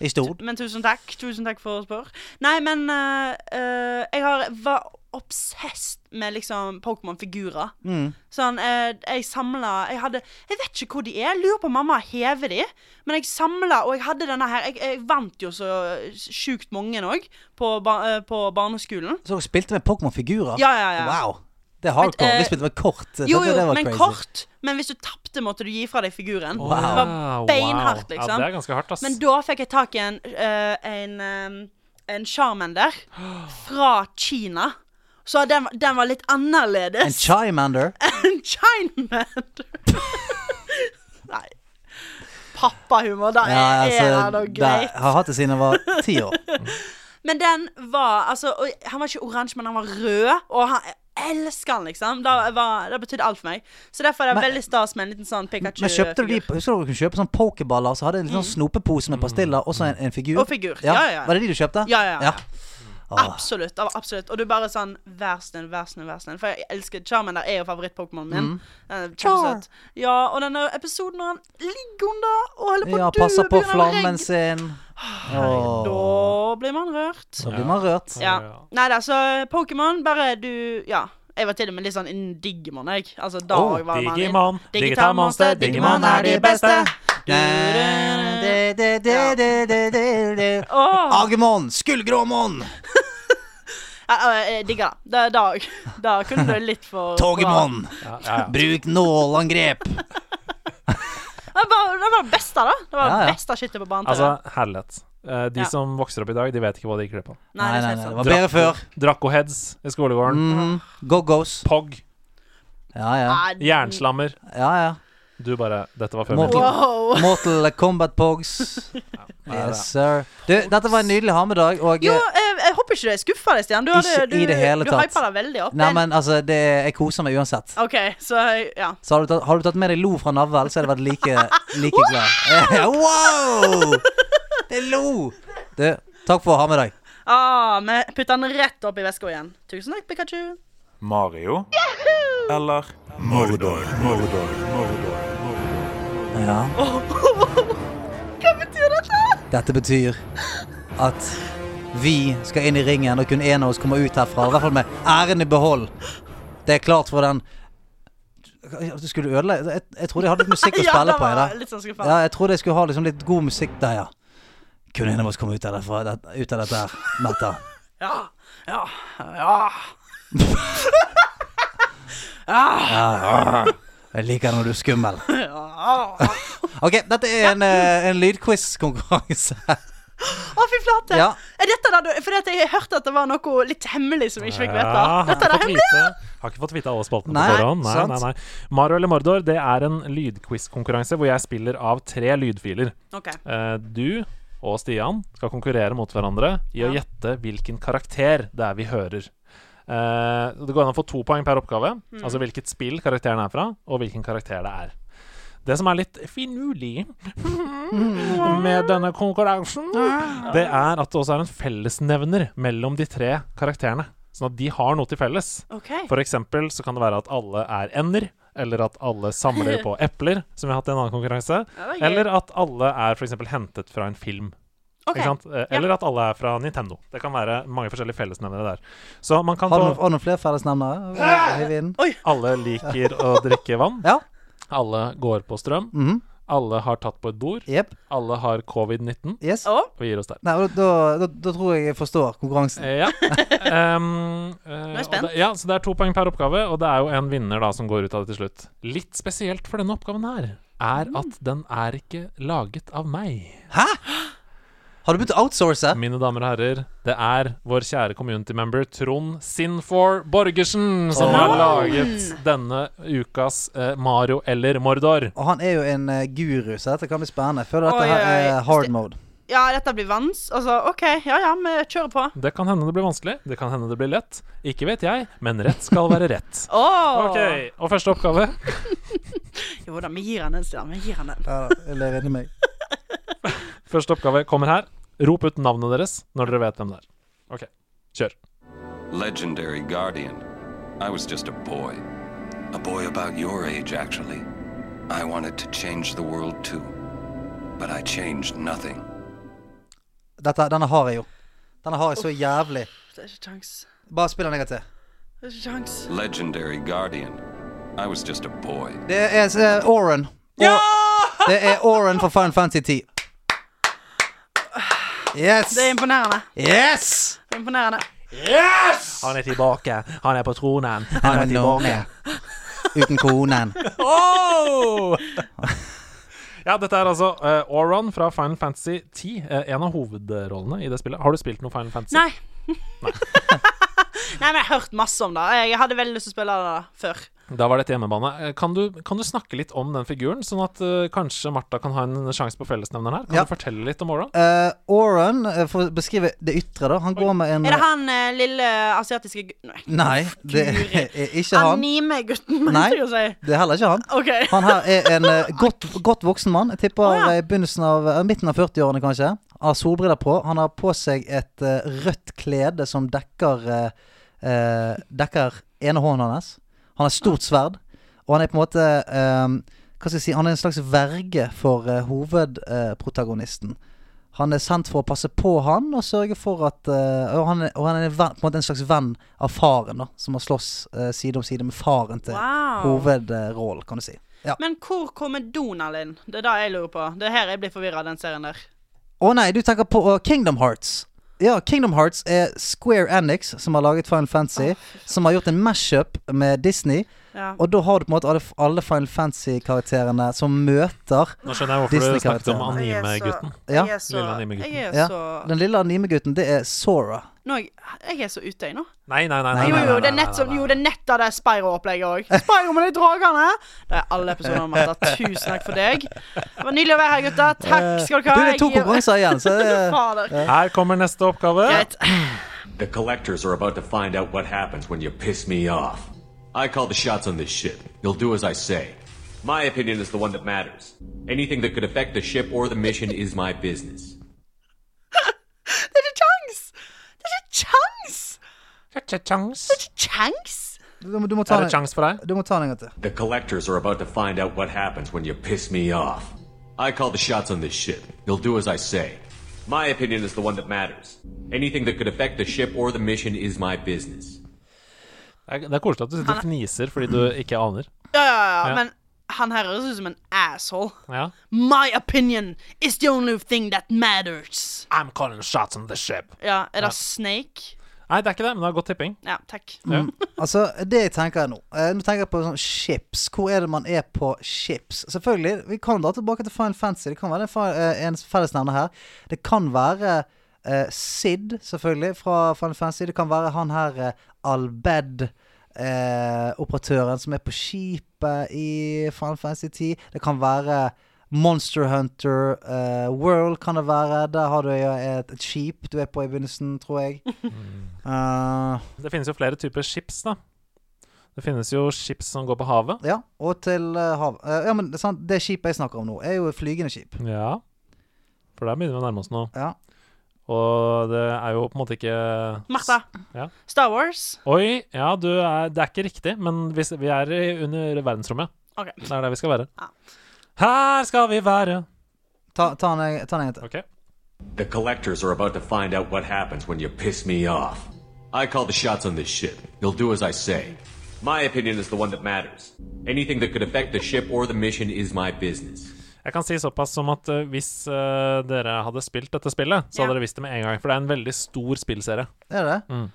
[SPEAKER 3] I Stord.
[SPEAKER 4] Men tusen takk. Tusen takk for spør. Nei, men eh, eh, jeg har, var obsessed med liksom Pokémon-figurer.
[SPEAKER 3] Mm.
[SPEAKER 4] Sånn, eh, jeg samla Jeg hadde Jeg vet ikke hvor de er. Jeg Lurer på om mamma hever de. Men jeg samla, og jeg hadde denne her. Jeg, jeg vant jo så sjukt mange òg på, ba, eh, på barneskolen.
[SPEAKER 3] Så dere spilte med Pokémon-figurer?
[SPEAKER 4] Ja, ja, ja.
[SPEAKER 3] Wow. Det er hardcore.
[SPEAKER 4] Men, eh,
[SPEAKER 3] Vi spilte med kort. Det-
[SPEAKER 4] Jo,
[SPEAKER 3] det-
[SPEAKER 4] jo,
[SPEAKER 3] det var
[SPEAKER 4] men
[SPEAKER 3] crazy.
[SPEAKER 4] kort. Men hvis du tapte, måtte du gi fra deg figuren.
[SPEAKER 2] Wow.
[SPEAKER 4] Det var beinhardt,
[SPEAKER 2] Ah, Ja,
[SPEAKER 4] liksom.
[SPEAKER 2] det er ganske hardt, ass.
[SPEAKER 4] Men da fikk jeg tak i en, eh, en, eh, en Charmander fra Kina. Så den, den var litt
[SPEAKER 3] En
[SPEAKER 4] annerledes
[SPEAKER 3] Chimander.
[SPEAKER 4] enn Chinander. Nei. Pappahumor, da
[SPEAKER 3] Ja,
[SPEAKER 4] er-
[SPEAKER 3] altså,
[SPEAKER 4] er det noe
[SPEAKER 3] det-
[SPEAKER 4] greit.
[SPEAKER 3] Har hatt det siden jeg var ti år.
[SPEAKER 4] Men den var altså og Han var ikke oransje, men han var rød. Og han jeg elsker han, liksom. Da var, det betydde alt for meg. Så derfor er det
[SPEAKER 3] Men-
[SPEAKER 4] veldig stas med en liten sånn Pikachu.
[SPEAKER 3] Men kjøpte du de
[SPEAKER 4] figur. Mm.
[SPEAKER 3] Husker dere kunne kjøpe sånn pokerballer som hadde en sånn snopepose med pastiller og så en, en figur?
[SPEAKER 4] Og figur. Ja, ja, ja.
[SPEAKER 3] Var det de du kjøpte?
[SPEAKER 4] Ja, ja, ja.
[SPEAKER 2] Ah.
[SPEAKER 3] Åh.
[SPEAKER 4] Absolutt. av- absolutt Og du bare sånn Vær snill, vær snill, vær snill. For jeg elsker Charmander er jo favoritt-Pokémonen min.
[SPEAKER 2] Mm.
[SPEAKER 4] Den er Kjempesøt. Ja, og denne episoden når han ligger under og holder på å
[SPEAKER 3] Ja,
[SPEAKER 4] dø
[SPEAKER 3] passer på
[SPEAKER 4] på grunn av
[SPEAKER 3] flammen
[SPEAKER 4] regn.
[SPEAKER 3] sin.
[SPEAKER 4] Da
[SPEAKER 3] Åh.
[SPEAKER 4] blir man rørt.
[SPEAKER 3] Så
[SPEAKER 2] Ja.
[SPEAKER 3] blir man rørt.
[SPEAKER 4] Ja. Nei da, så Pokémon, bare du Ja. Jeg var til og med litt sånn innen Digimon, jeg. Altså, da
[SPEAKER 2] Oh,
[SPEAKER 4] var man inn-
[SPEAKER 2] Digimon, digital monster, Digimon
[SPEAKER 3] Digimon
[SPEAKER 2] er de beste.
[SPEAKER 4] Åh,
[SPEAKER 3] Agemon, skullgråmon,
[SPEAKER 4] ja, ja, jeg digger det. Det er dag. Da kunne du litt for
[SPEAKER 3] togemon,
[SPEAKER 2] Ja, ja, ja.
[SPEAKER 3] bruk nålangrep.
[SPEAKER 4] bra. Det var det var det beste, da. Det var
[SPEAKER 3] Ja, ja.
[SPEAKER 4] det beste skittet på banen. til
[SPEAKER 2] Altså,
[SPEAKER 4] det.
[SPEAKER 2] herlighet. Eh, De
[SPEAKER 4] Ja.
[SPEAKER 2] som vokser opp i dag, de vet ikke hva de gikk glipp av.
[SPEAKER 3] Nei,
[SPEAKER 4] det sånn. er
[SPEAKER 3] nei,
[SPEAKER 4] helt
[SPEAKER 3] nei, det
[SPEAKER 4] sant.
[SPEAKER 3] var bedre før.
[SPEAKER 2] Dracoheads i skolegården.
[SPEAKER 3] Mhm. Go-go's.
[SPEAKER 2] Pog.
[SPEAKER 3] Ja, ja.
[SPEAKER 4] Nei,
[SPEAKER 2] Jernslammer.
[SPEAKER 3] ja, ja.
[SPEAKER 2] Du bare Dette var
[SPEAKER 3] Må-
[SPEAKER 2] før min tid.
[SPEAKER 4] Wow.
[SPEAKER 3] Mortal Kombat Pogs.
[SPEAKER 2] Nei, det er-
[SPEAKER 3] Yes, sir. Du, dette var en nydelig hammedag, og eh,
[SPEAKER 4] Jo, jeg, jeg håper ikke du er skuffa, Stian. Du,
[SPEAKER 3] Ikke
[SPEAKER 4] hadde, du,
[SPEAKER 3] i det hele
[SPEAKER 4] du
[SPEAKER 3] tatt.
[SPEAKER 4] hypa deg veldig opp.
[SPEAKER 3] Nei, men altså, det, jeg koser meg uansett.
[SPEAKER 4] OK, så ja.
[SPEAKER 3] Så har du tatt, har du tatt med deg lo fra navlen, så hadde jeg vært like, like glad. Ja, wow! Det er lo! Du, takk for hammedag.
[SPEAKER 4] Ah, vi putter den rett opp i veska igjen. Tusen takk, Pikachu.
[SPEAKER 1] Mario? Eller Mordor? Mordor, Mordor, Mordor.
[SPEAKER 3] Ja.
[SPEAKER 4] Hva betyr dette?
[SPEAKER 3] Dette betyr at vi skal inn i ringen, og kun én av oss kommer ut herfra. I hvert fall med æren i behold. Det er klart for den Du skulle ødelegge jeg, jeg trodde jeg hadde litt musikk å spille
[SPEAKER 4] det
[SPEAKER 3] på. Jeg,
[SPEAKER 4] var
[SPEAKER 3] da.
[SPEAKER 4] litt sånn skuffa.
[SPEAKER 3] Ja, jeg trodde jeg skulle ha liksom litt god musikk der, ja. Kun en av oss kommer ut av, derfra, det, ut av dette her, Märtha.
[SPEAKER 4] Ja. Ja. Ja.
[SPEAKER 3] Jeg liker det når du er skummel.
[SPEAKER 4] ja.
[SPEAKER 3] Ok, dette er en, eh, en lydquiz-konkurranse.
[SPEAKER 4] Å, fy flate!
[SPEAKER 3] Ja.
[SPEAKER 4] Er dette da, du- fordi at jeg hørte at det var noe litt hemmelig som vi ikke fikk vite.
[SPEAKER 2] Ja, har,
[SPEAKER 4] Dette er det
[SPEAKER 2] ikke fått
[SPEAKER 4] hemmelig.
[SPEAKER 2] vite, har ikke fått vite alle spaltene på
[SPEAKER 3] Nei,
[SPEAKER 2] forhånd. Nei,
[SPEAKER 3] sant.
[SPEAKER 2] nei, nei. Mario eller Mordor det er en lydquiz-konkurranse hvor jeg spiller av tre lydfiler.
[SPEAKER 4] Ok.
[SPEAKER 2] Eh, Du og Stian skal konkurrere mot hverandre i å
[SPEAKER 4] Ja.
[SPEAKER 2] gjette hvilken karakter det er vi hører. Eh, Det går an å få to poeng per oppgave, altså hvilket spill karakteren er fra, og hvilken karakter det er. Det som er litt finurlig med denne konkurransen, det er at det også er en fellesnevner mellom de tre karakterene. Sånn at de har noe til felles.
[SPEAKER 4] ok.
[SPEAKER 2] For eksempel så kan det være at alle er ender, eller at alle samler på epler, som vi har hatt i en annen konkurranse.
[SPEAKER 4] Ja, det er gøy.
[SPEAKER 2] Eller at alle er for eksempel hentet fra en film.
[SPEAKER 4] Ok.
[SPEAKER 2] Ikke sant? Eh, Eller at alle er fra Nintendo. Det kan være mange forskjellige fellesnevnere der. Så man kan
[SPEAKER 3] Har du noen,
[SPEAKER 2] få
[SPEAKER 3] har du noen flere fellesnevnere?
[SPEAKER 2] Alle liker å drikke vann.
[SPEAKER 3] Ja.
[SPEAKER 2] Alle går på strøm.
[SPEAKER 3] Mhm.
[SPEAKER 2] Alle har tatt på et bord.
[SPEAKER 3] Jepp.
[SPEAKER 2] Alle har covid-19.
[SPEAKER 3] Yes.
[SPEAKER 4] Å,
[SPEAKER 2] Vi gir oss der.
[SPEAKER 3] Nei, da, da, da, da tror jeg jeg forstår konkurransen.
[SPEAKER 2] Eh, Ja. Um, eh, og
[SPEAKER 4] er jeg
[SPEAKER 2] det-
[SPEAKER 4] spent.
[SPEAKER 2] ja, så det er to poeng per oppgave, og det er jo en vinner da som går ut av det til slutt. Litt spesielt for denne oppgaven her er
[SPEAKER 4] Mm.
[SPEAKER 2] at den er ikke laget av meg.
[SPEAKER 3] Har du begynt å outsource?
[SPEAKER 2] Mine damer og herrer, det er vår kjære community member Trond Sinfor Borgersen som har laget denne ukas eh, Mario eller Mordor.
[SPEAKER 3] Og han er jo en eh, guru, så dette kan bli spennende. Føler dette
[SPEAKER 4] Oi,
[SPEAKER 3] her
[SPEAKER 4] oi,
[SPEAKER 3] er
[SPEAKER 4] oi.
[SPEAKER 3] hard mode.
[SPEAKER 4] ja, dette blir vans. Altså, OK, ja ja, vi kjører på.
[SPEAKER 2] Det kan hende det blir vanskelig, det kan hende det blir lett. Ikke vet jeg, men rett skal være rett.
[SPEAKER 4] Å!
[SPEAKER 2] Ok, Og første oppgave
[SPEAKER 4] Jo da, vi gir han den, Stian. Vi gir han den.
[SPEAKER 3] Ja, jeg ler inni meg.
[SPEAKER 2] Første oppgave kommer her. Rop ut navnet deres når dere vet hvem det er. Ok, kjør.
[SPEAKER 7] legendary guardian. I was just a boy. A boy about your age, actually. I wanted to change the world too. But I changed nothing.
[SPEAKER 3] Dette, denne har jeg jo. Denne har jeg så jævlig.
[SPEAKER 4] Det er ikke kjangs.
[SPEAKER 3] Bare spill den en gang til.
[SPEAKER 4] Det er ikke kjangs.
[SPEAKER 7] Legendary guardian. I was just a boy.
[SPEAKER 3] Det er uh, Oren. ja! Det er Oren fra Final Fantasy 10. Yes!
[SPEAKER 4] Det er imponerende.
[SPEAKER 3] Yes!
[SPEAKER 4] Det er imponerende.
[SPEAKER 2] Han er tilbake. Han er på tronen.
[SPEAKER 3] Han er tilbake. Uten konen.
[SPEAKER 2] Ja, dette er altså eh, Auron fra Final Fantasy 10. eh, en av hovedrollene i det spillet. Har du spilt noe Final Fantasy?
[SPEAKER 4] Nei. Nei, men jeg har hørt masse om det. Jeg hadde veldig lyst til å spille det da, før.
[SPEAKER 2] Da var dette hjemmebane. Eh, Kan du, kan du snakke litt om den figuren, sånn at eh, kanskje Martha kan ha en sjanse på fellesnevneren her? Kan
[SPEAKER 3] Ja.
[SPEAKER 2] du fortelle litt om Auron?
[SPEAKER 3] Uh, Oren, eh, for å beskrive det ytre, da. Han går med en
[SPEAKER 4] Er det han eh, lille asiatiske gu- Nei.
[SPEAKER 3] Nei, det er ikke han.
[SPEAKER 4] Anime-gutten,
[SPEAKER 3] Nei.
[SPEAKER 4] mente jeg å si.
[SPEAKER 3] Det er heller ikke han.
[SPEAKER 4] OK.
[SPEAKER 3] Han her er en eh, godt, godt voksen mann. Jeg tipper
[SPEAKER 4] Å, ja.
[SPEAKER 3] eh, i begynnelsen av, eh, midten av 40-årene, kanskje. Har solbriller på. Han har på seg et eh, rødt klede som dekker eh, eh, Dekker ene hånden hans. Han har et stort sverd, og han er på en måte eh, Hva skal jeg si Han er en slags verge for eh, hovedprotagonisten. Han er sendt for å passe på han og sørge for at eh, og, han er, og han er en venn, på en måte en slags venn av faren, da, som har slåss eh, side om side med faren til
[SPEAKER 4] Wow.
[SPEAKER 3] hovedrollen, kan du si. Ja.
[SPEAKER 4] Men hvor kommer Donald inn? Det er det jeg lurer på. Det er her jeg blir forvirra av den serien der.
[SPEAKER 3] Å nei, du tenker på uh, Kingdom Hearts. Ja, Kingdom Hearts er Square Enix, som har laget Final Fantasy. som har gjort en mashup med Disney.
[SPEAKER 4] Ja.
[SPEAKER 3] Og da har du på en måte alle, alle Final Fantasy-karakterene som møter
[SPEAKER 2] Nå skjønner jeg hvorfor du snakket om
[SPEAKER 3] Disney-karakterene.
[SPEAKER 4] Jeg er så-
[SPEAKER 2] anime-gutten.
[SPEAKER 3] Ja.
[SPEAKER 4] Jeg er så,
[SPEAKER 2] Lille animegutten.
[SPEAKER 4] jeg er
[SPEAKER 3] Ja.
[SPEAKER 4] så,
[SPEAKER 3] Den lille animegutten, det er Sora.
[SPEAKER 4] nå, er jeg, jeg er så ute, jeg nå.
[SPEAKER 2] Nei, nei, nei. nei,
[SPEAKER 3] Nei,
[SPEAKER 4] Jo,
[SPEAKER 2] nei,
[SPEAKER 4] jo,
[SPEAKER 2] nei,
[SPEAKER 4] det er
[SPEAKER 2] nei,
[SPEAKER 4] nett, som,
[SPEAKER 2] nei,
[SPEAKER 4] jo, det er nett av det Spyro-opplegget òg. Spyro med de dragene! Det er alle episoder, Martha. Tusen takk for deg. Det var nydelig å være her, gutta. Takk skal
[SPEAKER 3] Eh, Du,
[SPEAKER 4] dere ha.
[SPEAKER 3] det er to
[SPEAKER 4] Jeg gir-
[SPEAKER 3] konkurranser igjen, så det er
[SPEAKER 4] Fader.
[SPEAKER 2] nei. Her kommer neste oppgave.
[SPEAKER 4] Greit.
[SPEAKER 8] The collectors are about to find out what happens when you piss me off. I call the shots on this ship. You'll do as I say. My opinion is the one that matters. Anything that could affect the ship or the mission is my business.
[SPEAKER 4] Det er ikke kjangs! Det er ikke kjangs!
[SPEAKER 2] Er det kjangs?
[SPEAKER 4] Kjangs?
[SPEAKER 3] Du må, du må ta
[SPEAKER 2] Er det
[SPEAKER 3] den
[SPEAKER 2] kjangs for deg?
[SPEAKER 3] du må ta den en gang til.
[SPEAKER 8] The collectors are about to find out what happens when you piss me off. I call the shots on this ship. You'll do as I say. My opinion is the one that matters. Anything that could affect the ship or the mission is my business.
[SPEAKER 2] Det er- det er koselig at du sitter og fniser fordi du ikke aner.
[SPEAKER 4] Ja, ja, ja,
[SPEAKER 2] Ja.
[SPEAKER 4] men han her høres ut som en asshole.
[SPEAKER 2] Ja.
[SPEAKER 4] My opinion is the only thing that matters.
[SPEAKER 2] I'm calling shots on the ship.
[SPEAKER 4] Ja, er det Snake?
[SPEAKER 2] Nei, det er ikke det, men det er godt tipping.
[SPEAKER 4] Ja, takk.
[SPEAKER 3] Altså, det jeg tenker nå eh, Nå tenker jeg på sånn ships. Hvor er det man er på ships? Selvfølgelig, vi kan dra tilbake til Final Fantasy. Det kan være en, fa- eh, en fellesnevner her. Det kan være eh, Sid, selvfølgelig, fra Final Fantasy. Det kan være han her eh, Albed. Eh, operatøren som er på skipet i Final Fantasy 10. Det kan være Monster Hunter eh, World, kan det være. Der har du jo et, et skip du er på i begynnelsen, tror jeg. Eh,
[SPEAKER 2] Det finnes jo flere typer chips, da. Det finnes jo chips som går på havet.
[SPEAKER 3] Ja, og til eh, hav. Eh, ja, men det, er sant, det skipet jeg snakker om nå, er jo et flygende skip.
[SPEAKER 2] Ja. For der begynner vi å nærme oss nå.
[SPEAKER 3] Ja.
[SPEAKER 2] Og det er jo på en måte ikke
[SPEAKER 4] Martha.
[SPEAKER 2] Ja.
[SPEAKER 4] Star Wars?
[SPEAKER 2] Oi, ja, du er Det er ikke riktig, men vi, s- vi er i- under verdensrommet.
[SPEAKER 4] OK.
[SPEAKER 2] Det er der vi skal være.
[SPEAKER 4] Ja.
[SPEAKER 2] Her skal vi være.
[SPEAKER 3] Ta, ta den eh, ta den en gang til.
[SPEAKER 2] OK.
[SPEAKER 8] The collectors are about to find out what happens when you piss me off. I call the shots on this ship. You'll do as I say. My opinion is the one that matters. Anything that could affect the ship or the mission is my business.
[SPEAKER 2] Jeg kan si såpass som at eh, hvis eh, dere hadde spilt dette spillet, så
[SPEAKER 4] Ja.
[SPEAKER 2] hadde dere visst det med en gang. For det er en veldig stor spillserie.
[SPEAKER 3] Er det det?
[SPEAKER 2] Mm.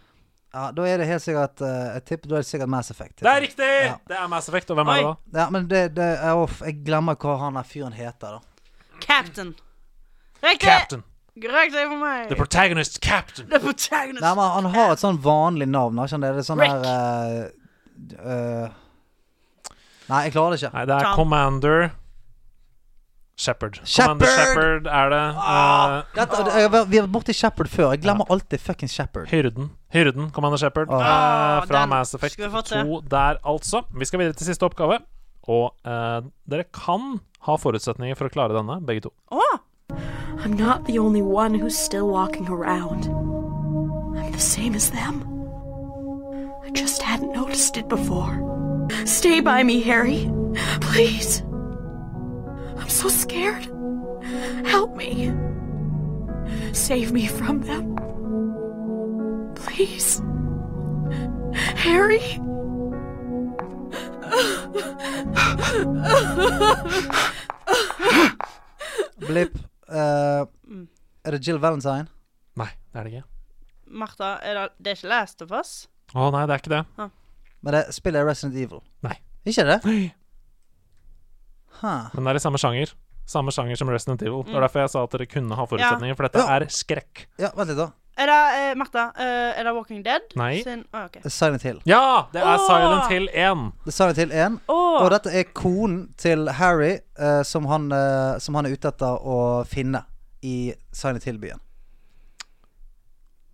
[SPEAKER 3] Ja, da er det helt sikkert eh, Jeg tipper da er det sikkert Mass Effect.
[SPEAKER 2] Det er riktig!
[SPEAKER 3] Ja.
[SPEAKER 2] Det er Mass Effect, og hvem er
[SPEAKER 4] Oi.
[SPEAKER 2] det da?
[SPEAKER 3] Ja, men det, det er off. Jeg glemmer hva han der fyren heter, da.
[SPEAKER 4] Captain. Riktig!
[SPEAKER 2] Captain.
[SPEAKER 4] Riktig for meg.
[SPEAKER 2] The protagonist Captain.
[SPEAKER 4] The protagonist.
[SPEAKER 3] Nei, men han har et sånn vanlig navn, har ikke han det? Det er sånn
[SPEAKER 4] Rick.
[SPEAKER 3] der eh, eh, Nei, jeg klarer det ikke.
[SPEAKER 2] Nei, det er
[SPEAKER 4] Tom.
[SPEAKER 2] Commander Shepherd.
[SPEAKER 3] Shepard!
[SPEAKER 2] Commander Shepherd er det.
[SPEAKER 4] Ah.
[SPEAKER 2] eh,
[SPEAKER 3] Dette, jeg, vi har vært borti Shepherd før. Jeg glemmer alltid fucking Shepherd.
[SPEAKER 2] Hyrden. Hyrden, Commander Shepherd.
[SPEAKER 4] Ah,
[SPEAKER 2] eh, fra
[SPEAKER 4] den
[SPEAKER 2] Mass Effect
[SPEAKER 4] skulle vi fått til.
[SPEAKER 2] 2 der, altså. Vi skal videre til siste oppgave. Og eh, dere kan ha forutsetninger for å klare denne, begge to.
[SPEAKER 4] Å,
[SPEAKER 9] I'm not the only one who's still walking around. I'm the same as them. I just hadn't noticed it before. Stay by me, Harry. Please. I'm so scared. Help me. Save me from them. Please. Harry?
[SPEAKER 3] Blipp. eh, er det Jill Valentine?
[SPEAKER 2] Nei, det er det ikke.
[SPEAKER 4] Martha, er det, det er ikke Last of Us?
[SPEAKER 2] Å nei, det er ikke det.
[SPEAKER 3] Men det spiller Resident Evil.
[SPEAKER 2] Nei.
[SPEAKER 3] Ikke det?
[SPEAKER 2] Men
[SPEAKER 3] Huh.
[SPEAKER 2] det er i samme sjanger. Samme sjanger som Resident Evil.
[SPEAKER 4] Mm.
[SPEAKER 2] Det var derfor jeg sa at dere kunne ha forutsetninger, for dette
[SPEAKER 3] Ja.
[SPEAKER 2] er skrekk.
[SPEAKER 3] Ja, vent litt, da.
[SPEAKER 4] Er det, eh, Martha, eh, er det Walking Dead?
[SPEAKER 2] Nei.
[SPEAKER 4] Sin, Å, ok.
[SPEAKER 3] Silent Hill.
[SPEAKER 2] Ja! Det er
[SPEAKER 4] Åh!
[SPEAKER 2] Silent Hill 1.
[SPEAKER 3] Det er Silent Hill 1.
[SPEAKER 4] Åh.
[SPEAKER 3] Og dette er konen til Harry, eh, som, han, eh, som han er ute etter å finne i Silent Hill-byen.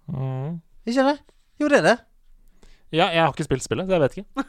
[SPEAKER 2] Mm.
[SPEAKER 3] Ikke det? Jo, det er det.
[SPEAKER 2] Ja, jeg har ikke spilt spillet, så jeg vet ikke.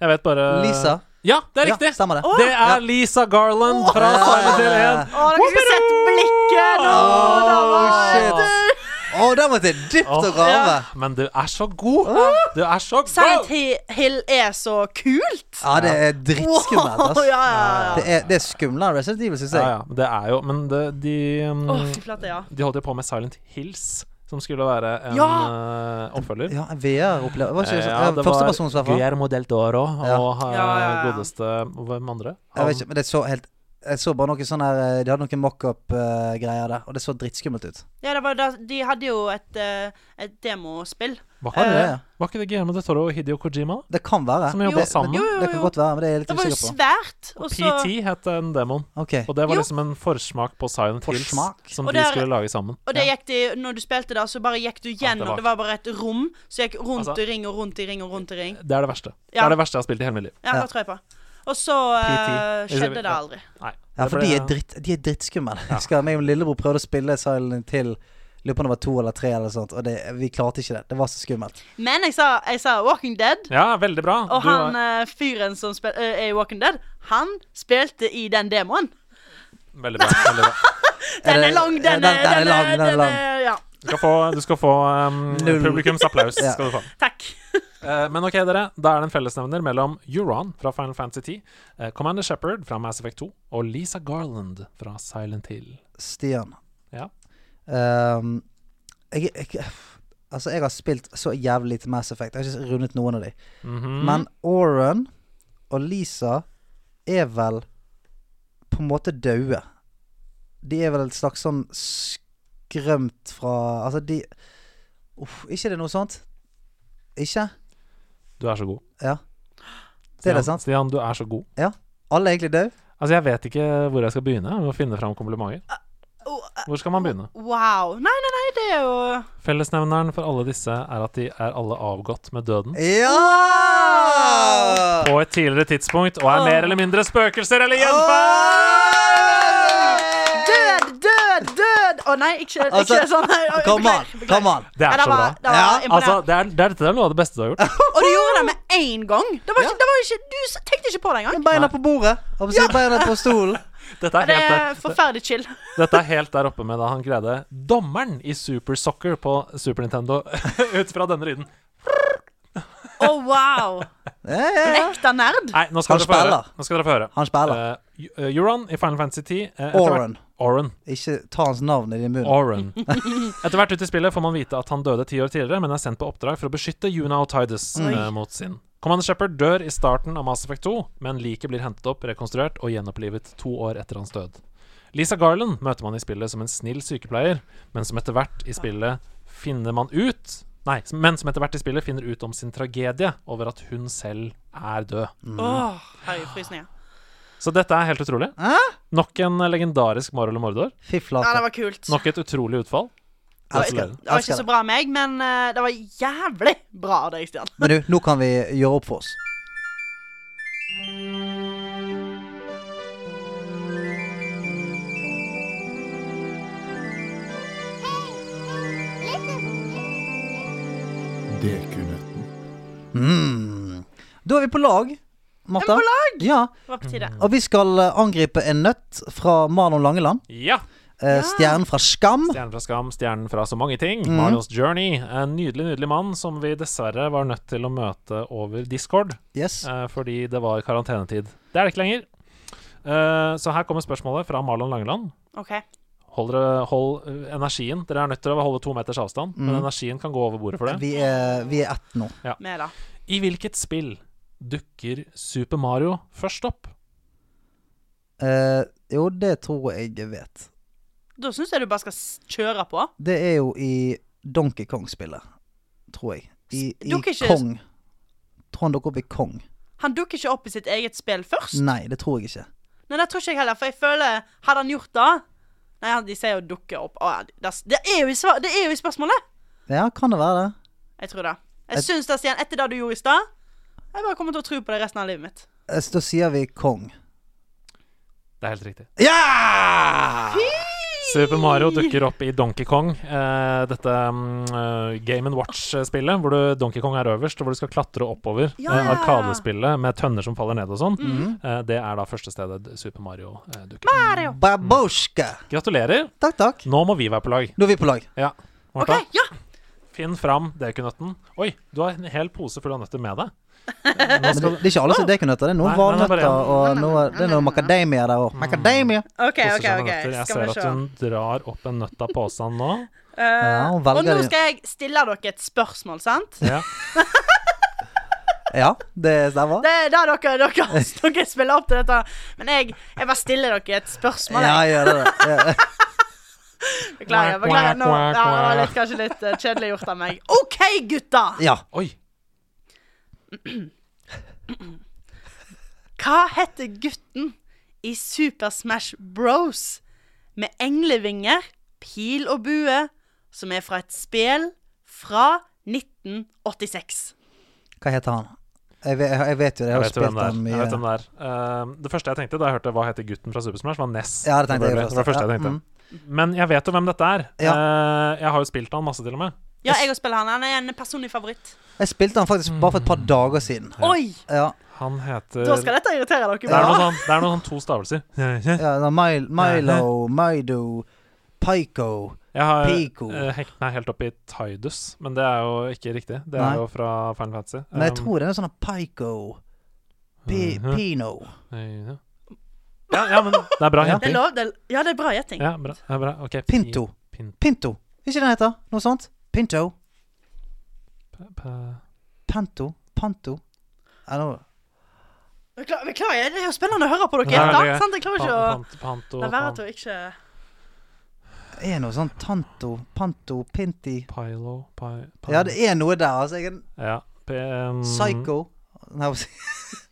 [SPEAKER 2] Jeg vet bare
[SPEAKER 3] Lisa.
[SPEAKER 4] Eh.
[SPEAKER 2] Ja, det er riktig!
[SPEAKER 3] Ja, stemmer det.
[SPEAKER 2] Det er Lisa Garland fra
[SPEAKER 3] Ja.
[SPEAKER 2] Silent Hill 1.
[SPEAKER 4] Å, dere skulle sett blikket nå!
[SPEAKER 3] Oh,
[SPEAKER 4] da var
[SPEAKER 3] shit. Å, Å, der måtte jeg dypt og grave.
[SPEAKER 2] Men du er så god! Du er så
[SPEAKER 4] Silent
[SPEAKER 2] god!
[SPEAKER 4] Hi- Hill er så kult!
[SPEAKER 3] Ja, det er dritskummelt,
[SPEAKER 4] Wow,
[SPEAKER 3] ass.
[SPEAKER 4] ja, ja, ja.
[SPEAKER 3] Det er, det er skumlere enn Resident Evil, syns
[SPEAKER 2] Ja,
[SPEAKER 3] jeg.
[SPEAKER 2] ja. Det er jo Men det, de um,
[SPEAKER 4] Å, fy flate, ja.
[SPEAKER 2] De holdt jo på med Silent Hills, som skulle være en eh, oppfølger.
[SPEAKER 3] Ja, VR-opplever Var ikke
[SPEAKER 2] Eh,
[SPEAKER 3] sånn?
[SPEAKER 2] ja, det var
[SPEAKER 3] Førstepersons, i hvert fall.
[SPEAKER 2] Guillermo del Toro
[SPEAKER 3] Ja.
[SPEAKER 2] og eh,
[SPEAKER 4] Ja, ja, ja.
[SPEAKER 2] godeste Hvem andre?
[SPEAKER 3] Jeg vet ikke, men det så helt Jeg så bare noe sånn her eh, De hadde noen mockup-greier der, og det så drittskummelt ut.
[SPEAKER 4] ja det var da, de hadde jo et, eh, et demospill.
[SPEAKER 2] Var,
[SPEAKER 3] Har
[SPEAKER 2] ikke
[SPEAKER 3] de
[SPEAKER 2] det,
[SPEAKER 4] Eh.
[SPEAKER 3] det? ja?
[SPEAKER 2] var ikke det Guillermo del Toro og Hidio Kojima?
[SPEAKER 3] Det kan være.
[SPEAKER 2] Som jobba
[SPEAKER 4] Jo,
[SPEAKER 2] sammen?
[SPEAKER 4] jo,
[SPEAKER 3] Det kan godt være, men det er jeg litt
[SPEAKER 4] Det var jo
[SPEAKER 3] usikker på.
[SPEAKER 4] svært. Og så
[SPEAKER 2] PT het den demoen.
[SPEAKER 3] Ok,
[SPEAKER 2] Og det var
[SPEAKER 4] Jo.
[SPEAKER 2] liksom en forsmak på Silent Hills
[SPEAKER 3] Forsmak?
[SPEAKER 2] som
[SPEAKER 4] Og
[SPEAKER 2] de
[SPEAKER 4] der-
[SPEAKER 2] skulle lage sammen.
[SPEAKER 4] Og det gikk de, når du spilte da, så bare gikk du gjennom.
[SPEAKER 2] var-
[SPEAKER 4] det, var... bare et rom som gikk rundt
[SPEAKER 2] Altså-
[SPEAKER 4] i ring og rundt i ring og rundt i ring.
[SPEAKER 2] Det er det verste. Det
[SPEAKER 4] Ja.
[SPEAKER 2] er det verste jeg har spilt i hele mitt liv.
[SPEAKER 4] Ja,
[SPEAKER 3] Ja.
[SPEAKER 4] det tror jeg på. Og så eh,
[SPEAKER 2] PT.
[SPEAKER 4] skjedde det aldri.
[SPEAKER 2] Nei.
[SPEAKER 3] Ja,
[SPEAKER 2] det
[SPEAKER 3] for
[SPEAKER 2] ble-
[SPEAKER 3] de er, dritt, de er drittskumle. Jeg husker meg og min lillebror prøvde å spille Silent Hill. Lurer på om det var to eller tre, eller sånt, og det, vi klarte ikke det. Det var så skummelt.
[SPEAKER 4] Men jeg sa, jeg sa Walking Dead.
[SPEAKER 2] Ja, veldig bra.
[SPEAKER 4] Og
[SPEAKER 2] Du
[SPEAKER 4] han
[SPEAKER 2] er-
[SPEAKER 4] eh, fyren som spil, eh, er i Walking Dead, han spilte i den demoen.
[SPEAKER 2] Veldig bra. Veldig bra.
[SPEAKER 4] Den
[SPEAKER 3] det-
[SPEAKER 4] er lang,
[SPEAKER 3] ja,
[SPEAKER 4] den er
[SPEAKER 3] den er lang, den er lang.
[SPEAKER 4] Ja.
[SPEAKER 2] Du skal få, du skal få um,
[SPEAKER 3] Null.
[SPEAKER 2] publikums applaus.
[SPEAKER 3] Ja.
[SPEAKER 2] Skal du få.
[SPEAKER 4] Takk.
[SPEAKER 2] Eh, men ok, dere. Da er det en fellesnevner mellom Euron fra Final Fantasy 10, eh, Commander Shepherd fra Mass Effect 2 og Lisa Garland fra Silent Hill.
[SPEAKER 3] Stian.
[SPEAKER 2] Ja.
[SPEAKER 3] Ehm, jeg, jeg, altså, jeg har spilt så jævlig lite Mass Effect. Jeg har ikke rundet noen av de.
[SPEAKER 4] Mm.
[SPEAKER 2] Mhm.
[SPEAKER 3] Men Oren og Lisa er vel på en måte daue. De er vel et slags sånn skrømt fra Altså, de Uff, ikke det noe sånt? Ikke?
[SPEAKER 2] Du er så god.
[SPEAKER 3] Ja. Det er det sant?
[SPEAKER 2] Stian, du er så god.
[SPEAKER 3] Alle er egentlig døde?
[SPEAKER 2] Altså, jeg vet ikke hvor jeg skal begynne med å finne fram komplimenter.
[SPEAKER 4] Oh, eh,
[SPEAKER 2] Hvor skal man begynne?
[SPEAKER 4] Wow. Nei, nei, nei, det er jo
[SPEAKER 2] Fellesnevneren for alle disse er at de er alle avgått med døden
[SPEAKER 3] Ja!
[SPEAKER 2] på et tidligere tidspunkt og er mer eller mindre spøkelser eller gjenferd!
[SPEAKER 4] Død, død, død! Å nei, ikke,
[SPEAKER 3] Altså,
[SPEAKER 4] ikke sånn. Nei,
[SPEAKER 3] Come on,
[SPEAKER 4] beklager, beklager.
[SPEAKER 3] come on.
[SPEAKER 2] Det
[SPEAKER 4] Nei,
[SPEAKER 2] er så bra.
[SPEAKER 4] var, det var
[SPEAKER 3] Ja,
[SPEAKER 4] imponerende.
[SPEAKER 2] Altså, det er, det er, dette er noe av det beste du har gjort.
[SPEAKER 4] Og du gjorde det med én gang. Det var ikke, det var ikke, du s- tenkte ikke på det engang.
[SPEAKER 3] Beina på bordet. Og så beina på stolen.
[SPEAKER 2] Dette er
[SPEAKER 4] Det
[SPEAKER 2] helt
[SPEAKER 4] er
[SPEAKER 2] der,
[SPEAKER 4] forferdelig chill.
[SPEAKER 2] dette er helt der oppe med da han greide dommeren i Super Soccer på Super Nintendo ut fra denne lyden.
[SPEAKER 4] Å, wow.
[SPEAKER 3] Ja, ja, ja.
[SPEAKER 4] Ekte nerd.
[SPEAKER 2] Nei, nå skal
[SPEAKER 3] Han
[SPEAKER 2] dere få høre.
[SPEAKER 3] spiller.
[SPEAKER 2] Nå skal dere få høre.
[SPEAKER 3] Han spiller.
[SPEAKER 2] Eh, Eu- Euron i Final Fantasy 10. eh, etter hvert-
[SPEAKER 3] Oren.
[SPEAKER 2] Oren.
[SPEAKER 3] Ikke ta hans navn i din munn.
[SPEAKER 2] Oren. Etter hvert ut i spillet får man vite at han døde ti år tidligere, men er sendt på oppdrag for å beskytte Yuna og Tidus eh, mot sin. Commander Shepherd dør i starten av Mass Effect 2, men liket blir hentet opp, rekonstruert og gjenopplivet to år etter hans død. Lisa Garland møter man i spillet som en snill sykepleier, men som etter hvert i spillet finner man ut Nei, som- men som etter hvert i spillet finner ut om sin tragedie over at hun selv er død.
[SPEAKER 4] Åh, herregud, frysninger.
[SPEAKER 2] Så dette er helt utrolig. Nok en eh, legendarisk Marol og Mordor.
[SPEAKER 3] Fy
[SPEAKER 4] Ja, det
[SPEAKER 3] flate.
[SPEAKER 4] var kult.
[SPEAKER 2] Nok et utrolig utfall.
[SPEAKER 4] Det var,
[SPEAKER 2] Gratulerer.
[SPEAKER 4] det var ikke så bra av meg, men eh, det var jævlig bra av deg, Stian.
[SPEAKER 3] Men du, nå kan vi gjøre opp for oss. Mm. Da er vi på lag, Martha. Er vi på lag? Ja,
[SPEAKER 4] Det var på tide.
[SPEAKER 3] og vi skal eh, angripe en nøtt fra Marlon Langeland.
[SPEAKER 2] Ja!
[SPEAKER 3] Eh, Stjernen fra Skam.
[SPEAKER 2] Stjernen fra Skam, stjernen fra så mange ting. Marios Journey. En nydelig, nydelig mann som vi dessverre var nødt til å møte over Discord
[SPEAKER 3] Yes.
[SPEAKER 2] eh, fordi det var karantenetid. Det er det ikke lenger. Eh, så her kommer spørsmålet fra Marlon Langeland.
[SPEAKER 4] OK.
[SPEAKER 2] Hold, dere, hold eh, energien. Dere er nødt til å holde to meters avstand, men energien kan gå over bordet for det.
[SPEAKER 3] Vi er, vi er ett nå.
[SPEAKER 4] Med, da.
[SPEAKER 2] I hvilket spill dukker Super Mario først opp?
[SPEAKER 3] Eh, jo, det tror jeg jeg vet.
[SPEAKER 4] Da syns jeg du bare skal s- kjøre på.
[SPEAKER 3] Det er jo i Donkey Kong-spillet, tror jeg. I, i
[SPEAKER 4] Dukker ikke-
[SPEAKER 3] Kong. Tror han dukker opp i Kong.
[SPEAKER 4] Han dukker ikke opp i sitt eget spill
[SPEAKER 2] Mm.
[SPEAKER 4] først.
[SPEAKER 3] Nei, det tror jeg ikke.
[SPEAKER 4] Nei, det tror ikke jeg heller, for jeg føler Hadde han gjort det Nei, han- de sier jo 'dukke opp'. Å, ja, det, det, er jo i svar, det er jo i spørsmålet!
[SPEAKER 3] Ja, kan det være det?
[SPEAKER 4] Jeg tror det. Jeg syns det, Stian, etter det du gjorde i stad Jeg bare kommer til å tro på det resten av livet mitt.
[SPEAKER 3] Eh, så Da sier vi Kong.
[SPEAKER 2] Det er helt riktig.
[SPEAKER 3] Ja!
[SPEAKER 2] Super Mario dukker opp i Donkey Kong, eh, dette mm, eh, Game Watch-spillet, hvor du, Donkey Kong er øverst, og hvor du skal klatre oppover.
[SPEAKER 4] Ja. Mm.
[SPEAKER 2] Eh, Arkadespillet med tønner som faller ned og sånn. Eh, det er da første stedet d- Super Mario eh, dukker opp.
[SPEAKER 3] Baboshka.
[SPEAKER 2] Gratulerer!
[SPEAKER 3] Takk, takk.
[SPEAKER 2] Nå må vi være på lag.
[SPEAKER 3] Nå er vi på lag.
[SPEAKER 2] Ja.
[SPEAKER 4] OK,
[SPEAKER 2] Martha,
[SPEAKER 4] ja.
[SPEAKER 2] finn fram dekunøtten. Oi, du har en hel pose full av nøtter med deg. Nå
[SPEAKER 3] Men det,
[SPEAKER 2] skal du
[SPEAKER 3] det er ikke alle som er dekunøtter. Det er noen
[SPEAKER 2] Nei, nei, det er bare
[SPEAKER 3] valnøtter, og noe, det er noe macadamia der
[SPEAKER 2] Mm.
[SPEAKER 3] òg. Macadamia!
[SPEAKER 4] OK,
[SPEAKER 2] kose seg
[SPEAKER 4] OK. ok
[SPEAKER 2] med nøtter. Jeg
[SPEAKER 4] Skal vi
[SPEAKER 2] ser at
[SPEAKER 4] se.
[SPEAKER 2] hun drar opp en nøtt av posen nå.
[SPEAKER 4] Eh,
[SPEAKER 3] Ja, hun
[SPEAKER 4] og
[SPEAKER 3] velger
[SPEAKER 4] nå
[SPEAKER 3] det.
[SPEAKER 4] skal jeg stille dere et spørsmål, sant?
[SPEAKER 2] Ja.
[SPEAKER 3] Ja, det stemmer.
[SPEAKER 4] Det er der dere, dere, dere spiller opp til dette. Men jeg, jeg bare stiller dere et spørsmål.
[SPEAKER 3] Ja,
[SPEAKER 4] Jeg.
[SPEAKER 3] gjør det. det. Ja.
[SPEAKER 4] Beklager. beklager nå. Ja, det var litt, kanskje litt eh, kjedelig gjort av meg. OK, gutta!
[SPEAKER 3] Ja.
[SPEAKER 2] Oi.
[SPEAKER 4] Hva heter gutten i Super Smash Bros med englevinger, pil og bue, som er fra et spel fra 1986?
[SPEAKER 3] Hva heter han? Jeg vet, jeg vet jo det. Jeg
[SPEAKER 2] Jeg
[SPEAKER 3] har
[SPEAKER 2] vet
[SPEAKER 3] jo spilt
[SPEAKER 2] hvem det
[SPEAKER 3] ham
[SPEAKER 2] er.
[SPEAKER 3] mye.
[SPEAKER 2] Jeg vet hvem det, er. Eh, det første jeg tenkte da jeg hørte hva heter gutten fra Super Smash, var Ness.
[SPEAKER 3] Ja, det tenkte jeg
[SPEAKER 2] Selvfølgelig. det var det
[SPEAKER 3] først,
[SPEAKER 2] første jeg
[SPEAKER 3] ja.
[SPEAKER 2] tenkte. Men jeg vet jo hvem dette er.
[SPEAKER 3] Ja.
[SPEAKER 2] Eh, jeg har jo spilt han masse, til og med.
[SPEAKER 4] Ja, jeg og spiller han. Han er en personlig favoritt.
[SPEAKER 3] Jeg spilte han faktisk bare for et par dager siden.
[SPEAKER 4] Oi!
[SPEAKER 3] Ja,
[SPEAKER 2] Han heter
[SPEAKER 4] Da skal dette irritere dere.
[SPEAKER 2] Eh, det er noe
[SPEAKER 4] bra.
[SPEAKER 2] sånn, det er noe sånn to stavelser. Jeg
[SPEAKER 3] ja da, Mil Milo, Maido, Pico
[SPEAKER 2] har
[SPEAKER 3] Pico.
[SPEAKER 2] eh, hengt meg helt opp i Tidus, men det er jo ikke riktig. Det
[SPEAKER 3] Nei.
[SPEAKER 2] er jo fra Final Fantasy.
[SPEAKER 3] Men jeg
[SPEAKER 2] Um,
[SPEAKER 3] tror det er sånn Pico Pi
[SPEAKER 2] Mhm.
[SPEAKER 3] Pino.
[SPEAKER 2] eh, ja. Ja, ja, men det er bra
[SPEAKER 3] Ja.
[SPEAKER 4] Det er
[SPEAKER 2] gjetting.
[SPEAKER 4] lov. Det er, ja, det er bra gjetting.
[SPEAKER 2] Ja, bra, det er bra. Ok, pi-
[SPEAKER 3] Pinto.
[SPEAKER 2] Pin,
[SPEAKER 3] Pinto. Ikke den heter? Noe sånt? Pinto?
[SPEAKER 2] pa, pa.
[SPEAKER 3] Panto? Panto? Er det noe-
[SPEAKER 4] Bekla- Beklager, det er jo spennende å høre på dere.
[SPEAKER 2] Ja,
[SPEAKER 4] da,
[SPEAKER 2] det er-
[SPEAKER 4] sant? Jeg klarer ikke å
[SPEAKER 2] Pan- pant- Panto,
[SPEAKER 4] La være
[SPEAKER 2] pan-
[SPEAKER 4] til å ikke
[SPEAKER 3] er noe sånn Tanto, Panto, Pinti
[SPEAKER 2] Pilo pi- pan-
[SPEAKER 3] Ja, det er noe der. Altså, jeg er en
[SPEAKER 2] Ja, p- um,
[SPEAKER 3] psycho. Nei, hva sier-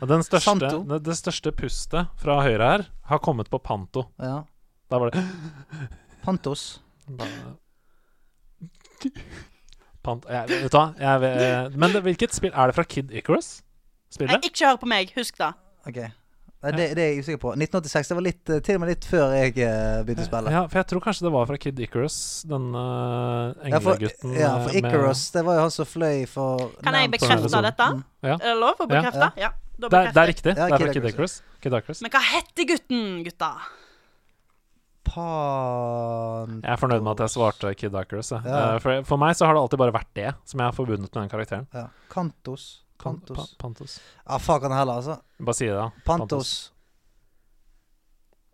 [SPEAKER 2] Ja, Den største,
[SPEAKER 3] Santo.
[SPEAKER 2] det, det største pustet fra høyre her har kommet på Panto.
[SPEAKER 3] Ja.
[SPEAKER 2] Da var det
[SPEAKER 3] Pantos.
[SPEAKER 2] Bare- Pant, jeg, Vet du hva? Jeg, vet- men det, hvilket spill Er det fra Kid Icarus?
[SPEAKER 4] Nei,
[SPEAKER 2] Spillet?
[SPEAKER 4] Ikke hør på meg, husk det.
[SPEAKER 3] Ok. Nei, det, det er jeg usikker på. 1986. Det var litt, eh, til og med litt før jeg eh, begynte å spille.
[SPEAKER 2] Ja, for jeg tror kanskje det var fra Kid Icarus, denne
[SPEAKER 3] Ja, for-
[SPEAKER 2] englegutten
[SPEAKER 3] Ja, for
[SPEAKER 2] eh, med-
[SPEAKER 3] Icarus, det var jo han som fløy for Mm.
[SPEAKER 4] Kan jeg
[SPEAKER 3] Nam-
[SPEAKER 4] bekrefte dette?
[SPEAKER 2] Ja.
[SPEAKER 4] Er det lov
[SPEAKER 2] Ja.
[SPEAKER 4] å bekrefte? Ja. Da
[SPEAKER 2] det, er, det er
[SPEAKER 4] bekrefter jeg.
[SPEAKER 2] riktig.
[SPEAKER 3] Ja,
[SPEAKER 2] det er
[SPEAKER 3] Kid
[SPEAKER 2] fra Kid Icarus. Kid Icarus.
[SPEAKER 4] Men hva heter gutten, gutta?
[SPEAKER 3] Pan...
[SPEAKER 2] Jeg er fornøyd med at jeg svarte Kid Icarus. jeg.
[SPEAKER 3] Ja.
[SPEAKER 2] Eh, For, for meg så har det alltid bare vært det som jeg har forbundet med den karakteren.
[SPEAKER 3] Ja. Kantos.
[SPEAKER 2] Pan-
[SPEAKER 3] Kantos.
[SPEAKER 2] pa- Pantos.
[SPEAKER 3] Ja, fuck han heller, altså.
[SPEAKER 2] Bare si det, da.
[SPEAKER 3] Pantos.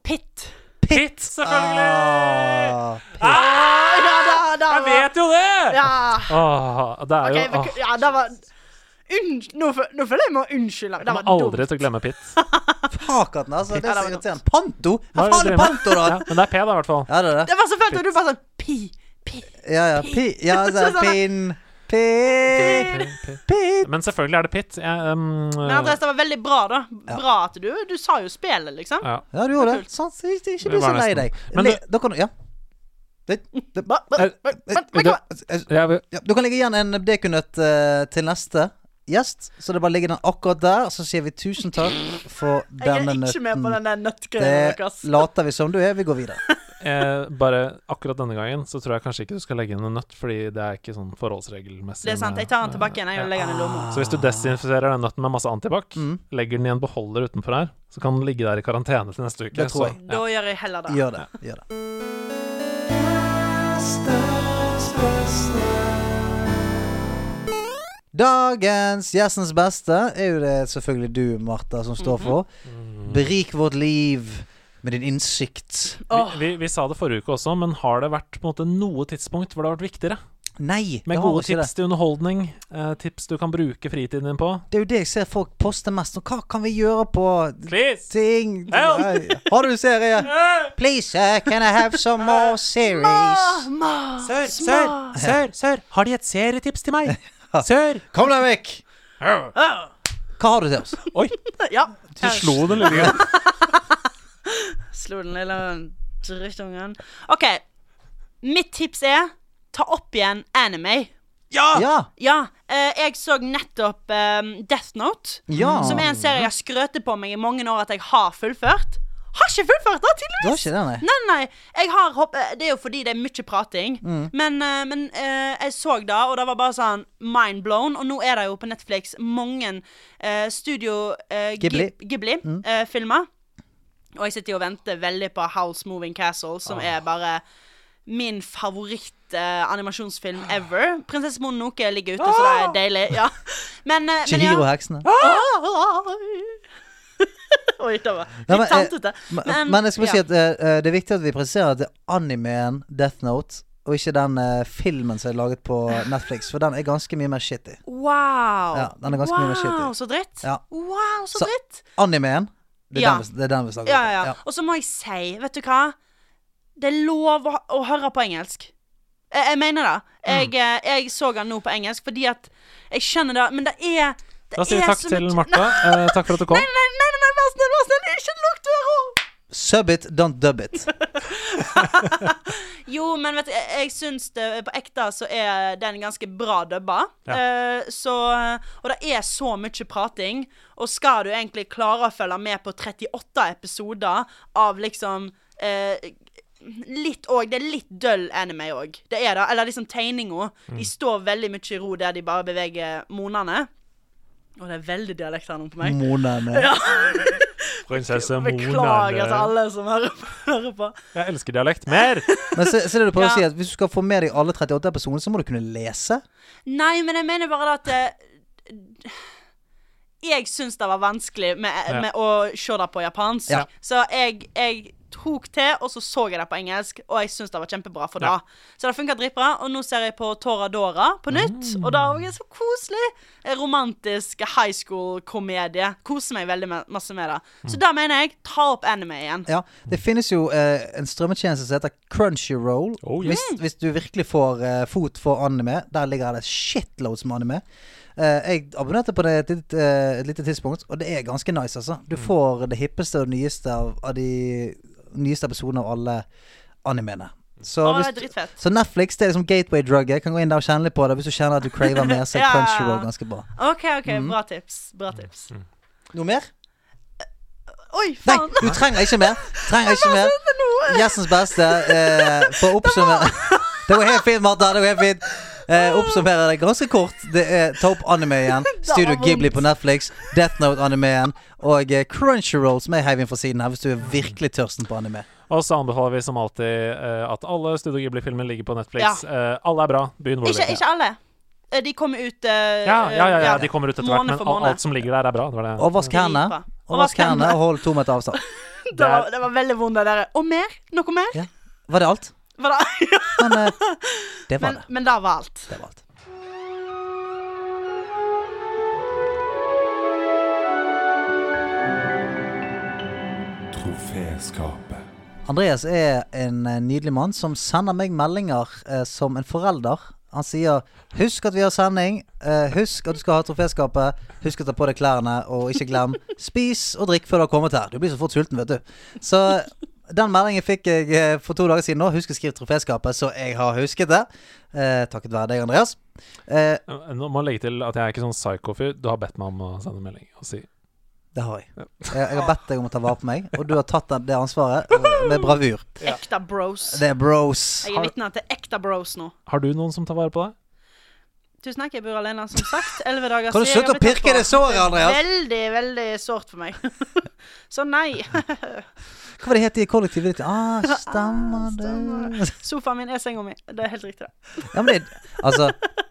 [SPEAKER 4] Pitt.
[SPEAKER 2] Pitt, selvfølgelig!
[SPEAKER 3] Ah,
[SPEAKER 2] Ah,
[SPEAKER 4] Ja, da, da,
[SPEAKER 2] jeg
[SPEAKER 4] var-
[SPEAKER 2] vet jo det!
[SPEAKER 4] Ja.
[SPEAKER 2] Åh, det er
[SPEAKER 4] Ok,
[SPEAKER 2] jo
[SPEAKER 4] bek-
[SPEAKER 2] åh,
[SPEAKER 4] ja, det var Unnskyld Nå fø- nå føler jeg meg unnskylde. Det
[SPEAKER 2] Jeg
[SPEAKER 4] var
[SPEAKER 2] kommer aldri
[SPEAKER 4] dumt.
[SPEAKER 2] til å glemme Pitt.
[SPEAKER 3] fuck han, altså. Det
[SPEAKER 4] Ja,
[SPEAKER 3] er
[SPEAKER 4] det
[SPEAKER 3] så
[SPEAKER 4] var
[SPEAKER 3] irriterende. Panto? Hva
[SPEAKER 2] Hva
[SPEAKER 3] faen
[SPEAKER 2] er det du
[SPEAKER 3] er
[SPEAKER 2] driver
[SPEAKER 3] Panto, da?
[SPEAKER 2] Ja, men det er P, da, i hvert fall.
[SPEAKER 3] Ja, det er det.
[SPEAKER 4] Det var så fælt, og du bare sånn Pi, pi.
[SPEAKER 3] Ja, ja. Pi... Ja, det er
[SPEAKER 4] Sånn,
[SPEAKER 3] pin... Pin... Pin...
[SPEAKER 2] Men selvfølgelig er det Pitt. Jeg, um,
[SPEAKER 4] Men Andreas, det var veldig bra, da. Bra at du Du sa jo spillet, liksom.
[SPEAKER 2] ja.
[SPEAKER 3] Ja, du gjorde det. Sant? så Ikke ikke bli
[SPEAKER 2] Det var
[SPEAKER 3] så lei
[SPEAKER 2] nesten.
[SPEAKER 3] deg.
[SPEAKER 2] Men
[SPEAKER 3] Le,
[SPEAKER 2] du-
[SPEAKER 3] da kan du Ja. Det, det, Eh,
[SPEAKER 4] Ba- ba-
[SPEAKER 2] Er-
[SPEAKER 4] ba- ba-
[SPEAKER 2] er
[SPEAKER 4] ba-
[SPEAKER 3] altså,
[SPEAKER 2] Jeg vil-
[SPEAKER 3] Ja, du kan legge igjen en dekunøtt eh, til neste gjest. Så det bare ligger den akkurat der. Så sier vi tusen takk for
[SPEAKER 4] Jeg
[SPEAKER 3] denne
[SPEAKER 4] er ikke med på
[SPEAKER 3] nøtten.
[SPEAKER 4] den der nøttgreia
[SPEAKER 3] Det
[SPEAKER 4] deres.
[SPEAKER 3] later vi som du er. Vi går videre.
[SPEAKER 2] eh, bare akkurat denne gangen så tror jeg kanskje ikke du skal legge inn en nøtt, fordi det er ikke sånn forholdsregelmessig.
[SPEAKER 4] Det er sant.
[SPEAKER 2] med- Ah.
[SPEAKER 4] Jeg tar den tilbake igjen. Jeg legger den i lomma.
[SPEAKER 2] Så hvis du desinfiserer den nøtten med masse antibac,
[SPEAKER 4] Mm.
[SPEAKER 2] legger den i en beholder utenfor her, så kan den ligge der i karantene til neste uke.
[SPEAKER 3] Det tror
[SPEAKER 2] så-
[SPEAKER 3] jeg.
[SPEAKER 4] Da gjør jeg heller det.
[SPEAKER 3] Gjør det. Gjør det. Dagens gjestens beste er jo det selvfølgelig du, Martha, som står for.
[SPEAKER 2] Mhm.
[SPEAKER 3] Berik vårt liv med din innsikt.
[SPEAKER 2] Vi, vi, vi sa det forrige uke også, men har det vært på en måte noe tidspunkt hvor det har vært viktigere?
[SPEAKER 3] Nei,
[SPEAKER 2] Med
[SPEAKER 3] det har
[SPEAKER 2] gode
[SPEAKER 3] ikke det.
[SPEAKER 2] tips til underholdning, eh, tips du kan bruke fritiden din på.
[SPEAKER 3] Det er jo det jeg ser folk poste mest. Og hva kan vi gjøre på
[SPEAKER 2] Please!
[SPEAKER 3] ting
[SPEAKER 2] Help!
[SPEAKER 3] Nei. Har du serie? Please, sir, can I have some more series?
[SPEAKER 2] Sør, sør, sør, sør, har de et serietips til meg? Sør!
[SPEAKER 3] Kom deg vekk! Hva har du til oss?
[SPEAKER 2] Oi,
[SPEAKER 4] Ja.
[SPEAKER 2] du slo den lille gutten.
[SPEAKER 4] Slo den lille drittungen. OK. Mitt tips er ta opp igjen anime.
[SPEAKER 3] Ja!
[SPEAKER 4] Ja, eh, jeg så nettopp eh, Death Note,
[SPEAKER 3] Ja.
[SPEAKER 4] som er en serie jeg har skrøtet på meg i mange år at jeg har fullført. Har ikke fullført, da,
[SPEAKER 3] Du har
[SPEAKER 4] tydeligvis!
[SPEAKER 3] ikke det, nei?
[SPEAKER 4] Nei, nei, jeg har hopp... eh, Det er jo fordi det er mye prating.
[SPEAKER 3] Mm.
[SPEAKER 4] Men, eh, men eh, jeg så det, og det var bare sånn mind blown. Og nå er det jo på Netflix mange eh, studio eh,
[SPEAKER 3] Ghibli. Mm.
[SPEAKER 4] Ghi- eh, filmer
[SPEAKER 3] Ah.
[SPEAKER 4] og jeg sitter jo og venter veldig på House Moving Castle, som er bare min favoritt favorittanimasjonsfilm
[SPEAKER 3] Ah.
[SPEAKER 4] ever. 'Prinsesse Mononoke' ligger ute, så det er deilig. Ja. Men, eh, men ja. Ah!
[SPEAKER 3] Chihiro og heksene.
[SPEAKER 4] Oi, det var
[SPEAKER 3] Nei, men, eh,
[SPEAKER 4] litt tantete.
[SPEAKER 3] Men, men jeg skal bare
[SPEAKER 4] ja.
[SPEAKER 3] si at eh, eh, det er viktig at vi presiserer at det er animeen Death Note, og ikke den eh, filmen som er laget på Netflix, for den er ganske mye mer shitty.
[SPEAKER 4] Wow.
[SPEAKER 3] Ja, den er ganske mye mer shitty.
[SPEAKER 4] Wow, så dritt.
[SPEAKER 3] Ja.
[SPEAKER 4] Wow, så
[SPEAKER 3] Så-
[SPEAKER 4] dritt.
[SPEAKER 3] Animeen, det er
[SPEAKER 4] Ja.
[SPEAKER 3] den vi- det er den vi snakker
[SPEAKER 4] Ja,
[SPEAKER 3] om.
[SPEAKER 4] ja, ja. Og så må jeg si, vet du hva? Det er lov å, å høre på engelsk. Jeg, jeg mener det.
[SPEAKER 3] Mm.
[SPEAKER 4] Jeg, eh, jeg så den nå på engelsk fordi at Jeg skjønner det, men det er det
[SPEAKER 2] Da sier vi
[SPEAKER 4] er
[SPEAKER 2] takk
[SPEAKER 4] så
[SPEAKER 2] til
[SPEAKER 4] mye-
[SPEAKER 2] Martha. Eh, takk for at du kom.
[SPEAKER 4] Nei, nei, nei, nei, nei, vær snill, vær snill, ikke lukk døra!
[SPEAKER 3] Sub it, don't dub it.
[SPEAKER 4] Jo, men vet du, jeg, jeg syns det, på ekte så er den ganske bra dubba. Eh, så Og det er så mye prating, og skal du egentlig klare å følge med på 38 episoder av liksom eh, Litt òg Det er litt døll anime òg. Det er det. Eller liksom tegninga. De står veldig mye i ro der de bare beveger monene. Og det er veldig dialekt her nå på meg.
[SPEAKER 3] Monene.
[SPEAKER 2] Prinsesse
[SPEAKER 4] Beklager til
[SPEAKER 2] Mona.
[SPEAKER 4] alle som hører på. Hører på.
[SPEAKER 2] Jeg elsker dialekt. Mer!
[SPEAKER 3] Men se, se det du prøver
[SPEAKER 4] Ja.
[SPEAKER 3] å si, at hvis du skal få med deg alle 38 episodene, så må du kunne lese.
[SPEAKER 4] Nei, men jeg mener bare at eh, Jeg syns det var vanskelig med, eh,
[SPEAKER 2] Ja.
[SPEAKER 4] med å se det på japansk.
[SPEAKER 3] Ja.
[SPEAKER 4] Så jeg, jeg tok til, og så så jeg det på engelsk, og jeg syns det var kjempebra for
[SPEAKER 2] Ja.
[SPEAKER 4] det. Så det funka dritbra. Og nå ser jeg på Toradora på nytt,
[SPEAKER 3] Mm.
[SPEAKER 4] og det òg er så koselig. En Romantisk high school-komedie. Koser meg veldig med, masse med det.
[SPEAKER 3] Mm.
[SPEAKER 4] Så da mener jeg ta opp anime igjen.
[SPEAKER 3] Ja, Det finnes jo eh, en strømmetjeneste som heter Crunchyroll.
[SPEAKER 2] Oh, yes.
[SPEAKER 4] Mm.
[SPEAKER 3] hvis, hvis du virkelig får eh, fot for anime. Der ligger det shitloads med anime. Eh, jeg abonnerte på det et, litt, eh, et lite tidspunkt, og det er ganske nice, altså. Du får det hippeste og nyeste av, av de nyeste episodene av alle animene. Så,
[SPEAKER 4] Å, det er
[SPEAKER 3] hvis,
[SPEAKER 4] dritfett.
[SPEAKER 3] så Netflix det er liksom gateway-drugget. Kan gå inn der og kjenne litt på det hvis du kjenner at du craver mer. Så er
[SPEAKER 4] Ja.
[SPEAKER 3] Crunchyroll ganske bra.
[SPEAKER 4] OK, ok,
[SPEAKER 3] Mm.
[SPEAKER 4] bra tips. Bra tips.
[SPEAKER 3] Noe mer?
[SPEAKER 4] Oi,
[SPEAKER 3] Mm. Nei,
[SPEAKER 4] faen!
[SPEAKER 3] du trenger ikke mer. Trenger ikke mer.
[SPEAKER 4] Men nå-
[SPEAKER 3] Gjestens beste eh, For å oppsummere Det var helt fint, Martha. Det var helt fint. Eh, oppsummere det ganske kort. Det er ta opp anime igjen. Studio
[SPEAKER 4] vondt.
[SPEAKER 3] Ghibli på Netflix. Death Note anime igjen. Og eh, Crunchyroll, som jeg heiv inn fra siden her, hvis du er virkelig tørsten på anime.
[SPEAKER 2] Og så anbefaler vi som alltid eh, at alle Studio Ghibli-filmer ligger på Netflix. Eh, alle er bra. Begynn hvor du
[SPEAKER 4] Ikke,
[SPEAKER 2] vil.
[SPEAKER 4] ikke alle. Eh, De kommer ut eh,
[SPEAKER 2] Ja, ja, ja, ja, de kommer ut etter hvert,
[SPEAKER 4] Måned
[SPEAKER 2] men
[SPEAKER 4] for
[SPEAKER 2] al- altså,
[SPEAKER 4] måned.
[SPEAKER 2] alt som ligger der, er bra. Det var det.
[SPEAKER 3] Og vask hendene.
[SPEAKER 4] Gripa. Og
[SPEAKER 3] Og vask
[SPEAKER 4] vask
[SPEAKER 3] hendene
[SPEAKER 4] hendene.
[SPEAKER 3] og hold to meter avstand.
[SPEAKER 4] Det var, det var veldig vondt, det der. Og mer? Noe mer?
[SPEAKER 3] Ja. Var det alt?
[SPEAKER 4] Var det?
[SPEAKER 3] Men eh, det var
[SPEAKER 4] Men,
[SPEAKER 3] det.
[SPEAKER 4] men det var alt.
[SPEAKER 3] Det var alt.
[SPEAKER 1] Troféskapet.
[SPEAKER 3] Andreas er en eh, nydelig mann som sender meg meldinger eh, som en forelder. Han sier 'Husk at vi har sending. Eh, husk at du skal ha troféskapet. Husk å ta på deg klærne, og ikke glem Spis og drikk før du har kommet her. Du blir så fort sulten, vet du. Så den meldingen fikk jeg eh, for to dager siden nå. Husk å skrive troféskapet, så jeg har husket det. Eh, takket være deg, Andreas. Eh,
[SPEAKER 2] Eh, Nå må jeg legge til at jeg er ikke sånn psycho-fyr. Du har bedt meg om å sende melding og si
[SPEAKER 3] det har jeg. jeg. Jeg har bedt deg om å ta vare på meg, og du har tatt den- det ansvaret eh, med bravur.
[SPEAKER 4] Ekte bros.
[SPEAKER 3] Det er bros.
[SPEAKER 4] Jeg er vitne til ekte bros nå.
[SPEAKER 2] Har du noen som tar vare på deg?
[SPEAKER 4] Tusen takk, jeg bor alene, som sagt. Elleve dager
[SPEAKER 3] Kan du
[SPEAKER 4] siden jeg
[SPEAKER 3] slutte å
[SPEAKER 4] ble tatt
[SPEAKER 3] pirke
[SPEAKER 4] på.
[SPEAKER 3] det såret, Andreas?
[SPEAKER 4] Veldig, veldig sårt for meg. Så nei.
[SPEAKER 3] Hva var det het i kollektivet ditt? Ah, stemmer det
[SPEAKER 4] eh, Sofaen min er senga mi. Det er helt riktig, det.
[SPEAKER 3] Ja, men det Altså,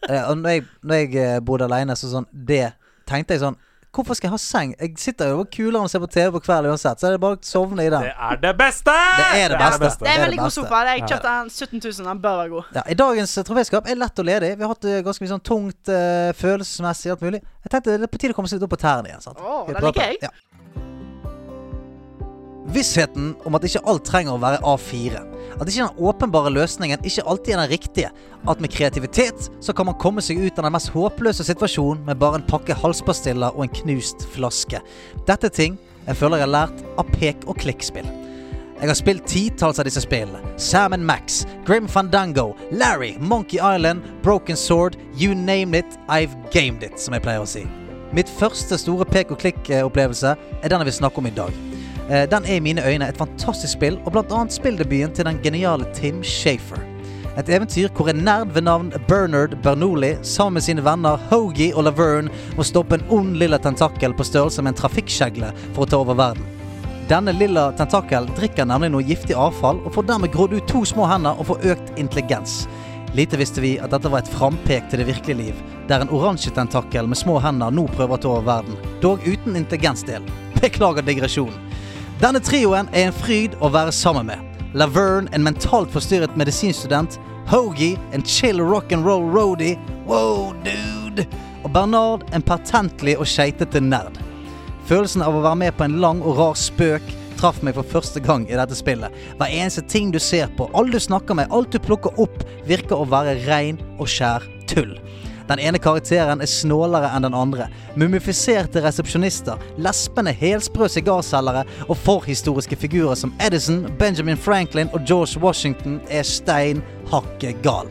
[SPEAKER 3] eh, og når jeg, når jeg eh, bodde alene, så sånn Det tenkte jeg sånn Hvorfor skal jeg ha seng? Jeg sitter jo og kulere og ser på TV på kvelden uansett, så er det bare å sovne i den.
[SPEAKER 2] Det er det beste!
[SPEAKER 3] Det er det beste.
[SPEAKER 4] Det er en veldig god
[SPEAKER 3] beste.
[SPEAKER 4] sofa. Jeg kjøpte den 17 000, den bør være god.
[SPEAKER 3] Ja, I dagens eh, troféskap er lett og ledig. Vi har hatt eh, ganske mye sånn tungt eh, følelsesmessig alt mulig. Jeg tenkte det er på tide å komme seg litt opp på tærne igjen. sant?
[SPEAKER 4] Åh,
[SPEAKER 3] Vi
[SPEAKER 4] den
[SPEAKER 3] prøver på det.
[SPEAKER 4] liker
[SPEAKER 3] Ja. Vissheten om at ikke alt trenger å være A4. At ikke den åpenbare løsningen ikke alltid er den riktige. At med kreativitet så kan man komme seg ut av den mest håpløse situasjonen med bare en pakke halspastiller og en knust flaske. Dette er ting jeg føler jeg har lært av pek- og klikkspill. Jeg har spilt titalls av disse spillene. Sam Max, Grim Fandango, Larry, Monkey Island, Broken Sword, you name it, I've gamed it, som jeg pleier å si. Mitt første store pek-og-klikk-opplevelse er den jeg vil snakke om i dag. Eh, Den er i mine øyne et fantastisk spill, og blant annet spilldebuten til den geniale Tim Shafer. Et eventyr hvor en nerd ved navn Bernard Bernoulli sammen med sine venner Hoagie og Laverne må stoppe en ond lilla tentakel på størrelse med en trafikkskjegle for å ta over verden. Denne lilla tentakel drikker nemlig noe giftig avfall og får dermed grodd ut to små hender og får økt intelligens. Lite visste vi at dette var et frampek til det virkelige liv, der en oransje tentakel med små hender nå prøver å ta over verden, dog uten intelligensdel. Beklager digresjonen. Denne trioen er en fryd å være sammen med. Laverne, en mentalt forstyrret medisinstudent. Hoagie, en chill rock'n'roll roadie. Wow, dude! Og Bernard, en patentlig og skeitete nerd. Følelsen av å være med på en lang og rar spøk traff meg for første gang i dette spillet. Hver eneste ting du ser på, alle du snakker med, alt du plukker opp, virker å være rein og skjær tull. Den ene karakteren er snålere enn den andre. Mumifiserte resepsjonister, lespende helsprø sigarselgere og forhistoriske figurer som Edison, Benjamin Franklin og George Washington er stein hakke gal.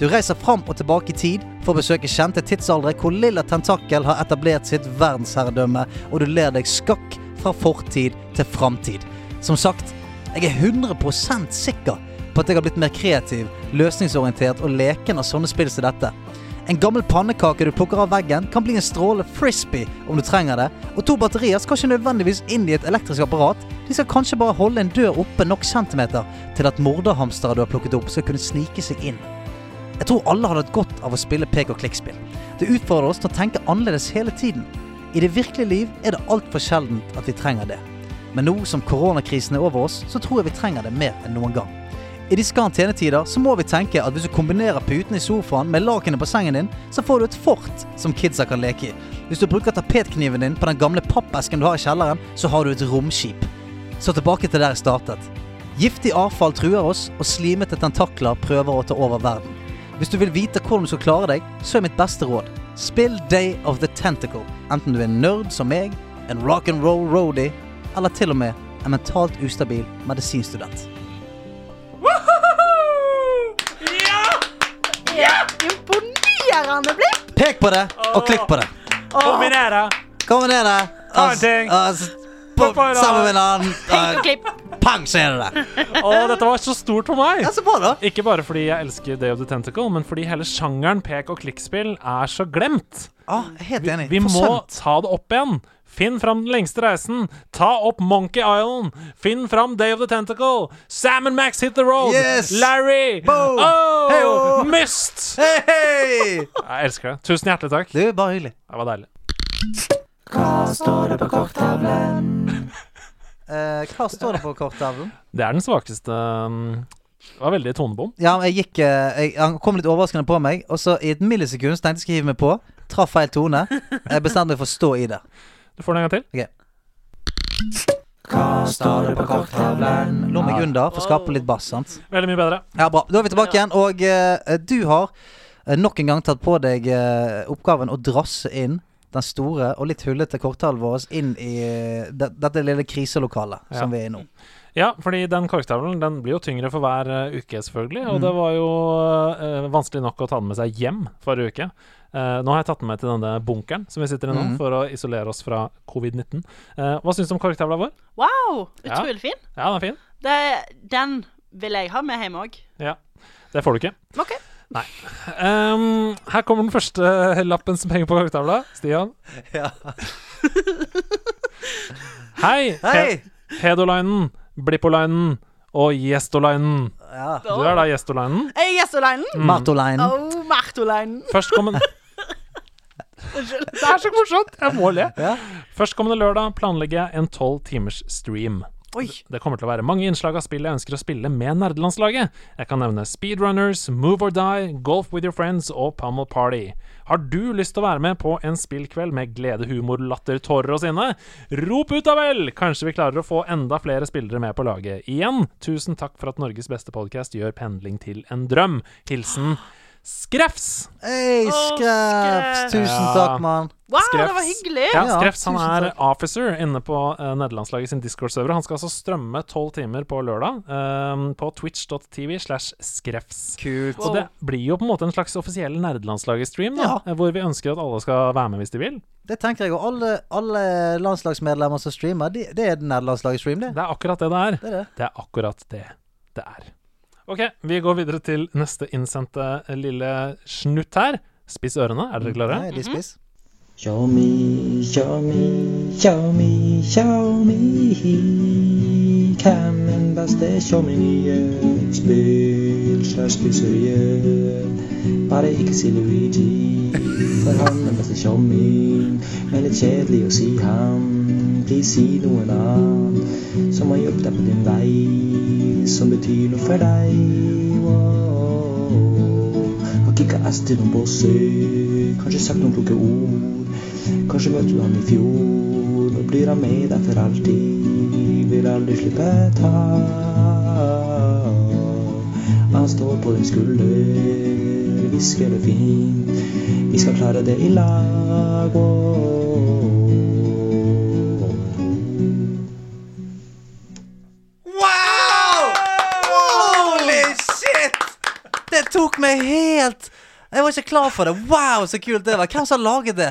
[SPEAKER 3] Du reiser fram og tilbake i tid for å besøke kjente tidsaldre hvor Lilla Tentakel har etablert sitt verdensherredømme, og du ler deg skakk fra fortid til framtid. Som sagt, jeg er 100 sikker på at jeg har blitt mer kreativ, løsningsorientert og leken av sånne spill som dette. En gammel pannekake du plukker av veggen, kan bli en stråle frisbee om du trenger det, og to batterier skal ikke nødvendigvis inn i et elektrisk apparat, de skal kanskje bare holde en dør oppe nok centimeter til at morderhamstere du har plukket opp, skal kunne snike seg inn. Jeg tror alle hadde hatt godt av å spille pek og klikk-spill. Det utfordrer oss til å tenke annerledes hele tiden. I det virkelige liv er det altfor sjeldent at vi trenger det. Men nå som koronakrisen er over oss, så tror jeg vi trenger det mer enn noen gang. I disse karantenetider så må vi tenke at hvis du kombinerer putene i sofaen med lakenet på sengen din, så får du et fort som kidsa kan leke i. Hvis du bruker tapetkniven din på den gamle pappesken du har i kjelleren, så har du et romskip. Så tilbake til der jeg startet. Giftig avfall truer oss, og slimete tentakler prøver å ta over verden. Hvis du vil vite hvordan du skal klare deg, så er mitt beste råd spill Day of the Tentacle, enten du er en nerd som meg, en rock'n'roll roadie, eller til og med en mentalt ustabil medisinstudent.
[SPEAKER 4] Ja! Imponerende blipp!
[SPEAKER 3] Pek på det, og klikk på det.
[SPEAKER 2] Kombinere!
[SPEAKER 3] Kom ned der.
[SPEAKER 2] Ta en ting.
[SPEAKER 3] på,
[SPEAKER 2] på en
[SPEAKER 3] sammen med en annen.
[SPEAKER 4] Tenk
[SPEAKER 3] og
[SPEAKER 4] og klipp.
[SPEAKER 3] Pang, så er det der.
[SPEAKER 2] Å, dette var så stort for meg!
[SPEAKER 3] Ja, så bra, da.
[SPEAKER 2] Ikke bare fordi jeg elsker Day of the Tentacle, men fordi hele sjangeren pek- og klikkspill er så glemt.
[SPEAKER 3] Ah, jeg er helt enig.
[SPEAKER 2] Vi må
[SPEAKER 3] Forsømt.
[SPEAKER 2] ta det opp igjen. Finn fram den lengste reisen. Ta opp Monkey Island. Finn fram Day of the Tentacle. Sam and Max hit the road.
[SPEAKER 3] Yes!
[SPEAKER 2] Larry.
[SPEAKER 3] Boom!
[SPEAKER 2] Oh!
[SPEAKER 3] Heyo!
[SPEAKER 2] Myst!
[SPEAKER 3] Hei, hei!
[SPEAKER 2] Jeg elsker det. Tusen hjertelig takk.
[SPEAKER 3] Du, bare hyggelig.
[SPEAKER 2] Det var deilig.
[SPEAKER 3] Eh, hva står det på korttavlen?
[SPEAKER 2] Det er den svakeste um, Det var veldig tonebom.
[SPEAKER 3] Ja, men jeg gikk eh, jeg, Han kom litt overraskende på meg, og så i et millisekund så tenkte jeg skulle hive meg på. Traff feil tone. Jeg bestemte meg for å stå i det.
[SPEAKER 2] Du får den en gang til.
[SPEAKER 3] Ok. Hva står det på korttavlen? Lå meg under for å skape litt bass, sant?
[SPEAKER 2] Veldig mye bedre.
[SPEAKER 3] Ja, bra. Da er vi tilbake igjen. Og eh, du har eh, nok en gang tatt på deg eh, oppgaven å drasse inn den store og litt hullete korttalen vår inn i eh, det, dette lille kriselokalet
[SPEAKER 2] Ja.
[SPEAKER 3] som vi er i nå.
[SPEAKER 2] Ja, fordi den korkstavlen den blir jo tyngre for hver eh, uke, selvfølgelig. Og det var jo eh, vanskelig nok å ta den med seg hjem forrige uke. Eh, nå har jeg tatt den med til denne bunkeren som vi sitter i nå,
[SPEAKER 3] Mhm.
[SPEAKER 2] for å isolere oss fra covid-19. Eh, hva syns du om korktavla vår?
[SPEAKER 4] Wow,
[SPEAKER 2] Ja.
[SPEAKER 4] utrolig fin.
[SPEAKER 2] Ja, den er fin.
[SPEAKER 4] Det, den vil jeg ha med hjem òg.
[SPEAKER 2] Ja. Det får du ikke.
[SPEAKER 4] OK.
[SPEAKER 2] Ehm, her kommer den første uh, lappen som henger på korktavla. Stian.
[SPEAKER 3] Ja.
[SPEAKER 2] Hei! He
[SPEAKER 3] Hei!
[SPEAKER 2] Hedolainen, Blippolainen og Gjestolainen.
[SPEAKER 3] Ja.
[SPEAKER 2] Du er da Gjestolainen.
[SPEAKER 4] Jeg er Gjestolainen.
[SPEAKER 3] Martolein.
[SPEAKER 4] Og Martolainen.
[SPEAKER 2] Førstkommende Det er så morsomt! Jeg må le.
[SPEAKER 3] Ja.
[SPEAKER 2] Førstkommende lørdag planlegger jeg en tolv timers stream.
[SPEAKER 4] Oi.
[SPEAKER 2] Det kommer til å være mange innslag av spill jeg ønsker å spille med nerdelandslaget. Jeg kan nevne Speedrunners, Move or Die, Golf with your friends og Pummel Party. Har du lyst til å være med på en spillkveld med glede, humor, latter, tårer og sinne? Rop ut da vel! Kanskje vi klarer å få enda flere spillere med på laget. Igjen, tusen takk for at Norges beste podkast gjør pendling til en drøm. Hilsen Skrefs!
[SPEAKER 3] Hei,
[SPEAKER 4] Å,
[SPEAKER 3] Skrevs!
[SPEAKER 4] Skrevs.
[SPEAKER 3] Tusen
[SPEAKER 2] Ja.
[SPEAKER 3] takk, mann.
[SPEAKER 4] Wow,
[SPEAKER 2] Skrevs.
[SPEAKER 4] det var hyggelig.
[SPEAKER 2] Ja,
[SPEAKER 3] Ja,
[SPEAKER 2] Skrefs han
[SPEAKER 3] tusen
[SPEAKER 2] er officer inne på eh, nederlandslaget sin Discord-server. Han skal altså strømme tolv timer på lørdag eh, på twitch.tv slash skrefs.
[SPEAKER 3] Kult.
[SPEAKER 2] Så det blir jo på en måte en slags offisiell nerdelandslaget-stream, da,
[SPEAKER 3] Ja.
[SPEAKER 2] eh, hvor vi ønsker at alle skal være med hvis de vil.
[SPEAKER 3] Det tenker jeg, og alle, alle landslagsmedlemmer som streamer, de, det er nederlandslagets stream, det.
[SPEAKER 2] Det er akkurat det det er.
[SPEAKER 3] Det er det.
[SPEAKER 2] Det er akkurat det det er. OK, vi går videre til neste innsendte lille snutt her. Spiss ørene, er dere klare?
[SPEAKER 3] Nei, de spiss.
[SPEAKER 10] Show me, show me, show me, show me. Kan en beste, show me nye spill. slags pizzeria. Bare ikke si Luigi, for han er mest en tjomming. Men det er kjedelig å si ham. Please si noen annen som har hjulpet deg på din vei, som betyr noe for deg. Wow. Har kicka ass til noen bosser, kanskje sagt noen kloke ord. Kanskje møtte du ham i fjor, og blir han med deg for alltid. Vil aldri slippe tak. Han står på din skulder, hvisker det fint. Vi skal klare det i lag. Wow!
[SPEAKER 3] Holy shit! Det tok meg helt Jeg var ikke klar for det. Wow, så kult det var. Hvem som har laget det?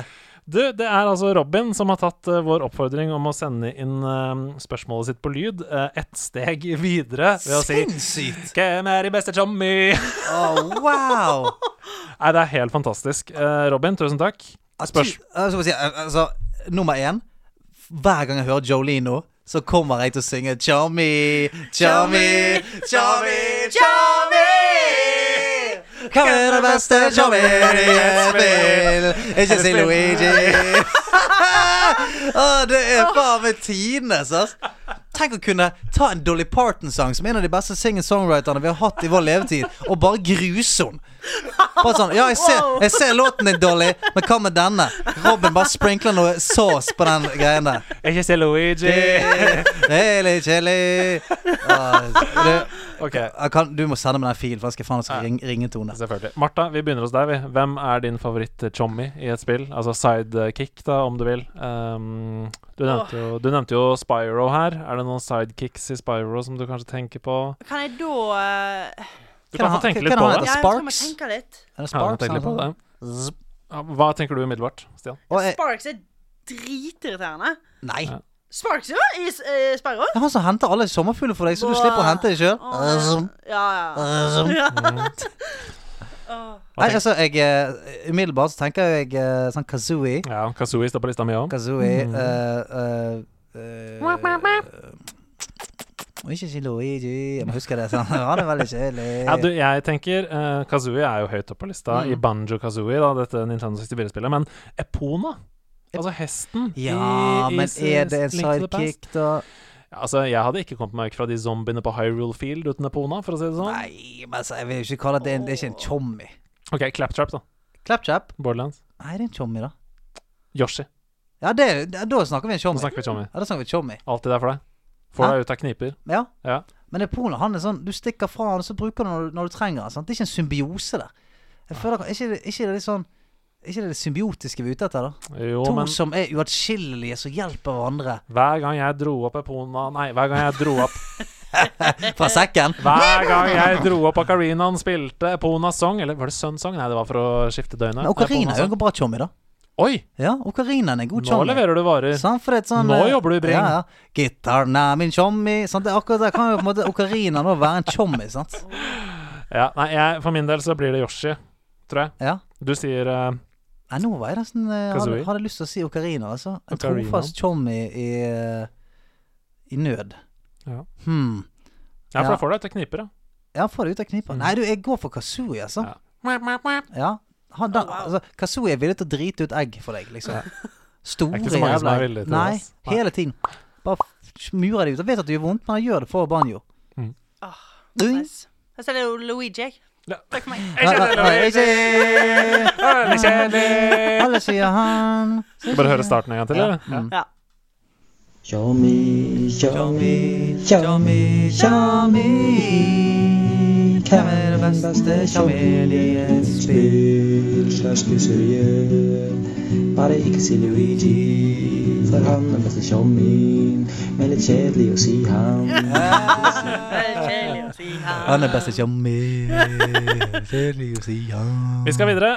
[SPEAKER 2] Du, det er altså Robin som har tatt eh, vår oppfordring om å sende inn eh, spørsmålet sitt på lyd eh, ett steg videre ved å si
[SPEAKER 3] Sinnssykt!
[SPEAKER 2] Hvem er de beste chommy?
[SPEAKER 3] Å, wow!
[SPEAKER 2] Nei, det er helt fantastisk. Eh, Robin, tusen takk.
[SPEAKER 3] Altså, Ja, tu-
[SPEAKER 2] Spørs-
[SPEAKER 3] Jeg skal bare si, eh, altså, nummer én Hver gang jeg hører Jolene nå, så kommer jeg til å synge Chummy, chummy, chummy, chummy. Hvem er det beste chummy i et spill? Ikke si Luigi. Å, det er faen meg tidenes, ass. altså. Tenk å kunne ta en Dolly Parton-sang, som er en av de beste singer-songwriterne vi har hatt i vår levetid, og bare gruse henne. Bare sånn, ja, jeg ser, jeg ser låten din, Dolly, men hva med denne? Robin bare sprinkler noe sauce på den greien der.
[SPEAKER 2] Ikke si Luigi.
[SPEAKER 3] Chili, chili. Ah, du,
[SPEAKER 2] Ok,
[SPEAKER 3] jeg kan, du må sende meg den filen, for jeg skal faen meg ring, ringetone.
[SPEAKER 2] selvfølgelig. Martha, vi begynner hos deg, vi. Hvem er din favoritt-chommy i et spill? Altså sidekick, da, om du vil. Ehm, du, nevnte jo, du nevnte jo Spyro her. Er det noen sidekicks i Spyro som du kanskje tenker på?
[SPEAKER 4] Kan jeg da eh,
[SPEAKER 3] Hva
[SPEAKER 2] Du kan
[SPEAKER 3] er
[SPEAKER 2] få
[SPEAKER 3] det han-
[SPEAKER 2] tenke
[SPEAKER 3] hva er
[SPEAKER 2] litt
[SPEAKER 3] det
[SPEAKER 2] på
[SPEAKER 3] han
[SPEAKER 2] det.
[SPEAKER 3] heter?
[SPEAKER 4] Ja, jeg tror jeg må
[SPEAKER 3] Sparks?
[SPEAKER 4] tenke litt.
[SPEAKER 3] Er det
[SPEAKER 2] Ja, du tenker litt på
[SPEAKER 3] sånn.
[SPEAKER 2] det.
[SPEAKER 3] Zzz.
[SPEAKER 2] Ja, Hva tenker du umiddelbart, Stian?
[SPEAKER 3] Og jeg,
[SPEAKER 4] Sparks er dritirriterende.
[SPEAKER 3] nei.
[SPEAKER 2] Ja.
[SPEAKER 4] Sparks, jo, i uh, Sparrow. eh,
[SPEAKER 3] Det er han som henter alle sommerfugler for deg, Altså, så du slipper å hente dem sjøl.
[SPEAKER 4] Ja, ja. ja. Åh.
[SPEAKER 2] Hva
[SPEAKER 3] Nei,
[SPEAKER 2] tenker-
[SPEAKER 3] altså, jeg eh, Umiddelbart så tenker jeg eh, sånn Kazooie.
[SPEAKER 2] Ja, Kazooie står på lista mi òg.
[SPEAKER 3] Kazooie eh, eh, eh, Ikke si Luigi. Jeg må huske det. Sånn. Han er veldig kjedelig.
[SPEAKER 2] Ja, du, jeg tenker eh, Kazooie er jo høyt oppe på lista
[SPEAKER 3] Mm.
[SPEAKER 2] i Banjo Kazooie, da, dette Nintendo 64-spillet. Men Epona, altså hesten
[SPEAKER 3] Ja,
[SPEAKER 2] i- i
[SPEAKER 3] men
[SPEAKER 2] s-
[SPEAKER 3] er det en
[SPEAKER 2] Link to the Past?
[SPEAKER 3] sidekick, da?
[SPEAKER 2] Ja, altså, jeg hadde ikke kommet meg vekk fra de zombiene på Hyrule Field uten Epona, for å si det sånn.
[SPEAKER 3] Nei, men altså, jeg vil jo ikke kalle det en, Det er ikke en chommy.
[SPEAKER 2] Ok, Claptrap, da.
[SPEAKER 3] Clapchap?
[SPEAKER 2] Borderlands.
[SPEAKER 3] Nei, det er en chommy, da.
[SPEAKER 2] Yoshi.
[SPEAKER 3] Ja, det, er- da da snakker vi en
[SPEAKER 2] Nå
[SPEAKER 3] chommy.
[SPEAKER 2] snakker vi chommy.
[SPEAKER 3] Ja, da snakker vi chommy.
[SPEAKER 2] Alltid der for deg. Får
[SPEAKER 3] Hæ?
[SPEAKER 2] deg ut av kniper.
[SPEAKER 3] Ja.
[SPEAKER 2] Ja.
[SPEAKER 3] Men det Polen, han er sånn Du stikker fra han, og så bruker du han når du, når du trenger han. sant? Det er ikke en symbiose der. Jeg føler, ikke, det- ikke det er litt sånn Ikke det er det symbiotiske vi er ute etter, da.
[SPEAKER 2] Jo,
[SPEAKER 3] to
[SPEAKER 2] men
[SPEAKER 3] som er uatskillelige, som hjelper hverandre.
[SPEAKER 2] hver gang jeg dro opp Epona Nei, hver gang jeg dro opp
[SPEAKER 3] Fra sekken.
[SPEAKER 2] Hver gang jeg dro opp Ocarinaen, spilte Epona Song Eller var det Sun Song? Nei, det var for å skifte døgnet.
[SPEAKER 3] Men okarina
[SPEAKER 2] Epona
[SPEAKER 3] er jo
[SPEAKER 2] Song.
[SPEAKER 3] en bra chommy, da.
[SPEAKER 2] Oi!
[SPEAKER 3] Ja, okarinaen er en god
[SPEAKER 2] Nå
[SPEAKER 3] chommy.
[SPEAKER 2] leverer du varer.
[SPEAKER 3] Sant, for det er et sånn,
[SPEAKER 2] Nå
[SPEAKER 3] eh,
[SPEAKER 2] jobber du i Bring.
[SPEAKER 3] Ja, ja. Gitaren er min chommy. Sant? Det er akkurat der kan jo på en måte okarina nå være en chommy, sant?
[SPEAKER 2] Ja, nei, jeg, for min del så blir det Yoshi, tror jeg.
[SPEAKER 3] Ja.
[SPEAKER 2] Du sier eh,
[SPEAKER 3] Nei, nå var jeg nesten eh, hadde,
[SPEAKER 2] Kazooie?
[SPEAKER 3] hadde lyst til å si okarina, altså. En
[SPEAKER 2] Ocarina.
[SPEAKER 3] trofast chommy i, eh, i nød.
[SPEAKER 2] Ja.
[SPEAKER 3] Hmm.
[SPEAKER 2] Ja, for
[SPEAKER 3] Ja.
[SPEAKER 2] da får du etter kniper, ja.
[SPEAKER 3] Ja, få det ut av knipa. Nei, du, jeg går for Kazooie, altså.
[SPEAKER 2] Hmm. Ja.
[SPEAKER 3] Ja. Han, da, altså Kazooie er villig til å drite ut egg for deg, liksom. Store
[SPEAKER 2] Det er ikke så mange som
[SPEAKER 3] jævla
[SPEAKER 2] er
[SPEAKER 3] egg.
[SPEAKER 2] villige til det,
[SPEAKER 3] Nei,
[SPEAKER 2] ass. Nei.
[SPEAKER 3] hele tiden. Bare f- smurer det ut. Jeg vet at det gjør vondt, men han gjør det for banjo.
[SPEAKER 2] Mm.
[SPEAKER 4] Ah,
[SPEAKER 3] Ui.
[SPEAKER 4] Nice. Jeg selger jo Luigi, jeg.
[SPEAKER 2] Ja.
[SPEAKER 4] Takk for meg.
[SPEAKER 3] Nei, nei, nei, ikke-
[SPEAKER 2] Veldig kjedelig!
[SPEAKER 3] Alle sier han
[SPEAKER 2] Skal bare høre starten en gang til, eller?
[SPEAKER 3] Mm.
[SPEAKER 2] Ja.
[SPEAKER 4] Ja.
[SPEAKER 10] Show me, show me, show me, show me. Hvem er den beste sjarmerlige spill slags pizzeria? Bare ikke si Luigi, for han er mest en tjomming. Men litt kjedelig å si ham.
[SPEAKER 4] Veldig kjedelig å si her.
[SPEAKER 3] Han er best ikke med Kjedelig å si han
[SPEAKER 2] Vi skal videre.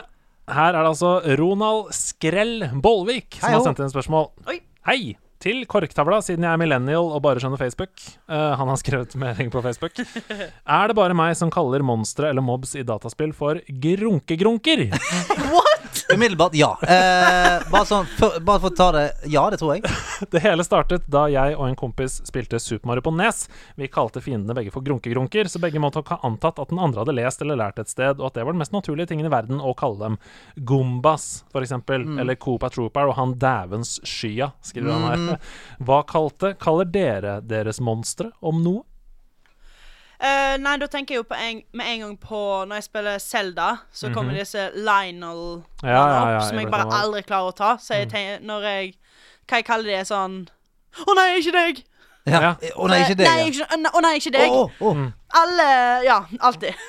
[SPEAKER 2] Her er det altså Ronald Skrell Bollvik som
[SPEAKER 3] Hei, ho.
[SPEAKER 2] har sendt inn spørsmål.
[SPEAKER 4] Oi.
[SPEAKER 2] Hei! Til korktavla, siden jeg er millennial og bare skjønner Facebook. Eh, han har skrevet melding på Facebook. Er det bare meg som kaller monstre eller mobs i dataspill for grunkegrunker?
[SPEAKER 4] What?!
[SPEAKER 3] Umiddelbart ja. Eh, bare, sånn, for, bare for å ta det Ja, det tror jeg.
[SPEAKER 2] Det hele startet da jeg og en kompis spilte Super Mario på Nes. Vi kalte fiendene begge for grunkegrunker, så begge måtte ha antatt at den andre hadde lest eller lært et sted, og at det var den mest naturlige tingen i verden å kalle dem. Gombas, for eksempel, eller Koopa Trooper og han dævens skya, skriver han her. Hva kalte kaller dere deres monstre om noe?
[SPEAKER 4] Eh, nei, da tenker jeg jo på en, med en gang på Når jeg spiller Zelda, så kommer disse Lionel
[SPEAKER 2] Mhm. Ja, ja, ja,
[SPEAKER 4] opp, som
[SPEAKER 2] jeg
[SPEAKER 4] jeg
[SPEAKER 2] vet
[SPEAKER 4] bare
[SPEAKER 2] hva- Mm.
[SPEAKER 4] aldri klarer å ta. Så jeg tenker, når jeg Hva jeg kaller det, er sånn Å nei, ikke deg!
[SPEAKER 3] Ja.
[SPEAKER 2] Ja.
[SPEAKER 3] Å nei, ikke det.
[SPEAKER 4] Nei,
[SPEAKER 3] ja.
[SPEAKER 4] ikke, Mm. å nei, ikke deg.
[SPEAKER 3] Å, å, å.
[SPEAKER 4] Alle Ja, alltid.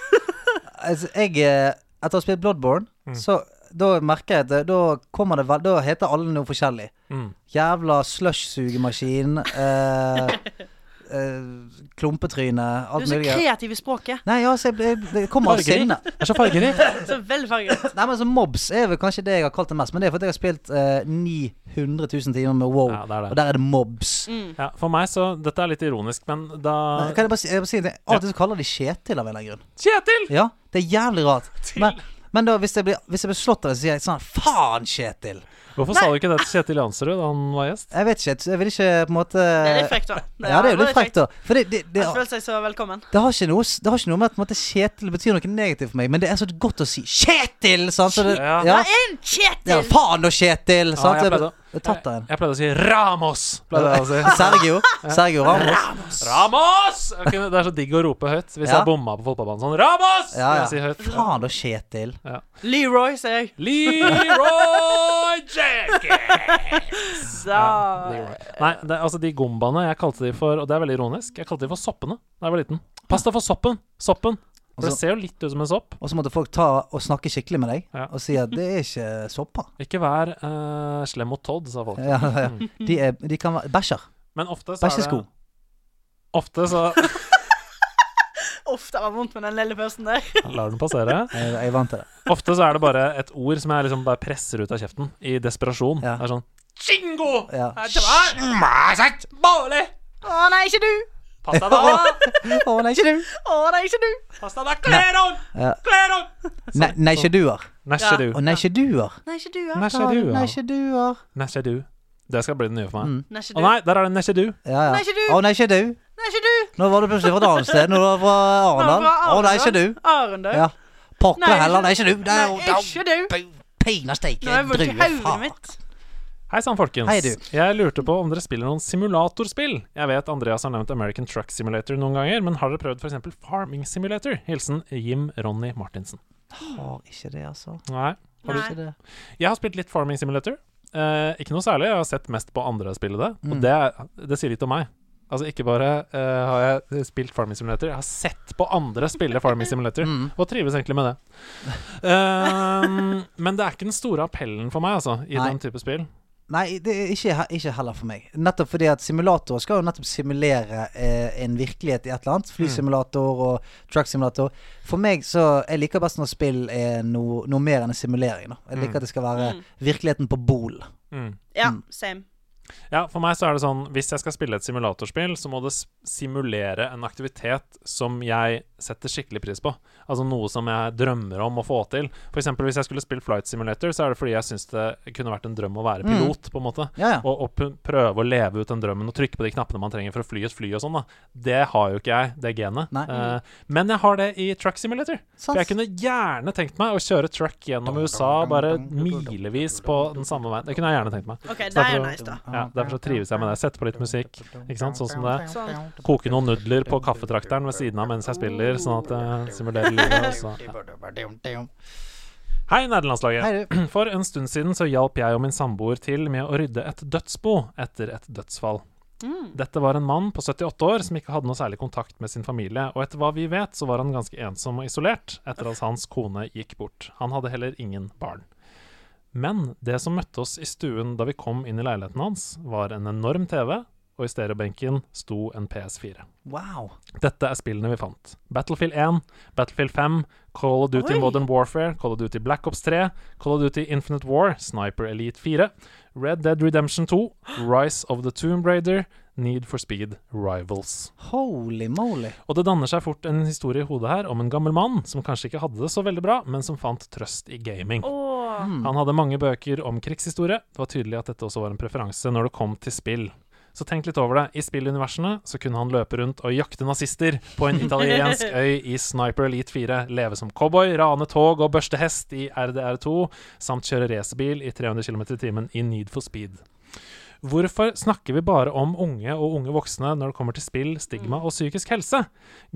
[SPEAKER 3] Altså, jeg eh, Etter å ha spilt Bloodborne,
[SPEAKER 2] Mm.
[SPEAKER 3] så da merker jeg at det- da kommer det vel Da heter alle noe forskjellig.
[SPEAKER 2] Mm.
[SPEAKER 3] Jævla slush-sugemaskin. Eh, eh, klumpetryne.
[SPEAKER 4] Du
[SPEAKER 3] Alt
[SPEAKER 4] er så
[SPEAKER 3] mulig.
[SPEAKER 4] kreativ i språket.
[SPEAKER 3] Nei, ja, så jeg, jeg, det kommer av
[SPEAKER 2] Fargerik.
[SPEAKER 3] sinne.
[SPEAKER 2] Det er så fargerikt.
[SPEAKER 4] Så veldig fargerikt.
[SPEAKER 3] Nei, men så Mobs er vel kanskje det jeg har kalt det mest. Men det er fordi jeg har spilt eh, 900 000 timer med Wow,
[SPEAKER 2] Ja, det er det.
[SPEAKER 3] og der er det mobs.
[SPEAKER 4] Mm.
[SPEAKER 3] Altså,
[SPEAKER 2] Ja, for meg så Dette er litt ironisk, men da
[SPEAKER 3] Kan jeg bare si, jeg bare si en ting? Alltid så kaller de Kjetil av en eller annen grunn.
[SPEAKER 2] Kjetil!
[SPEAKER 3] Ja, det er jævlig rart. Men, men da, hvis jeg, blir, hvis jeg blir slått av det, så sier jeg sånn Faen, Kjetil!
[SPEAKER 2] Hvorfor sa du ikke det til Kjetil Jansrud da han var gjest?
[SPEAKER 3] Jeg vet ikke, jeg vil ikke på en måte
[SPEAKER 4] Det er litt frekt, da.
[SPEAKER 3] Ja, det er jo litt frekt, da. For det, det, det,
[SPEAKER 4] Han føler seg så velkommen.
[SPEAKER 3] det, har ikke noe, det har ikke noe med at på en måte, Kjetil betyr noe negativt for meg, men det er så godt å si Kjetil! Sant? Så det,
[SPEAKER 2] Ja.
[SPEAKER 3] ja. ja,
[SPEAKER 4] En Kjetil!
[SPEAKER 3] faen da, Kjetil! Sant?
[SPEAKER 2] jeg
[SPEAKER 3] jeg,
[SPEAKER 2] pleide å-
[SPEAKER 3] jeg, tatt av en.
[SPEAKER 2] Jeg, jeg pleide å si Ramos! Pleide jeg å si.
[SPEAKER 3] Sergio. Sergio Ramos.
[SPEAKER 2] Ramos! Jeg kunne, det er så digg å rope høyt hvis
[SPEAKER 3] Ja.
[SPEAKER 2] jeg bomma på fotballbanen. Sånn Ramos!
[SPEAKER 3] Ja,
[SPEAKER 2] Kan
[SPEAKER 3] ja.
[SPEAKER 2] Jeg si høyt.
[SPEAKER 3] Faen da, Kjetil.
[SPEAKER 4] Leroy, sier jeg.
[SPEAKER 2] Leroy Jenkins!
[SPEAKER 4] Da.
[SPEAKER 2] Leroy. Nei, det, altså de gombaene jeg kalte de for Og det er veldig ironisk. Jeg kalte de for soppene da jeg var liten. Pass deg for soppen! Soppen! For det
[SPEAKER 3] Altså-
[SPEAKER 2] ser jo litt ut som en sopp.
[SPEAKER 3] Og så måtte folk ta og snakke skikkelig med deg
[SPEAKER 2] Ja.
[SPEAKER 3] og si at det er ikke sopper.
[SPEAKER 2] Ikke vær eh, slem mot Todd, sa folk.
[SPEAKER 3] Ja, ja.
[SPEAKER 2] Mm.
[SPEAKER 3] De, er, de kan være bæsjer.
[SPEAKER 2] Men ofte så er det
[SPEAKER 3] Bæsjesko.
[SPEAKER 2] Ofte så
[SPEAKER 4] Uff, det var vondt med den lille pausen der.
[SPEAKER 2] Lar den passere.
[SPEAKER 3] Jeg, jeg er vant til det.
[SPEAKER 2] Ofte så er det bare et ord som jeg liksom bare presser ut av kjeften i desperasjon.
[SPEAKER 3] Ja.
[SPEAKER 2] Det er sånn Chingo!
[SPEAKER 3] Ja.
[SPEAKER 4] Å nei, ikke du!
[SPEAKER 2] Pasta da!
[SPEAKER 3] Å, nei, ikke du.
[SPEAKER 4] Å nei, ikke du!
[SPEAKER 2] Pasta da! Kleron!
[SPEAKER 3] Ja.
[SPEAKER 2] Kleron!
[SPEAKER 3] Nei, nei, ikke duer.
[SPEAKER 2] Næsjer du.
[SPEAKER 3] Å, nei, ikke duer.
[SPEAKER 4] Nei, ikke du, ja.
[SPEAKER 2] Nesjedu,
[SPEAKER 3] Nei,
[SPEAKER 2] ja.
[SPEAKER 3] ikke duer.
[SPEAKER 2] Nesjedu. Det skal bli den nye for meg.
[SPEAKER 4] Nei, ikke
[SPEAKER 2] Å
[SPEAKER 4] du.
[SPEAKER 2] nei, der er det Nesjedu.
[SPEAKER 3] Ja, ja.
[SPEAKER 4] Nei, ikke du.
[SPEAKER 3] Å, nei, ikke du.
[SPEAKER 4] Nei, ikke du.
[SPEAKER 3] Nå var du plutselig fra et annet sted. Nå var du fra Arendal. Å, nei, ikke du.
[SPEAKER 4] Arendal.
[SPEAKER 3] Ja.
[SPEAKER 4] Nei,
[SPEAKER 3] Pokker
[SPEAKER 4] ikke-
[SPEAKER 3] heller. Nei, ikke du. Nei,
[SPEAKER 4] Nei, ikke du.
[SPEAKER 3] Pinasteik.
[SPEAKER 4] Nå har jeg vondt i
[SPEAKER 3] Drue,
[SPEAKER 4] hodet
[SPEAKER 3] faen.
[SPEAKER 4] mitt.
[SPEAKER 2] Hei sann, folkens.
[SPEAKER 3] Hei, du.
[SPEAKER 2] Jeg lurte på om dere spiller noen simulatorspill. Jeg vet Andreas har nevnt American Truck Simulator noen ganger, men har dere prøvd f.eks. Farming Simulator? Hilsen Jim Ronny Martinsen.
[SPEAKER 3] Å, ikke det, altså.
[SPEAKER 2] Nei.
[SPEAKER 4] Nei.
[SPEAKER 3] Ikke det.
[SPEAKER 2] Jeg har spilt litt Farming Simulator. Eh, ikke noe særlig. Jeg har sett mest på andre spille det, og det, er- det sier litt om meg. Altså Ikke bare eh, har jeg spilt Farming Simulator, jeg har sett på andre spille Farming Simulator,
[SPEAKER 3] Mm.
[SPEAKER 2] og trives egentlig med det. Eh, men det er ikke den store appellen for meg, altså, i
[SPEAKER 3] Nei.
[SPEAKER 2] den type spill.
[SPEAKER 3] Nei, det er ikke, he- ikke heller for meg. Nettopp fordi at simulatorer skal jo nettopp simulere eh, en virkelighet i et eller annet. Flysimulator og trucksimulator. For meg så Jeg liker best når spill er noe, noe mer enn en simulering. Da. Jeg liker at det skal være virkeligheten på bol.
[SPEAKER 2] Mm.
[SPEAKER 4] Ja, same.
[SPEAKER 2] Ja, for meg så er det sånn Hvis jeg skal spille et simulatorspill, så må det s- simulere en aktivitet som jeg setter skikkelig pris på. Altså noe som jeg drømmer om å få til. For eksempel hvis jeg skulle spilt Flight Simulator, så er det fordi jeg syns det kunne vært en drøm å
[SPEAKER 3] Mm.
[SPEAKER 2] være pilot, på en måte.
[SPEAKER 3] Ja, ja.
[SPEAKER 2] Og, og pu- prøve å leve ut den drømmen og trykke på de knappene man trenger for å fly et fly og sånn, da. Det har jo ikke jeg, det genet.
[SPEAKER 3] Nei.
[SPEAKER 2] Eh, men jeg har det i Truck Simulator.
[SPEAKER 3] Sans.
[SPEAKER 2] For jeg kunne gjerne tenkt meg å kjøre truck gjennom USA, bare milevis på den samme veien. Det kunne jeg gjerne tenkt meg.
[SPEAKER 4] OK, det er
[SPEAKER 2] Derfor-
[SPEAKER 4] jo nice, da.
[SPEAKER 2] Ja, derfor så trives jeg med det. Sette på litt musikk, ikke sant, sånn som det. er.
[SPEAKER 4] Sånn.
[SPEAKER 2] Koke noen nudler på kaffetrakteren ved siden av mens jeg spiller, sånn at jeg simulerer livet. og så- ja. Hei, nerdelandslaget.
[SPEAKER 3] Hei, du.
[SPEAKER 2] For en stund siden så hjalp jeg og min samboer til med å rydde et dødsbo etter et dødsfall. Dette var en mann på 78 år som ikke hadde noe særlig kontakt med sin familie, og etter hva vi vet, så var han ganske ensom og isolert etter at hans kone gikk bort. Han hadde heller ingen barn. Men det som møtte oss i stuen da vi kom inn i leiligheten hans, var en enorm TV, og i stereobenken sto en PS4.
[SPEAKER 3] Wow.
[SPEAKER 2] Dette er spillene vi fant. Battlefield 1, Battlefield 5, Call of Duty
[SPEAKER 4] Oi.
[SPEAKER 2] Modern Warfare, Call of Duty Black Ops 3, Call of Duty Infinite War, Sniper Elite 4, Red Dead Redemption 2, Rise of the Tomb Raider, Need for Speed Rivals.
[SPEAKER 3] Holy moly.
[SPEAKER 2] Og det danner seg fort en historie i hodet her om en gammel mann som kanskje ikke hadde det så veldig bra, men som fant trøst i gaming.
[SPEAKER 4] Å,
[SPEAKER 2] Han hadde mange bøker om krigshistorie. Det var tydelig at dette også var en preferanse når det kom til spill. Så tenk litt over det. I spilluniversene så kunne han løpe rundt og jakte nazister på en italiensk øy i Sniper Elite 4, leve som cowboy, rane tog og børste hest i RDR2, samt kjøre racerbil i 300 km i timen i Need for Speed. Hvorfor snakker vi bare om unge og unge voksne når det kommer til spill, stigma
[SPEAKER 4] Mm.
[SPEAKER 2] og psykisk helse?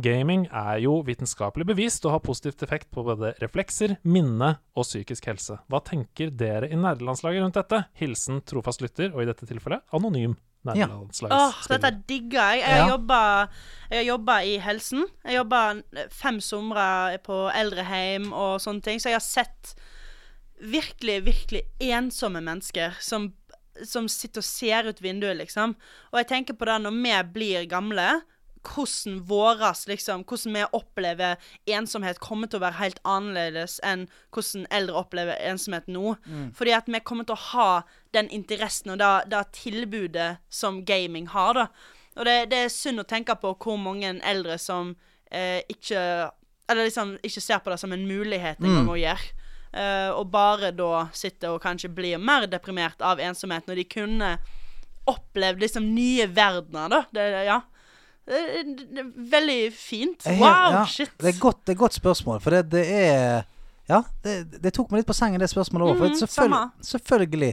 [SPEAKER 2] Gaming er jo vitenskapelig bevist og har positivt effekt på både reflekser, minne og psykisk helse. Hva tenker dere i nerdelandslaget rundt dette? Hilsen trofast lytter, og i dette tilfellet anonym
[SPEAKER 4] Åh, dette
[SPEAKER 2] nerdelandslagsspiller.
[SPEAKER 4] digger jeg. Jeg har
[SPEAKER 3] Ja.
[SPEAKER 4] jobbet- jeg har jobba i helsen. Jeg jobba fem somre på eldreheim og sånne ting, så jeg har sett virkelig, virkelig ensomme mennesker som, som sitter og ser ut vinduet, liksom. Og jeg tenker på det når vi blir gamle. Hvordan våres, liksom, hvordan vi opplever ensomhet, kommer til å være helt annerledes enn hvordan eldre opplever ensomhet nå. Fordi at vi kommer til å ha den interessen og det, det tilbudet som gaming har, da. Og det, det er synd å tenke på hvor mange eldre som eh, ikke Eller liksom ikke ser på det som en mulighet engang å gjøre. Eh, og bare da sitter og kanskje blir mer deprimert av ensomhet, når de kunne opplevd liksom nye verdener, da. Det, ja. Det, det, det, er veldig fint.
[SPEAKER 3] Jeg er
[SPEAKER 4] Wow,
[SPEAKER 3] helt- Eh, ja,
[SPEAKER 4] shit.
[SPEAKER 3] Det er, godt, det er et godt spørsmål, for det, det er Ja, det, det tok meg litt på sengen, det spørsmålet òg.
[SPEAKER 4] Mhm,
[SPEAKER 3] for selvfølgelig,
[SPEAKER 4] samme.
[SPEAKER 3] selvfølgelig.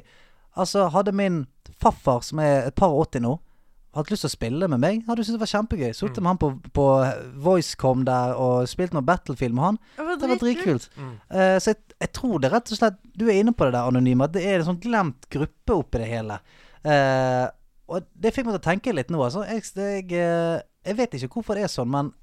[SPEAKER 3] Altså, hadde min farfar, som er et par og åtti nå, hatt lyst til å spille med meg, hadde jeg syntes det var kjempegøy. Sittet med han på, på VoiceCom der og spilt noe Battlefield med han.
[SPEAKER 4] Det var
[SPEAKER 3] Det var
[SPEAKER 4] dritkult.
[SPEAKER 3] dritkult. Eh, så jeg, jeg tror det rett og slett Du er inne på det der, Anonyme. At det er en sånn glemt gruppe oppi det hele. Eh, og det fikk meg til å tenke litt nå. Altså. Jeg, jeg, eh, jeg vet ikke hvorfor det er sånn, men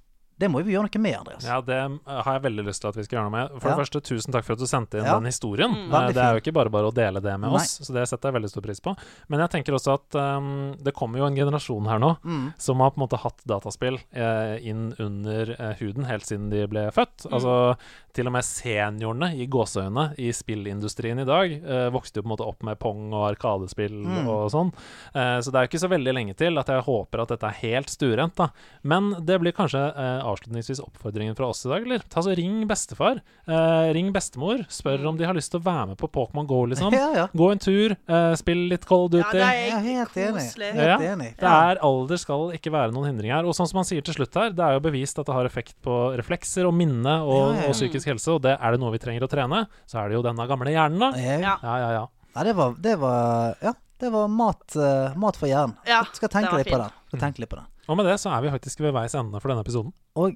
[SPEAKER 3] det må vi gjøre noe med, Andreas.
[SPEAKER 2] Ja, det eh, har jeg veldig lyst til at vi skal gjøre noe med. For
[SPEAKER 3] Ja.
[SPEAKER 2] det første, tusen takk for at du sendte inn
[SPEAKER 3] Ja.
[SPEAKER 2] den historien.
[SPEAKER 4] Mm.
[SPEAKER 2] Eh,
[SPEAKER 3] Veldig
[SPEAKER 2] Det er jo ikke bare bare å dele det med
[SPEAKER 3] Nei.
[SPEAKER 2] oss, så det setter jeg veldig stor pris på. Men jeg tenker også at eh, det kommer jo en generasjon her nå
[SPEAKER 3] Mm.
[SPEAKER 2] som har på en måte hatt dataspill eh, inn under eh, huden helt siden de ble født.
[SPEAKER 3] Mm.
[SPEAKER 2] Altså til og med seniorene i gåseøyne i spillindustrien i dag eh, vokste jo på en måte opp med pong og arkadespill
[SPEAKER 3] Mm.
[SPEAKER 2] og sånn. Eh, så det er jo ikke så veldig lenge til at jeg håper at dette er helt stuerent, da. Men det blir kanskje eh, avslutningsvis oppfordringen fra oss i dag, eller? Ta så ring bestefar. Eh, ring bestemor.
[SPEAKER 3] Mm.
[SPEAKER 2] Spør om de har lyst til å være med på Pokémon Go, liksom.
[SPEAKER 3] Ja, ja.
[SPEAKER 2] Gå en tur, eh, spill litt Call of
[SPEAKER 4] Ja,
[SPEAKER 2] Duty.
[SPEAKER 4] det er
[SPEAKER 3] Jeg er helt enig.
[SPEAKER 4] koselig.
[SPEAKER 2] Ja.
[SPEAKER 3] Helt enig.
[SPEAKER 2] Det er Alder skal ikke være noen hindring her. Og sånn som han sier til slutt her, det er jo bevist at det har effekt på reflekser og minne og,
[SPEAKER 3] Ja, ja.
[SPEAKER 2] og psykisk helse, og det er det noe vi trenger å trene, så er det jo denne gamle hjernen, da.
[SPEAKER 3] Jeg-
[SPEAKER 4] Ja.
[SPEAKER 2] Ja, ja, ja.
[SPEAKER 3] Nei, det var, det var Ja, det var mat, eh, mat for hjernen.
[SPEAKER 4] Ja,
[SPEAKER 3] Skal
[SPEAKER 4] den
[SPEAKER 3] tenke
[SPEAKER 4] var
[SPEAKER 3] litt på
[SPEAKER 4] fin.
[SPEAKER 3] den. Skal tenke litt på den.
[SPEAKER 2] Og med det så er vi faktisk ved veis ende for denne episoden.
[SPEAKER 3] Og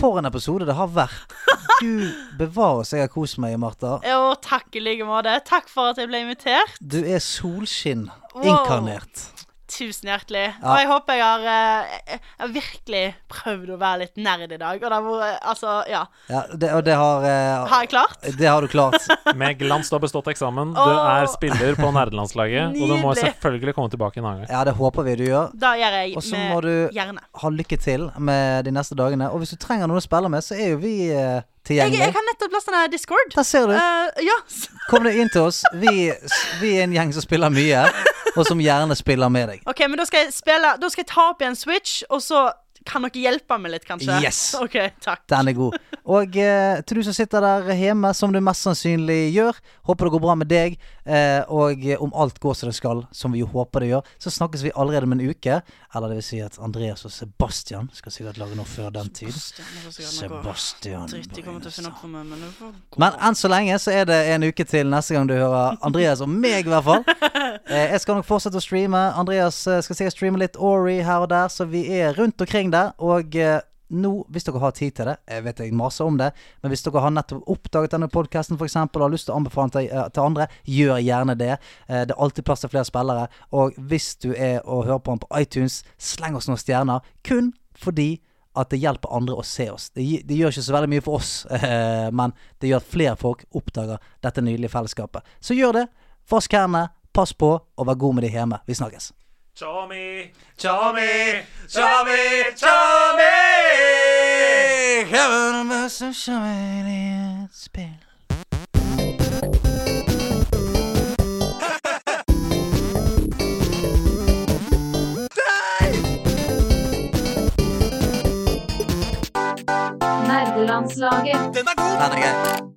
[SPEAKER 3] for en episode det har vært. Gud bevare oss, jeg har kost meg, Martha.
[SPEAKER 4] Jo, takk i like måte. Takk for at jeg ble invitert.
[SPEAKER 3] Du er solskinn
[SPEAKER 4] Wow.
[SPEAKER 3] inkarnert.
[SPEAKER 4] Tusen hjertelig.
[SPEAKER 3] Ja.
[SPEAKER 4] Og jeg håper jeg har, eh, jeg jeg har virkelig prøvd å være litt nerd i dag. Og det har vært Altså, ja.
[SPEAKER 3] Ja, det, og det har eh,
[SPEAKER 4] Har jeg klart?
[SPEAKER 3] Det har du klart.
[SPEAKER 2] Med glans du har bestått eksamen, du
[SPEAKER 4] Åh.
[SPEAKER 2] er spiller på nerdelandslaget, og du må
[SPEAKER 4] Nydelig.
[SPEAKER 2] selvfølgelig komme tilbake en annen gang.
[SPEAKER 3] Ja, det håper vi du gjør.
[SPEAKER 4] Da gjør jeg
[SPEAKER 3] Og så må
[SPEAKER 4] med
[SPEAKER 3] du-
[SPEAKER 4] gjerne.
[SPEAKER 3] Ha lykke til med de neste dagene. Og hvis du trenger noen å spille med, så er jo vi eh,
[SPEAKER 4] Jeg, jeg
[SPEAKER 3] tilgjengelige.
[SPEAKER 4] har nettopp lasta ned Discord.
[SPEAKER 3] Der ser du.
[SPEAKER 4] Eh, ja.
[SPEAKER 3] Kom deg inn til oss. Vi, vi er en gjeng som spiller mye, og som gjerne spiller med deg.
[SPEAKER 4] OK, men da skal jeg spille Da skal jeg ta opp igjen Switch, og så kan dere hjelpe meg litt, kanskje?
[SPEAKER 3] Yes.
[SPEAKER 4] OK, takk.
[SPEAKER 3] Den er god. Og eh, til du som sitter der hjemme, som du mest sannsynlig gjør, håper det går bra med deg. Eh, og om alt går som det skal, som vi jo håper det gjør, så snakkes vi allerede om en uke. Eller det vil si at Andreas og Sebastian skal sikkert lage noe før den tid.
[SPEAKER 4] Sebastian.
[SPEAKER 3] Sebastian
[SPEAKER 4] Dritt jeg kommer til å
[SPEAKER 3] Brynesen.
[SPEAKER 4] finne opp for meg, men det får gå.
[SPEAKER 3] Men enn så lenge så er det en uke til neste gang du hører Andreas og meg, i hvert fall. Eh, Jeg skal nok fortsette å streame. Andreas eh, skal sikkert streame litt Ori her og der, så vi er rundt omkring der. Og eh, nå, hvis dere har tid til det, jeg vet jeg maser om det, men hvis dere har nettopp oppdaget denne podkasten f.eks. og har lyst til å anbefale den til, eh, til andre, gjør gjerne det. Eh, Det er alltid plass til flere spillere. Og hvis du er og hører på den på iTunes, sleng oss noen stjerner. Kun fordi at det hjelper andre å se oss. Det, gi- det gjør ikke så veldig mye for oss, eh, men det gjør at flere folk oppdager dette nydelige fellesskapet. Så gjør det. Vask hendene, pass på, og vær god med de hjemme. Vi snakkes.
[SPEAKER 2] Tommy,
[SPEAKER 11] Nerdelandslaget.
[SPEAKER 3] Den er grei.